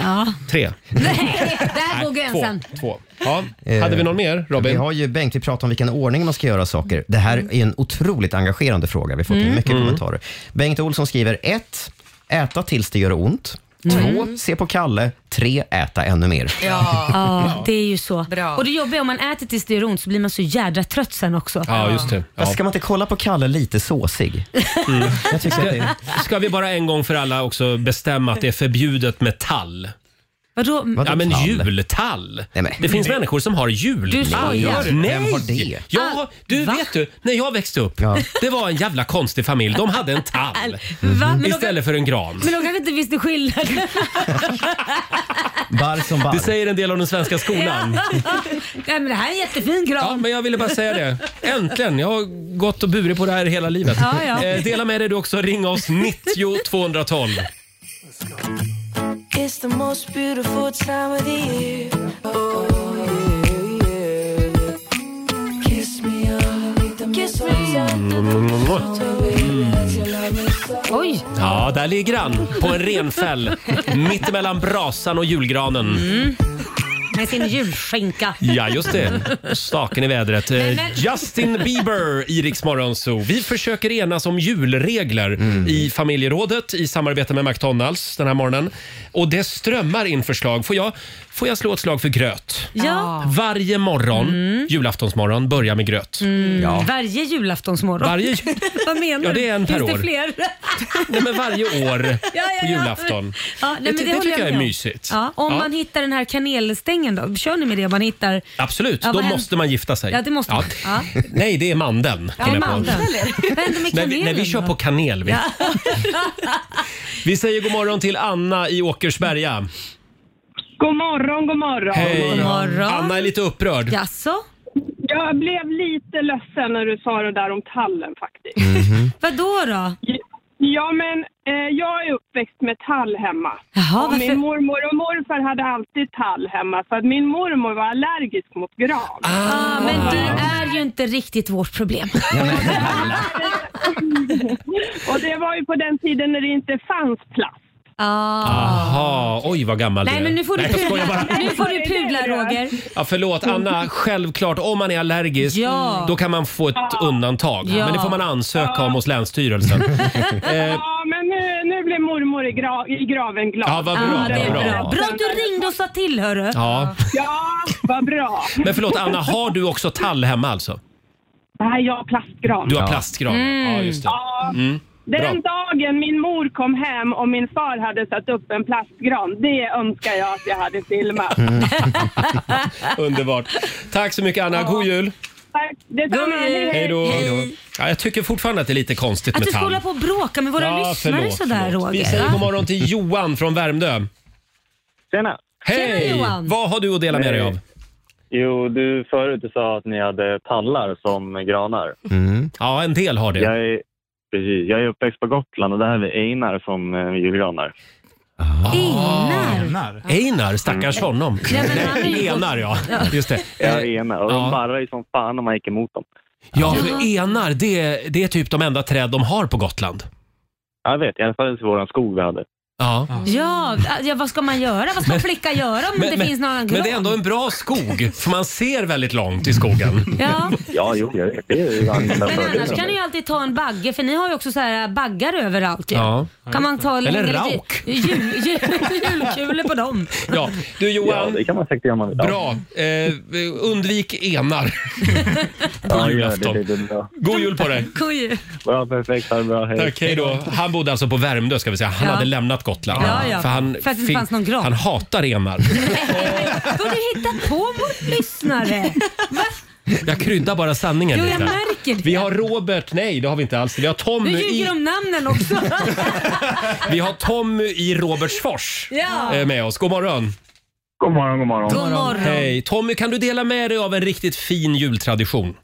[SPEAKER 2] Ja.
[SPEAKER 1] Tre.
[SPEAKER 2] Nej, där går
[SPEAKER 1] två.
[SPEAKER 2] gränsen.
[SPEAKER 1] två. Ja. Hade vi någon mer, Robin?
[SPEAKER 3] Vi har ju Bengt, vi pratar om vilken ordning man ska göra saker. Det här är en otroligt engagerande fråga. Vi får till
[SPEAKER 2] Mm.
[SPEAKER 3] mycket
[SPEAKER 2] Mm.
[SPEAKER 3] kommentarer. Bengt Olsson skriver 1. Äta tills det gör ont. 2.
[SPEAKER 2] Mm.
[SPEAKER 3] Se på Kalle. 3. Äta ännu mer.
[SPEAKER 2] Ja. det är ju så. Och det jobbiga är om man äter tills det gör ont så blir man så jädra trött sen också.
[SPEAKER 3] Fast Ska man inte kolla på Kalle lite såsig? Jag tycker att det är...
[SPEAKER 1] Ska vi bara en gång för alla också bestämma att det är förbjudet med tall?
[SPEAKER 2] Vadå?
[SPEAKER 1] Ja, men jultall. Det finns människor som har jultall.
[SPEAKER 2] Du skojar.
[SPEAKER 1] Nej!
[SPEAKER 2] Vem har det?
[SPEAKER 1] Ja, du vet du, när jag växte upp, det var en jävla konstig familj. De hade en tall
[SPEAKER 2] Va? Men de-
[SPEAKER 1] istället för en gran.
[SPEAKER 2] Men de kanske inte visste skillnaden.
[SPEAKER 1] Bar som bar. Det säger en del om den svenska skolan.
[SPEAKER 2] Nej, men det här är en jättefin gran.
[SPEAKER 1] Ja, men jag ville bara säga det. Äntligen! Jag har gått och burit på det här hela livet.
[SPEAKER 2] Ja, ja.
[SPEAKER 1] Eh, dela med dig du också. Ring oss 90 212.
[SPEAKER 4] It's the most beautiful time of the year. Oh, yeah, yeah. Kiss me underneath the mistletoe.
[SPEAKER 2] Oj!
[SPEAKER 1] Ja, där ligger han på en renfäll mittemellan brasan och julgranen.
[SPEAKER 2] Med sin julskinka.
[SPEAKER 1] Ja, just det. Staken i vädret. Eh,
[SPEAKER 2] Nej, men-
[SPEAKER 1] Justin Bieber i Rix Morgon Zoo. Vi försöker enas om julregler i familjerådet i samarbete med McDonalds den här morgonen. Och det strömmar in förslag. Får jag, får jag slå ett slag för gröt?
[SPEAKER 2] Ja.
[SPEAKER 1] Varje morgon, julaftonsmorgon, börja med gröt.
[SPEAKER 2] Mm,
[SPEAKER 1] Ja.
[SPEAKER 2] Varje julaftonsmorgon.
[SPEAKER 1] Varje
[SPEAKER 2] Vad menar du?
[SPEAKER 1] Ja, det är en per
[SPEAKER 2] Finns
[SPEAKER 1] år.
[SPEAKER 2] det fler?
[SPEAKER 1] Nej, men varje år
[SPEAKER 2] Ja, ja,
[SPEAKER 1] på
[SPEAKER 2] ja.
[SPEAKER 1] julafton.
[SPEAKER 2] Ja, nej,
[SPEAKER 1] Det-
[SPEAKER 2] men
[SPEAKER 1] det
[SPEAKER 2] det, håller
[SPEAKER 1] tycker jag är
[SPEAKER 2] med om.
[SPEAKER 1] mysigt.
[SPEAKER 2] Ja, om
[SPEAKER 1] Ja.
[SPEAKER 2] man hittar den här kanelstängen då? Kör ni med det om man hittar?
[SPEAKER 1] Absolut,
[SPEAKER 2] Ja,
[SPEAKER 1] då
[SPEAKER 2] vad händer-
[SPEAKER 1] måste man gifta sig.
[SPEAKER 2] Ja, det måste man. Ja.
[SPEAKER 1] Nej, det är mandeln.
[SPEAKER 2] Ja,
[SPEAKER 1] kom jag på.
[SPEAKER 2] mandeln. Vad händer med
[SPEAKER 1] Nej, vi,
[SPEAKER 2] kanelen?
[SPEAKER 1] nej, vi kör på kanel. Vi.
[SPEAKER 2] Ja.
[SPEAKER 1] vi säger god morgon till Anna i Åkersberga.
[SPEAKER 11] God morgon, god morgon.
[SPEAKER 1] Hej! Anna är lite upprörd.
[SPEAKER 2] Jaså?
[SPEAKER 11] Jag blev lite ledsen när du sa det där om tallen faktiskt.
[SPEAKER 1] Mm.
[SPEAKER 2] Vadå då?
[SPEAKER 11] Ja, men eh, jag är uppväxt med tall hemma.
[SPEAKER 2] Jaha,
[SPEAKER 11] och
[SPEAKER 2] varför-
[SPEAKER 11] min mormor och morfar hade alltid tall hemma för att min mormor var allergisk mot gran.
[SPEAKER 1] Ah.
[SPEAKER 2] Ja, men det är ju inte riktigt vårt problem.
[SPEAKER 11] och det var ju på den tiden när det inte fanns plast.
[SPEAKER 1] Aha, oj vad gammal du
[SPEAKER 2] Nej,
[SPEAKER 1] är.
[SPEAKER 2] men nu får du
[SPEAKER 1] Ah, Nej, jag skojar
[SPEAKER 2] pudla,
[SPEAKER 1] bara.
[SPEAKER 2] nu får du pudla Roger.
[SPEAKER 1] Ja, förlåt Anna, självklart om man är allergisk
[SPEAKER 2] Ja.
[SPEAKER 1] då kan man få ett undantag.
[SPEAKER 11] Ja.
[SPEAKER 1] Men det får man ansöka om hos Länsstyrelsen. eh,
[SPEAKER 11] Ja, men nu, nu blev mormor i, gra- i graven glad.
[SPEAKER 1] Ja, vad bra,
[SPEAKER 2] det är
[SPEAKER 1] vad bra.
[SPEAKER 2] bra. Bra att du ringde och sa till hörru.
[SPEAKER 1] ja.
[SPEAKER 11] Ja, vad bra.
[SPEAKER 1] Men förlåt Anna, har du också tall hemma alltså?
[SPEAKER 11] Nej, jag har plastgran.
[SPEAKER 1] Du har plastgran? Ja, just det.
[SPEAKER 11] Ja,
[SPEAKER 1] Mm. Bra.
[SPEAKER 11] Den dagen min mor kom hem och min far hade satt upp en plastgran, det önskar jag att jag hade filmat.
[SPEAKER 1] Mm. Underbart. Tack så mycket Anna, god jul!
[SPEAKER 11] Tack, detsamma. Hej,
[SPEAKER 1] Hej då! Ja, jag tycker fortfarande att det är lite konstigt
[SPEAKER 2] Att
[SPEAKER 1] med
[SPEAKER 2] du ska
[SPEAKER 1] tall.
[SPEAKER 2] hålla på och bråka med våra
[SPEAKER 1] Ja,
[SPEAKER 2] lyssnare
[SPEAKER 1] förlåt,
[SPEAKER 2] sådär
[SPEAKER 1] förlåt.
[SPEAKER 2] Roger.
[SPEAKER 1] Vi säger god
[SPEAKER 2] Ja.
[SPEAKER 1] morgon till Johan från Värmdö.
[SPEAKER 13] Tjena!
[SPEAKER 1] Hej!
[SPEAKER 2] Tjena, Johan.
[SPEAKER 1] Vad har du att dela med dig av?
[SPEAKER 13] Jo, du förut du sa att ni hade tallar som granar.
[SPEAKER 1] Ja, en del har det.
[SPEAKER 13] Jag är, precis, jag är uppväxt på Gotland och där har vi einar som eh, julgranar.
[SPEAKER 1] Einar? Einar, stackars honom.
[SPEAKER 13] Nej, men han är
[SPEAKER 1] Nej,
[SPEAKER 13] ju-
[SPEAKER 1] enar ja. Just det.
[SPEAKER 13] Ja, enar. Och
[SPEAKER 1] ja.
[SPEAKER 13] de barrar ju som fan om man gick emot dem.
[SPEAKER 1] Ja, för enar det, det är typ de enda träd de har på Gotland.
[SPEAKER 13] Ja, Jag vet, i alla fall i vår skog vi hade.
[SPEAKER 1] Ja.
[SPEAKER 2] Ja, äh, ja, vad ska man göra? Vad ska en flicka göra om det inte finns någon annan
[SPEAKER 1] Alltså. men
[SPEAKER 2] gran?
[SPEAKER 1] det är ändå en bra skog, för man ser väldigt långt i skogen.
[SPEAKER 2] Ja.
[SPEAKER 13] Ja, jo, jag vet. Det är ju annorlunda
[SPEAKER 2] Men
[SPEAKER 13] fördelar
[SPEAKER 2] annars kan
[SPEAKER 13] med
[SPEAKER 2] ni ju
[SPEAKER 13] det.
[SPEAKER 2] alltid ta en bagge för ni har ju också så här äh, baggar överallt ju.
[SPEAKER 1] Ja.
[SPEAKER 2] Kan man ta
[SPEAKER 1] Eller
[SPEAKER 2] längre-
[SPEAKER 1] rauk.
[SPEAKER 2] Jul, jul, julkulor på dem.
[SPEAKER 1] Ja. Du Johan,
[SPEAKER 13] Ja, det kan man säkert göra om man vill.
[SPEAKER 1] bra. Eh, undvik enar på
[SPEAKER 13] Ja, gör det.
[SPEAKER 1] julafton.
[SPEAKER 13] det, är bra.
[SPEAKER 1] God jul på dig!
[SPEAKER 2] Kuj.
[SPEAKER 13] Bra, perfekt. Ha det bra. Hej.
[SPEAKER 1] Tack, hej då. Han bodde alltså på Värmdö ska vi säga. Han
[SPEAKER 2] Ja.
[SPEAKER 1] hade lämnat Gotland.
[SPEAKER 2] Ja, ja.
[SPEAKER 1] För, han,
[SPEAKER 2] För att det inte
[SPEAKER 1] fick-
[SPEAKER 2] fanns någon gran.
[SPEAKER 1] han hatar enar.
[SPEAKER 2] Vad du hittar på mot lyssnare?
[SPEAKER 1] Jag kryddar bara sanningen
[SPEAKER 2] Jo, jag
[SPEAKER 1] lite.
[SPEAKER 2] märker det.
[SPEAKER 1] Vi har Robert, nej det har vi inte alls. Vi har Tommy,
[SPEAKER 2] Nu
[SPEAKER 1] i,
[SPEAKER 2] ljuger de namnen också.
[SPEAKER 1] vi har Tommy i Robertsfors
[SPEAKER 2] Ja.
[SPEAKER 1] eh, med oss. God morgon.
[SPEAKER 13] God morgon, god morgon.
[SPEAKER 2] God morgon.
[SPEAKER 1] Hej. Tommy, kan du dela med dig av en riktigt fin jultradition?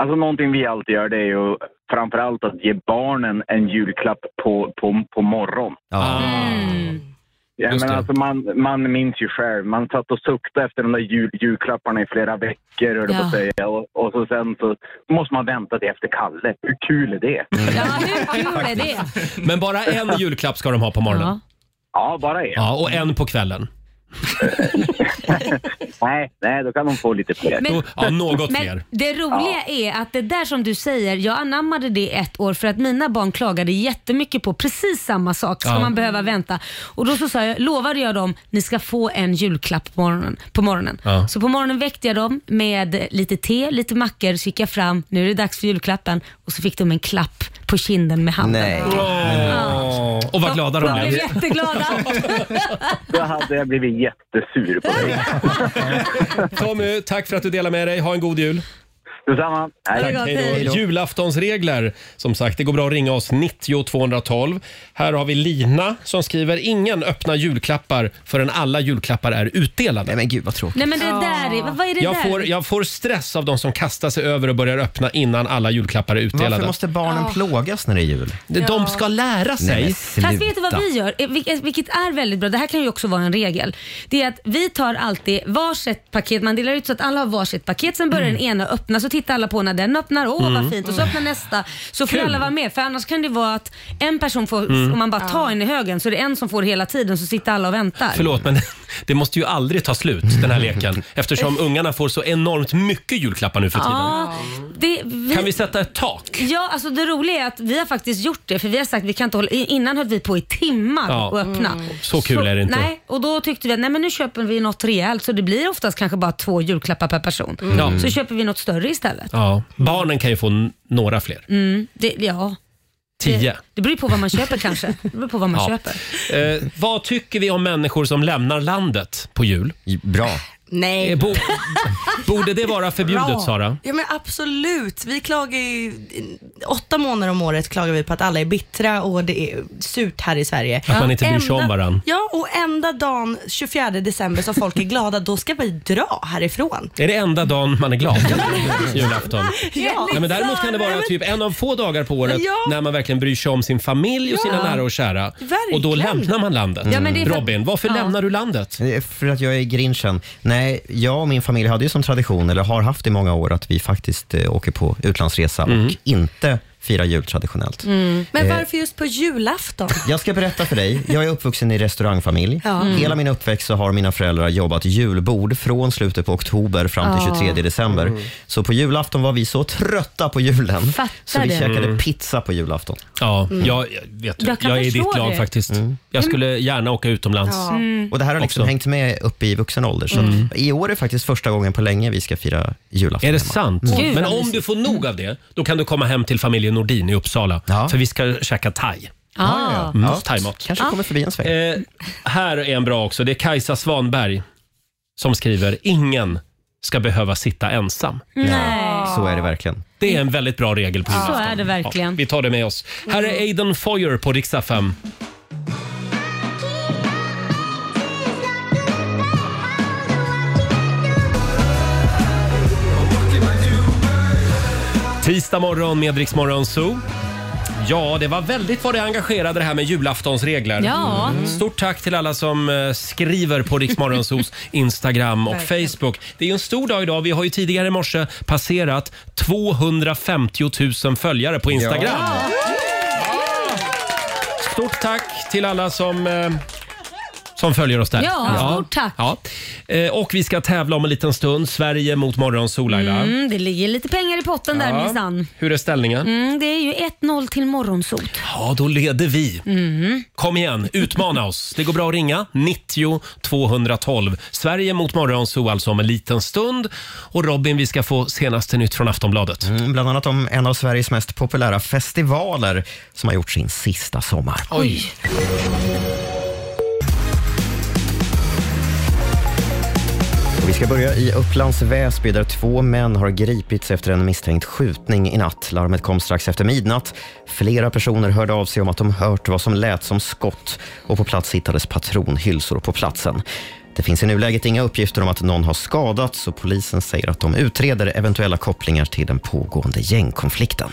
[SPEAKER 13] Alltså någonting vi alltid gör det är ju framförallt att ge barnen en julklapp på, på, på morgon.
[SPEAKER 2] Mm.
[SPEAKER 13] Ja,
[SPEAKER 1] Just
[SPEAKER 13] men
[SPEAKER 1] det.
[SPEAKER 13] alltså man, man minns ju själv. Man satt och suktade efter de där jul, julklapparna i flera veckor, höll jag på att
[SPEAKER 2] Ja.
[SPEAKER 13] säga. Och, och så sen så måste man vänta till efter Kalle. Hur kul är det?
[SPEAKER 2] Ja, hur kul är det?
[SPEAKER 1] Men bara en julklapp ska de ha på morgonen.
[SPEAKER 13] Ja, bara en.
[SPEAKER 1] Ja, och en på kvällen.
[SPEAKER 13] Nej, nej, då kan de få lite fler.
[SPEAKER 1] Då, ja, något
[SPEAKER 2] Men
[SPEAKER 1] fler.
[SPEAKER 2] det roliga är att det där som du säger, jag anammade det ett år för att mina barn klagade jättemycket på precis samma sak. Ska
[SPEAKER 1] Ja.
[SPEAKER 2] man behöva vänta? Och då så sa jag, lovade jag dem, ni ska få en julklapp på morgonen. På morgonen.
[SPEAKER 1] Ja.
[SPEAKER 2] Så på morgonen väckte jag dem med lite te, lite mackor, så gick jag fram, nu är det dags för julklappen. Och så fick de en klapp på kinden med handen.
[SPEAKER 3] Nej.
[SPEAKER 1] Åh. Och vad glada de
[SPEAKER 2] blev
[SPEAKER 1] blev.
[SPEAKER 2] jätteglada.
[SPEAKER 13] Då hade jag blivit jättesur på dig.
[SPEAKER 1] Tommy, tack för att du delade med dig. Ha en god jul.
[SPEAKER 13] Detsamma.
[SPEAKER 1] Tack,
[SPEAKER 13] Hej.
[SPEAKER 1] hej då.
[SPEAKER 13] Hej då.
[SPEAKER 1] Julaftonsregler. Som sagt, det går bra att ringa oss 90 212. Här har vi Lina som skriver “Ingen öppna julklappar förrän alla julklappar är utdelade”. Nej,
[SPEAKER 3] men gud vad tråkigt.
[SPEAKER 2] Nej men det där är, vad är det
[SPEAKER 1] jag
[SPEAKER 2] där?
[SPEAKER 1] får, jag får stress av de som kastar sig över och börjar öppna innan alla julklappar är utdelade.
[SPEAKER 3] Varför måste barnen
[SPEAKER 2] Ja.
[SPEAKER 3] plågas när det är jul?
[SPEAKER 1] De ska lära sig.
[SPEAKER 2] Fast vet du vad vi gör? Eh, vilket- Vilket är väldigt bra. Det här kan ju också vara en regel. Det är att vi tar alltid varsitt paket. Man delar ut så att alla har varsitt paket. Sen börjar den ena öppna. Så tittar alla på när den öppnar. Åh
[SPEAKER 8] Mm.
[SPEAKER 2] vad fint. Och så öppnar nästa. Så får
[SPEAKER 8] Kul.
[SPEAKER 2] alla vara med. För annars kan det vara att en person får,
[SPEAKER 1] Mm.
[SPEAKER 2] om man bara tar en i högen, så är det en som får hela tiden. Så sitter alla och väntar.
[SPEAKER 1] Förlåt, men det måste ju aldrig ta slut, den här leken. Eftersom ungarna får så enormt mycket julklappar nu för tiden.
[SPEAKER 2] Ja, det, vi,
[SPEAKER 1] Kan vi sätta ett tak?
[SPEAKER 2] Ja, alltså det roliga är att vi har faktiskt gjort det för vi har sagt vi kan inte hålla, innan höll vi på i timmar
[SPEAKER 1] Ja.
[SPEAKER 2] och öppna.
[SPEAKER 1] Mm. Så kul är det inte.
[SPEAKER 2] Nej, och då tyckte vi att nej men nu köper vi något rejält så det blir oftast kanske bara två julklappar per person.
[SPEAKER 1] Mm. Ja.
[SPEAKER 2] Så köper vi något större istället.
[SPEAKER 1] Ja. Barnen kan ju få n- några fler.
[SPEAKER 2] Mm, det, ja.
[SPEAKER 1] Tio.
[SPEAKER 2] Det, det beror ju på vad man köper kanske. Det beror på vad man
[SPEAKER 1] Ja.
[SPEAKER 2] köper.
[SPEAKER 1] Eh, vad tycker vi om människor som lämnar landet på jul?
[SPEAKER 3] Bra.
[SPEAKER 7] Nej.
[SPEAKER 1] Eh, Bo borde det vara förbjudet, Sara?
[SPEAKER 7] Ja men absolut. Vi klagar ju, åtta månader om året klagar vi på att alla är bittra och det är surt här i Sverige.
[SPEAKER 1] Att man inte bryr sig om
[SPEAKER 7] Enda-
[SPEAKER 1] varann.
[SPEAKER 7] Ja, och enda dagen 24 december som folk är glada, då ska vi dra härifrån.
[SPEAKER 1] Är det enda dagen man är glad? Julafton.
[SPEAKER 7] Ja.
[SPEAKER 1] Nej, men däremot kan det vara typ en av få dagar på året
[SPEAKER 7] Ja.
[SPEAKER 1] när man verkligen bryr sig om sin familj och sina
[SPEAKER 2] Ja.
[SPEAKER 1] nära och kära.
[SPEAKER 2] Verkligen.
[SPEAKER 1] Och då lämnar man landet.
[SPEAKER 2] Ja, men det är för-
[SPEAKER 1] Robin, varför
[SPEAKER 2] Ja.
[SPEAKER 1] lämnar du landet?
[SPEAKER 3] Det är För att jag är grinchen. Nej, jag och min familj hade ju som tradition, eller har haft i många år, att vi faktiskt eh, åker på utlandsresa
[SPEAKER 2] Mhm.
[SPEAKER 3] och inte firar jul traditionellt.
[SPEAKER 2] Mm.
[SPEAKER 1] Mm.
[SPEAKER 7] Men
[SPEAKER 3] Eh,
[SPEAKER 7] varför just på julafton?
[SPEAKER 3] Jag ska berätta för dig. Jag är uppvuxen i restaurangfamilj.
[SPEAKER 7] Ja. Mm.
[SPEAKER 3] Hela min uppväxt så har mina föräldrar jobbat julbord från slutet på oktober fram till
[SPEAKER 2] Ja.
[SPEAKER 3] 23 december. Så på julafton var vi så trötta på julen
[SPEAKER 2] Fattar
[SPEAKER 3] så vi
[SPEAKER 2] det.
[SPEAKER 3] käkade
[SPEAKER 2] Mm.
[SPEAKER 3] pizza på julafton.
[SPEAKER 1] Ja,
[SPEAKER 2] Mm.
[SPEAKER 1] jag, jag vet du,
[SPEAKER 2] Jag
[SPEAKER 1] jag,
[SPEAKER 2] kan
[SPEAKER 1] är i
[SPEAKER 2] förstå
[SPEAKER 1] ditt lag
[SPEAKER 2] det. Mm.
[SPEAKER 1] faktiskt. Jag skulle gärna åka utomlands.
[SPEAKER 2] Ja. Mm.
[SPEAKER 3] Och det här har liksom hängt med upp i vuxen ålder. Så
[SPEAKER 1] Mm.
[SPEAKER 3] I år är faktiskt första gången på länge vi ska fira julafton
[SPEAKER 1] Är det
[SPEAKER 3] hemma.
[SPEAKER 1] sant?
[SPEAKER 3] Mm.
[SPEAKER 1] Men om du får nog av det, då kan du komma hem till familjen Nordin i Uppsala. För vi ska käka thai.
[SPEAKER 2] Ah. Ja, ja, ja.
[SPEAKER 1] Mm,
[SPEAKER 2] Ja.
[SPEAKER 1] thaimat.
[SPEAKER 3] Kanske kommer förbi en sväng.
[SPEAKER 1] Eh, här är en bra också. Det är Kajsa Svanberg som skriver “Ingen ska behöva sitta ensam”.
[SPEAKER 2] Nej.
[SPEAKER 3] Så är det verkligen.
[SPEAKER 1] Det är en väldigt bra regel på
[SPEAKER 2] Så
[SPEAKER 1] julafton.
[SPEAKER 2] är det verkligen.
[SPEAKER 1] Ja, vi tar det med oss. Här är Aiden Foyer på riksdag 5. Tisdag morgon med Rix Morgon Zoo. Ja, det var väldigt vad det engagerade det här med julaftonsregler.
[SPEAKER 2] Ja. Mm.
[SPEAKER 1] Stort tack till alla som eh, skriver på Rix Morgon Zoos Instagram och
[SPEAKER 9] Verkligen.
[SPEAKER 1] Facebook. Det är ju en stor dag idag. Vi har ju tidigare i morse passerat 250 000 följare på Instagram. Stort tack till alla som eh, som följer oss där.
[SPEAKER 2] Ja, stort tack.
[SPEAKER 1] Ja. Eh, Och vi ska tävla om en liten stund. Sverige mot Morgonzoo, Laila.
[SPEAKER 2] Mm, det ligger lite pengar i potten där
[SPEAKER 1] Ja.
[SPEAKER 2] minsann.
[SPEAKER 1] Hur är ställningen?
[SPEAKER 2] Mm, det är ju 1-0 till morgonsot.
[SPEAKER 1] Ja, då leder vi.
[SPEAKER 2] Mm.
[SPEAKER 1] Kom igen, utmana oss. Det går bra att ringa. 90 212. Sverige mot Morgonzoo alltså om en liten stund. Och Robin, vi ska få senaste nytt från Aftonbladet.
[SPEAKER 3] Mm, bland annat om en av Sveriges mest populära festivaler som har gjort sin sista sommar.
[SPEAKER 1] Oj.
[SPEAKER 3] Och Vi ska börja i Upplands Väsby där två män har gripits efter en misstänkt skjutning i natt. Larmet kom strax efter midnatt. Flera personer hörde av sig om att de hört vad som lät som skott och på plats hittades patronhylsor på platsen. Det finns i nuläget inga uppgifter om att någon har skadats och polisen säger att de utreder eventuella kopplingar till den pågående gängkonflikten.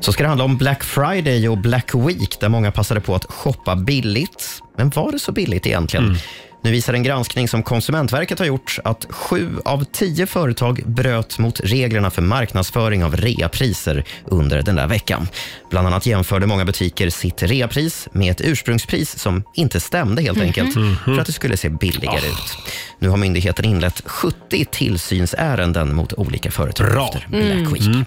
[SPEAKER 3] Så ska det handla om Black Friday och Black Week där många passade på att shoppa billigt. Men var det så billigt egentligen? Nu visar en granskning som Konsumentverket har gjort att sju av tio företag bröt mot reglerna för marknadsföring av reapriser under den där veckan. Bland annat jämförde många butiker sitt reapris med ett ursprungspris som inte stämde helt
[SPEAKER 14] Mhm.
[SPEAKER 3] enkelt
[SPEAKER 14] Mhm.
[SPEAKER 3] för att det skulle se billigare ut. Nu har myndigheten inlett 70 tillsynsärenden mot olika företag efter Black
[SPEAKER 14] Mm.
[SPEAKER 3] Week.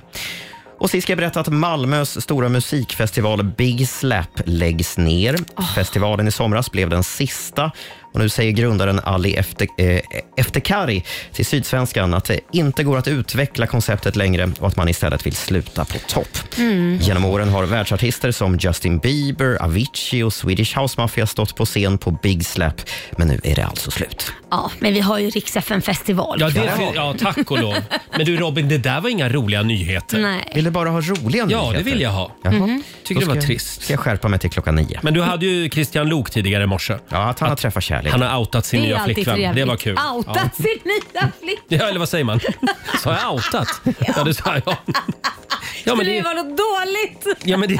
[SPEAKER 3] Och sist ska jag berätta att Malmös stora musikfestival Big Slap läggs ner. Festivalen i somras blev den sista Och nu säger grundaren Ali Efter, eh, Eftekari till Sydsvenskan att det inte går att utveckla konceptet längre och att man istället vill sluta på topp.
[SPEAKER 8] Mm.
[SPEAKER 3] Genom åren har världsartister som Justin Bieber, Avicii och Swedish House Mafia stått på scen på Big Slap, men nu är det alltså slut.
[SPEAKER 2] Ja, men vi har ju riks festival
[SPEAKER 1] Ja, det, ja, tack och lov. Men du Robin, det där var inga roliga nyheter.
[SPEAKER 2] Nej.
[SPEAKER 3] Vill du bara ha roliga
[SPEAKER 1] Ja, det
[SPEAKER 3] nyheter?
[SPEAKER 1] vill jag ha.
[SPEAKER 3] Jaha.
[SPEAKER 1] Mhm. Tycker
[SPEAKER 3] Då
[SPEAKER 1] det var
[SPEAKER 3] ska jag-
[SPEAKER 1] trist.
[SPEAKER 3] Ska jag skärpa mig till klockan nio.
[SPEAKER 1] Men du hade ju Christian Lok tidigare i morse.
[SPEAKER 3] Ja, att han har träffat kärlek.
[SPEAKER 1] Han har outat sin
[SPEAKER 2] Det är
[SPEAKER 1] nya
[SPEAKER 2] alltid
[SPEAKER 1] flickvän. Det
[SPEAKER 2] trevligt.
[SPEAKER 1] var kul.
[SPEAKER 2] Outat sin nya flickvän.
[SPEAKER 1] Ja, eller vad säger man? Sa jag outat? Ja, det sa jag. Ja, men
[SPEAKER 2] det
[SPEAKER 1] det,
[SPEAKER 2] var något dåligt.
[SPEAKER 1] ja, men det,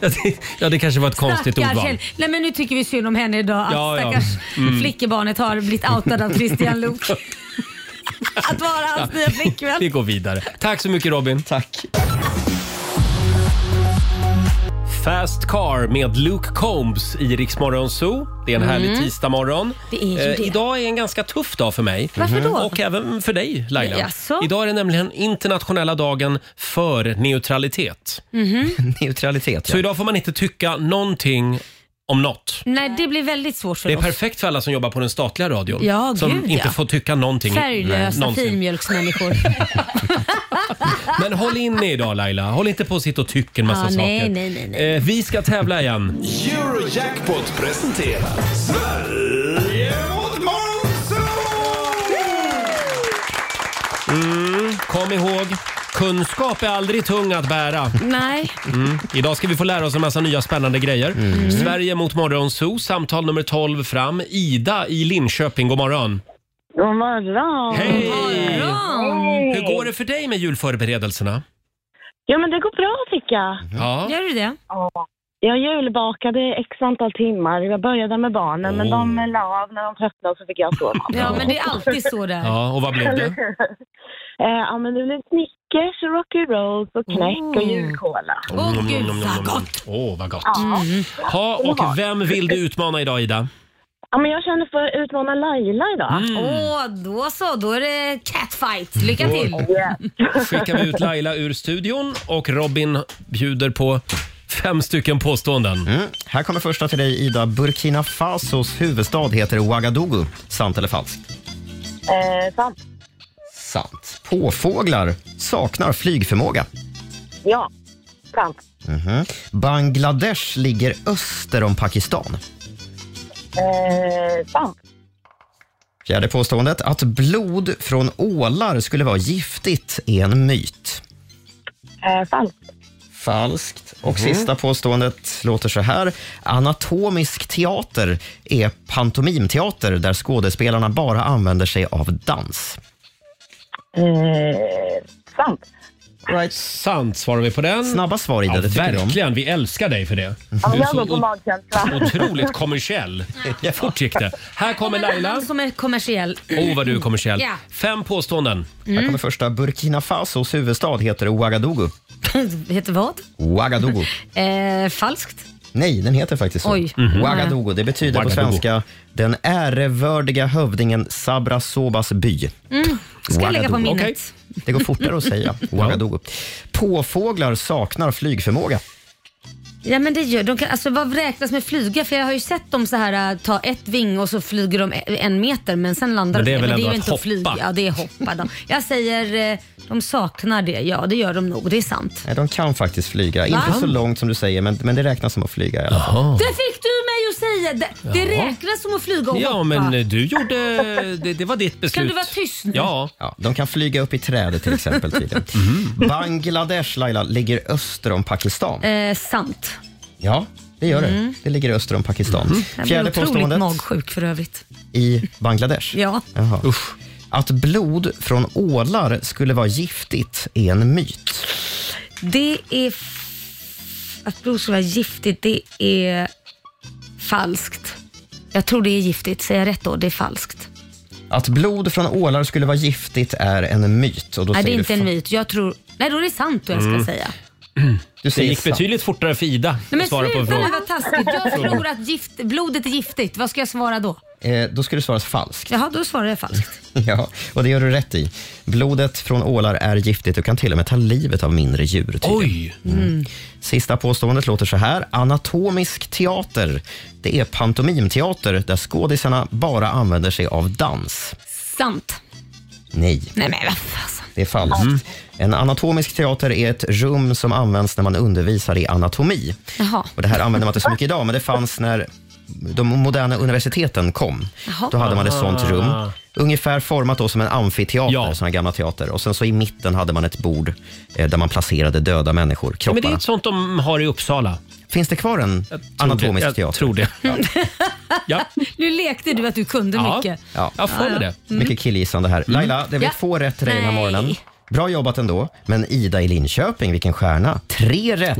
[SPEAKER 1] ja, det, ja, det kanske var ett konstigt
[SPEAKER 2] Stackars
[SPEAKER 1] ordval.
[SPEAKER 2] Hel- Nej men nu tycker vi synd om henne idag. Att
[SPEAKER 1] Ja, ja.
[SPEAKER 2] stackars
[SPEAKER 1] Mm.
[SPEAKER 2] flickebarnet har blivit outad av Christian Luuk. att vara hans nya flickvän.
[SPEAKER 1] Vi går vidare. Tack så mycket Robin.
[SPEAKER 3] Tack.
[SPEAKER 1] Fast Car med Luke Combs i Rix Morgon Zoo. Det är en
[SPEAKER 9] Mm.
[SPEAKER 1] härlig tisdagmorgon. Eh,
[SPEAKER 9] Det är ju det.
[SPEAKER 1] Idag är en ganska tuff dag för mig.
[SPEAKER 9] Varför då?
[SPEAKER 1] Och även för dig Laila.
[SPEAKER 9] Jaså?
[SPEAKER 1] Idag är det nämligen internationella dagen för neutralitet.
[SPEAKER 3] Neutralitet,
[SPEAKER 9] Mm.
[SPEAKER 1] Så idag får man inte tycka någonting om något.
[SPEAKER 2] Nej det blir väldigt svårt för
[SPEAKER 1] Det är
[SPEAKER 2] oss.
[SPEAKER 1] perfekt för alla som jobbar på den statliga radion.
[SPEAKER 2] Ja,
[SPEAKER 1] som
[SPEAKER 2] gud,
[SPEAKER 1] inte
[SPEAKER 2] ja.
[SPEAKER 1] får tycka någonting.
[SPEAKER 2] Färglösa
[SPEAKER 1] någonsin.
[SPEAKER 2] finmjölksmänniskor.
[SPEAKER 1] Men håll inne idag Laila. Håll inte på och sitta och tycka en massa
[SPEAKER 2] Ja,
[SPEAKER 1] saker.
[SPEAKER 2] Ah, nej, nej, nej,
[SPEAKER 1] Eh, Vi ska tävla igen.
[SPEAKER 5] Eurojackpot presenterar Sverige mot
[SPEAKER 1] Mm, kom ihåg, kunskap är aldrig tung att bära.
[SPEAKER 2] Nej.
[SPEAKER 1] Mm. Idag ska vi få lära oss en massa nya spännande grejer.
[SPEAKER 2] Mm.
[SPEAKER 1] Mm. Sverige mot Morgonzoo, samtal nummer 12 fram. Ida i Linköping, god morgon.
[SPEAKER 14] God morgon!
[SPEAKER 1] Hej!
[SPEAKER 14] Hej.
[SPEAKER 1] Hur går det för dig med julförberedelserna?
[SPEAKER 14] Ja, men det går bra tycker jag.
[SPEAKER 1] Ja.
[SPEAKER 2] Gör du det?
[SPEAKER 14] Ja. Jag julbakade x antal timmar. Jag började med barnen,
[SPEAKER 13] Oh.
[SPEAKER 14] men de la av när de tröttnade så fick jag stå
[SPEAKER 2] Ja men det är alltid så där.
[SPEAKER 1] Ja, och vad blev det?
[SPEAKER 14] Eh, ja, men det blev Snickers, Rock'n'Rolls och knäck och julkola.
[SPEAKER 1] Åh, gud vad gott! Åh, vad gott. Mm.
[SPEAKER 14] Ja.
[SPEAKER 1] Ha, och vem vill du utmana idag, Ida?
[SPEAKER 14] Ja, men jag känner för att utmana Laila idag.
[SPEAKER 2] Mm. Åh, då så. Då är det catfight. Lycka
[SPEAKER 1] Då-
[SPEAKER 2] till.
[SPEAKER 1] skickar vi ut Laila ur studion och Robin bjuder på fem stycken påståenden.
[SPEAKER 3] Mm. Här kommer första till dig, Ida. Burkina Fasos huvudstad heter Ouagadougou. Sant eller falskt?
[SPEAKER 14] Eh, sant.
[SPEAKER 3] Sant. Påfåglar saknar flygförmåga.
[SPEAKER 14] Ja. Sant.
[SPEAKER 3] Mhm. Bangladesh ligger öster om Pakistan.
[SPEAKER 14] Eh, sant.
[SPEAKER 3] Fjärde påståendet. Att blod från ålar skulle vara giftigt är en myt.
[SPEAKER 14] Eh, falskt.
[SPEAKER 3] Falskt. Och
[SPEAKER 14] Mhm.
[SPEAKER 3] sista påståendet låter så här. Anatomisk teater är pantomimteater där skådespelarna bara använder sig av dans.
[SPEAKER 14] Eh, sant.
[SPEAKER 3] Right.
[SPEAKER 1] Sant svarar vi på den.
[SPEAKER 3] Snabba svar Ida,
[SPEAKER 1] Ja,
[SPEAKER 3] det tycker vi om.
[SPEAKER 1] verkligen. Vi älskar dig för det.
[SPEAKER 14] Ja,
[SPEAKER 1] Du är
[SPEAKER 14] jag går på
[SPEAKER 1] så
[SPEAKER 14] magkänsla.
[SPEAKER 1] otroligt kommersiell. Fort gick det. Här kommer Laila.
[SPEAKER 2] Han som är kommersiell.
[SPEAKER 1] Åh, vad du är kommersiell.
[SPEAKER 2] Ja.
[SPEAKER 1] Fem påståenden.
[SPEAKER 3] Här kommer första. Burkina Fasos huvudstad heter Ouagadougou.
[SPEAKER 2] Heter vad?
[SPEAKER 3] Ouagadougou.
[SPEAKER 2] Eh, falskt.
[SPEAKER 3] Nej, den heter faktiskt så.
[SPEAKER 2] Oj. Mhm.
[SPEAKER 3] Ouagadougou. Det betyder på
[SPEAKER 1] Ouagadougou.
[SPEAKER 3] svenska den ärevördiga hövdingen Sabra Sobas by.
[SPEAKER 2] Mm. Ska jag lägga på
[SPEAKER 3] Ouagadougou.
[SPEAKER 2] minnet.
[SPEAKER 3] Okej. Det går fortare att säga. Ouagadougou. Påfåglar saknar flygförmåga.
[SPEAKER 2] Ja men det gör de. Kan, alltså vad räknas med flyga? För jag har ju sett dem så här äh, ta ett ving och så flyger de e- en meter men sen landar
[SPEAKER 1] Men det är
[SPEAKER 2] de.
[SPEAKER 1] väl ändå
[SPEAKER 2] ju
[SPEAKER 1] att
[SPEAKER 2] inte
[SPEAKER 1] hoppa?
[SPEAKER 2] flyga. Ja det är hoppa. Då. Jag säger eh, de saknar det. Ja det gör de nog. Det är sant.
[SPEAKER 3] Nej, de kan faktiskt flyga. Inte så långt som du säger, men, men det räknas som att flyga i alla fall.
[SPEAKER 2] Det fick du mig att säga. Det, det
[SPEAKER 3] Jaha.
[SPEAKER 2] räknas som att flyga och
[SPEAKER 1] Ja,
[SPEAKER 2] hoppa.
[SPEAKER 1] men eh, du gjorde... Det, det var ditt beslut.
[SPEAKER 2] Kan du vara tyst nu?
[SPEAKER 1] Ja.
[SPEAKER 3] De kan flyga upp i trädet till exempel. tydligen. Bangladesh, Laila, ligger öster om Pakistan.
[SPEAKER 2] Mhm. Eh, sant.
[SPEAKER 3] Ja, det gör
[SPEAKER 2] Mm.
[SPEAKER 3] det. Det ligger öster om Pakistan.
[SPEAKER 2] Jag blir
[SPEAKER 3] Fjärde
[SPEAKER 2] otroligt
[SPEAKER 3] påståendet.
[SPEAKER 2] magsjuk för övrigt.
[SPEAKER 3] I Bangladesh?
[SPEAKER 2] Ja.
[SPEAKER 3] Jaha. Att blod från ålar skulle vara giftigt är en myt.
[SPEAKER 2] Det är... f- Att blod ska vara giftigt, det är falskt. Jag tror det är giftigt. Säger jag rätt då? Det är falskt.
[SPEAKER 3] Att blod från ålar skulle vara giftigt är en myt. Och då
[SPEAKER 2] Nej, det är
[SPEAKER 3] säger
[SPEAKER 2] inte
[SPEAKER 3] du
[SPEAKER 2] en
[SPEAKER 3] fa-
[SPEAKER 2] myt. Jag tror... Nej, då är det sant då jag ska
[SPEAKER 3] Mm.
[SPEAKER 2] säga.
[SPEAKER 3] Du
[SPEAKER 1] Det
[SPEAKER 3] säger
[SPEAKER 1] gick
[SPEAKER 3] sant.
[SPEAKER 1] betydligt fortare för Ida
[SPEAKER 2] Nej, men
[SPEAKER 1] att svara på
[SPEAKER 2] sluta nu
[SPEAKER 1] frågan.
[SPEAKER 2] vad taskigt. Jag tror att gift, blodet är giftigt. Vad ska jag svara då?
[SPEAKER 3] Eh, då ska det svaras falskt.
[SPEAKER 2] Jaha, då svarar jag falskt.
[SPEAKER 3] Ja, och det gör du rätt i. Blodet från ålar är giftigt och kan till och med ta livet av mindre djur. tydligen.
[SPEAKER 1] Oj!
[SPEAKER 3] Mm. Sista påståendet låter så här. Anatomisk teater. Det är pantomimteater där skådisarna bara använder sig av dans.
[SPEAKER 2] Sant.
[SPEAKER 3] Nej.
[SPEAKER 2] Nej men vad fasen.
[SPEAKER 3] Det är falskt. En anatomisk teater är ett rum som används när man undervisar i anatomi.
[SPEAKER 2] Jaha.
[SPEAKER 3] Och Det här använder man inte så mycket idag, men det fanns när de moderna universiteten kom.
[SPEAKER 2] Jaha.
[SPEAKER 3] Då hade man ett sånt rum.
[SPEAKER 2] Ah.
[SPEAKER 3] Ungefär format då som en amfiteater, såna här gamla teater. Och sen så i mitten hade man ett bord eh, där man placerade döda människor,
[SPEAKER 1] Ja, men det är
[SPEAKER 3] kropparna.
[SPEAKER 1] ett sånt de har i Uppsala.
[SPEAKER 3] Finns det kvar en anatomisk
[SPEAKER 1] jag
[SPEAKER 3] teater?
[SPEAKER 1] tror det.
[SPEAKER 2] Nu lekte du att du kunde
[SPEAKER 3] Ja.
[SPEAKER 2] mycket.
[SPEAKER 3] Ja.
[SPEAKER 2] Ja, ja. Mm.
[SPEAKER 3] Mycket killgissande här. Laila, det är väl
[SPEAKER 2] Ja.
[SPEAKER 3] få rätt till dig den här
[SPEAKER 2] Nej.
[SPEAKER 3] morgonen. Bra jobbat ändå. Men Ida i Linköping, vilken stjärna. Tre rätt.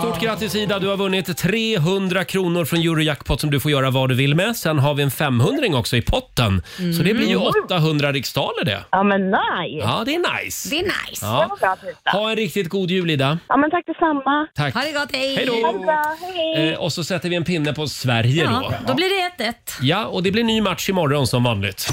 [SPEAKER 1] Stort grattis Ida, du har vunnit 300 kronor från Eurojackpot som du får göra vad du vill med. Sen har vi en 500 också i potten. Så det blir ju 800 riksdaler det.
[SPEAKER 14] Ja, men nej.
[SPEAKER 1] Ja, det är nice.
[SPEAKER 2] Det är nice.
[SPEAKER 1] Ja. Ha en riktigt god jul Ida.
[SPEAKER 14] Ja, men tack detsamma.
[SPEAKER 1] Tack.
[SPEAKER 2] Ha det gott, hej.
[SPEAKER 1] Hej då.
[SPEAKER 14] Ha det bra, hej.
[SPEAKER 1] Eh, och så sätter vi en pinne på Sverige
[SPEAKER 2] Ja,
[SPEAKER 1] då.
[SPEAKER 2] då blir det 1-1.
[SPEAKER 1] Ja, och det blir ny match imorgon som vanligt.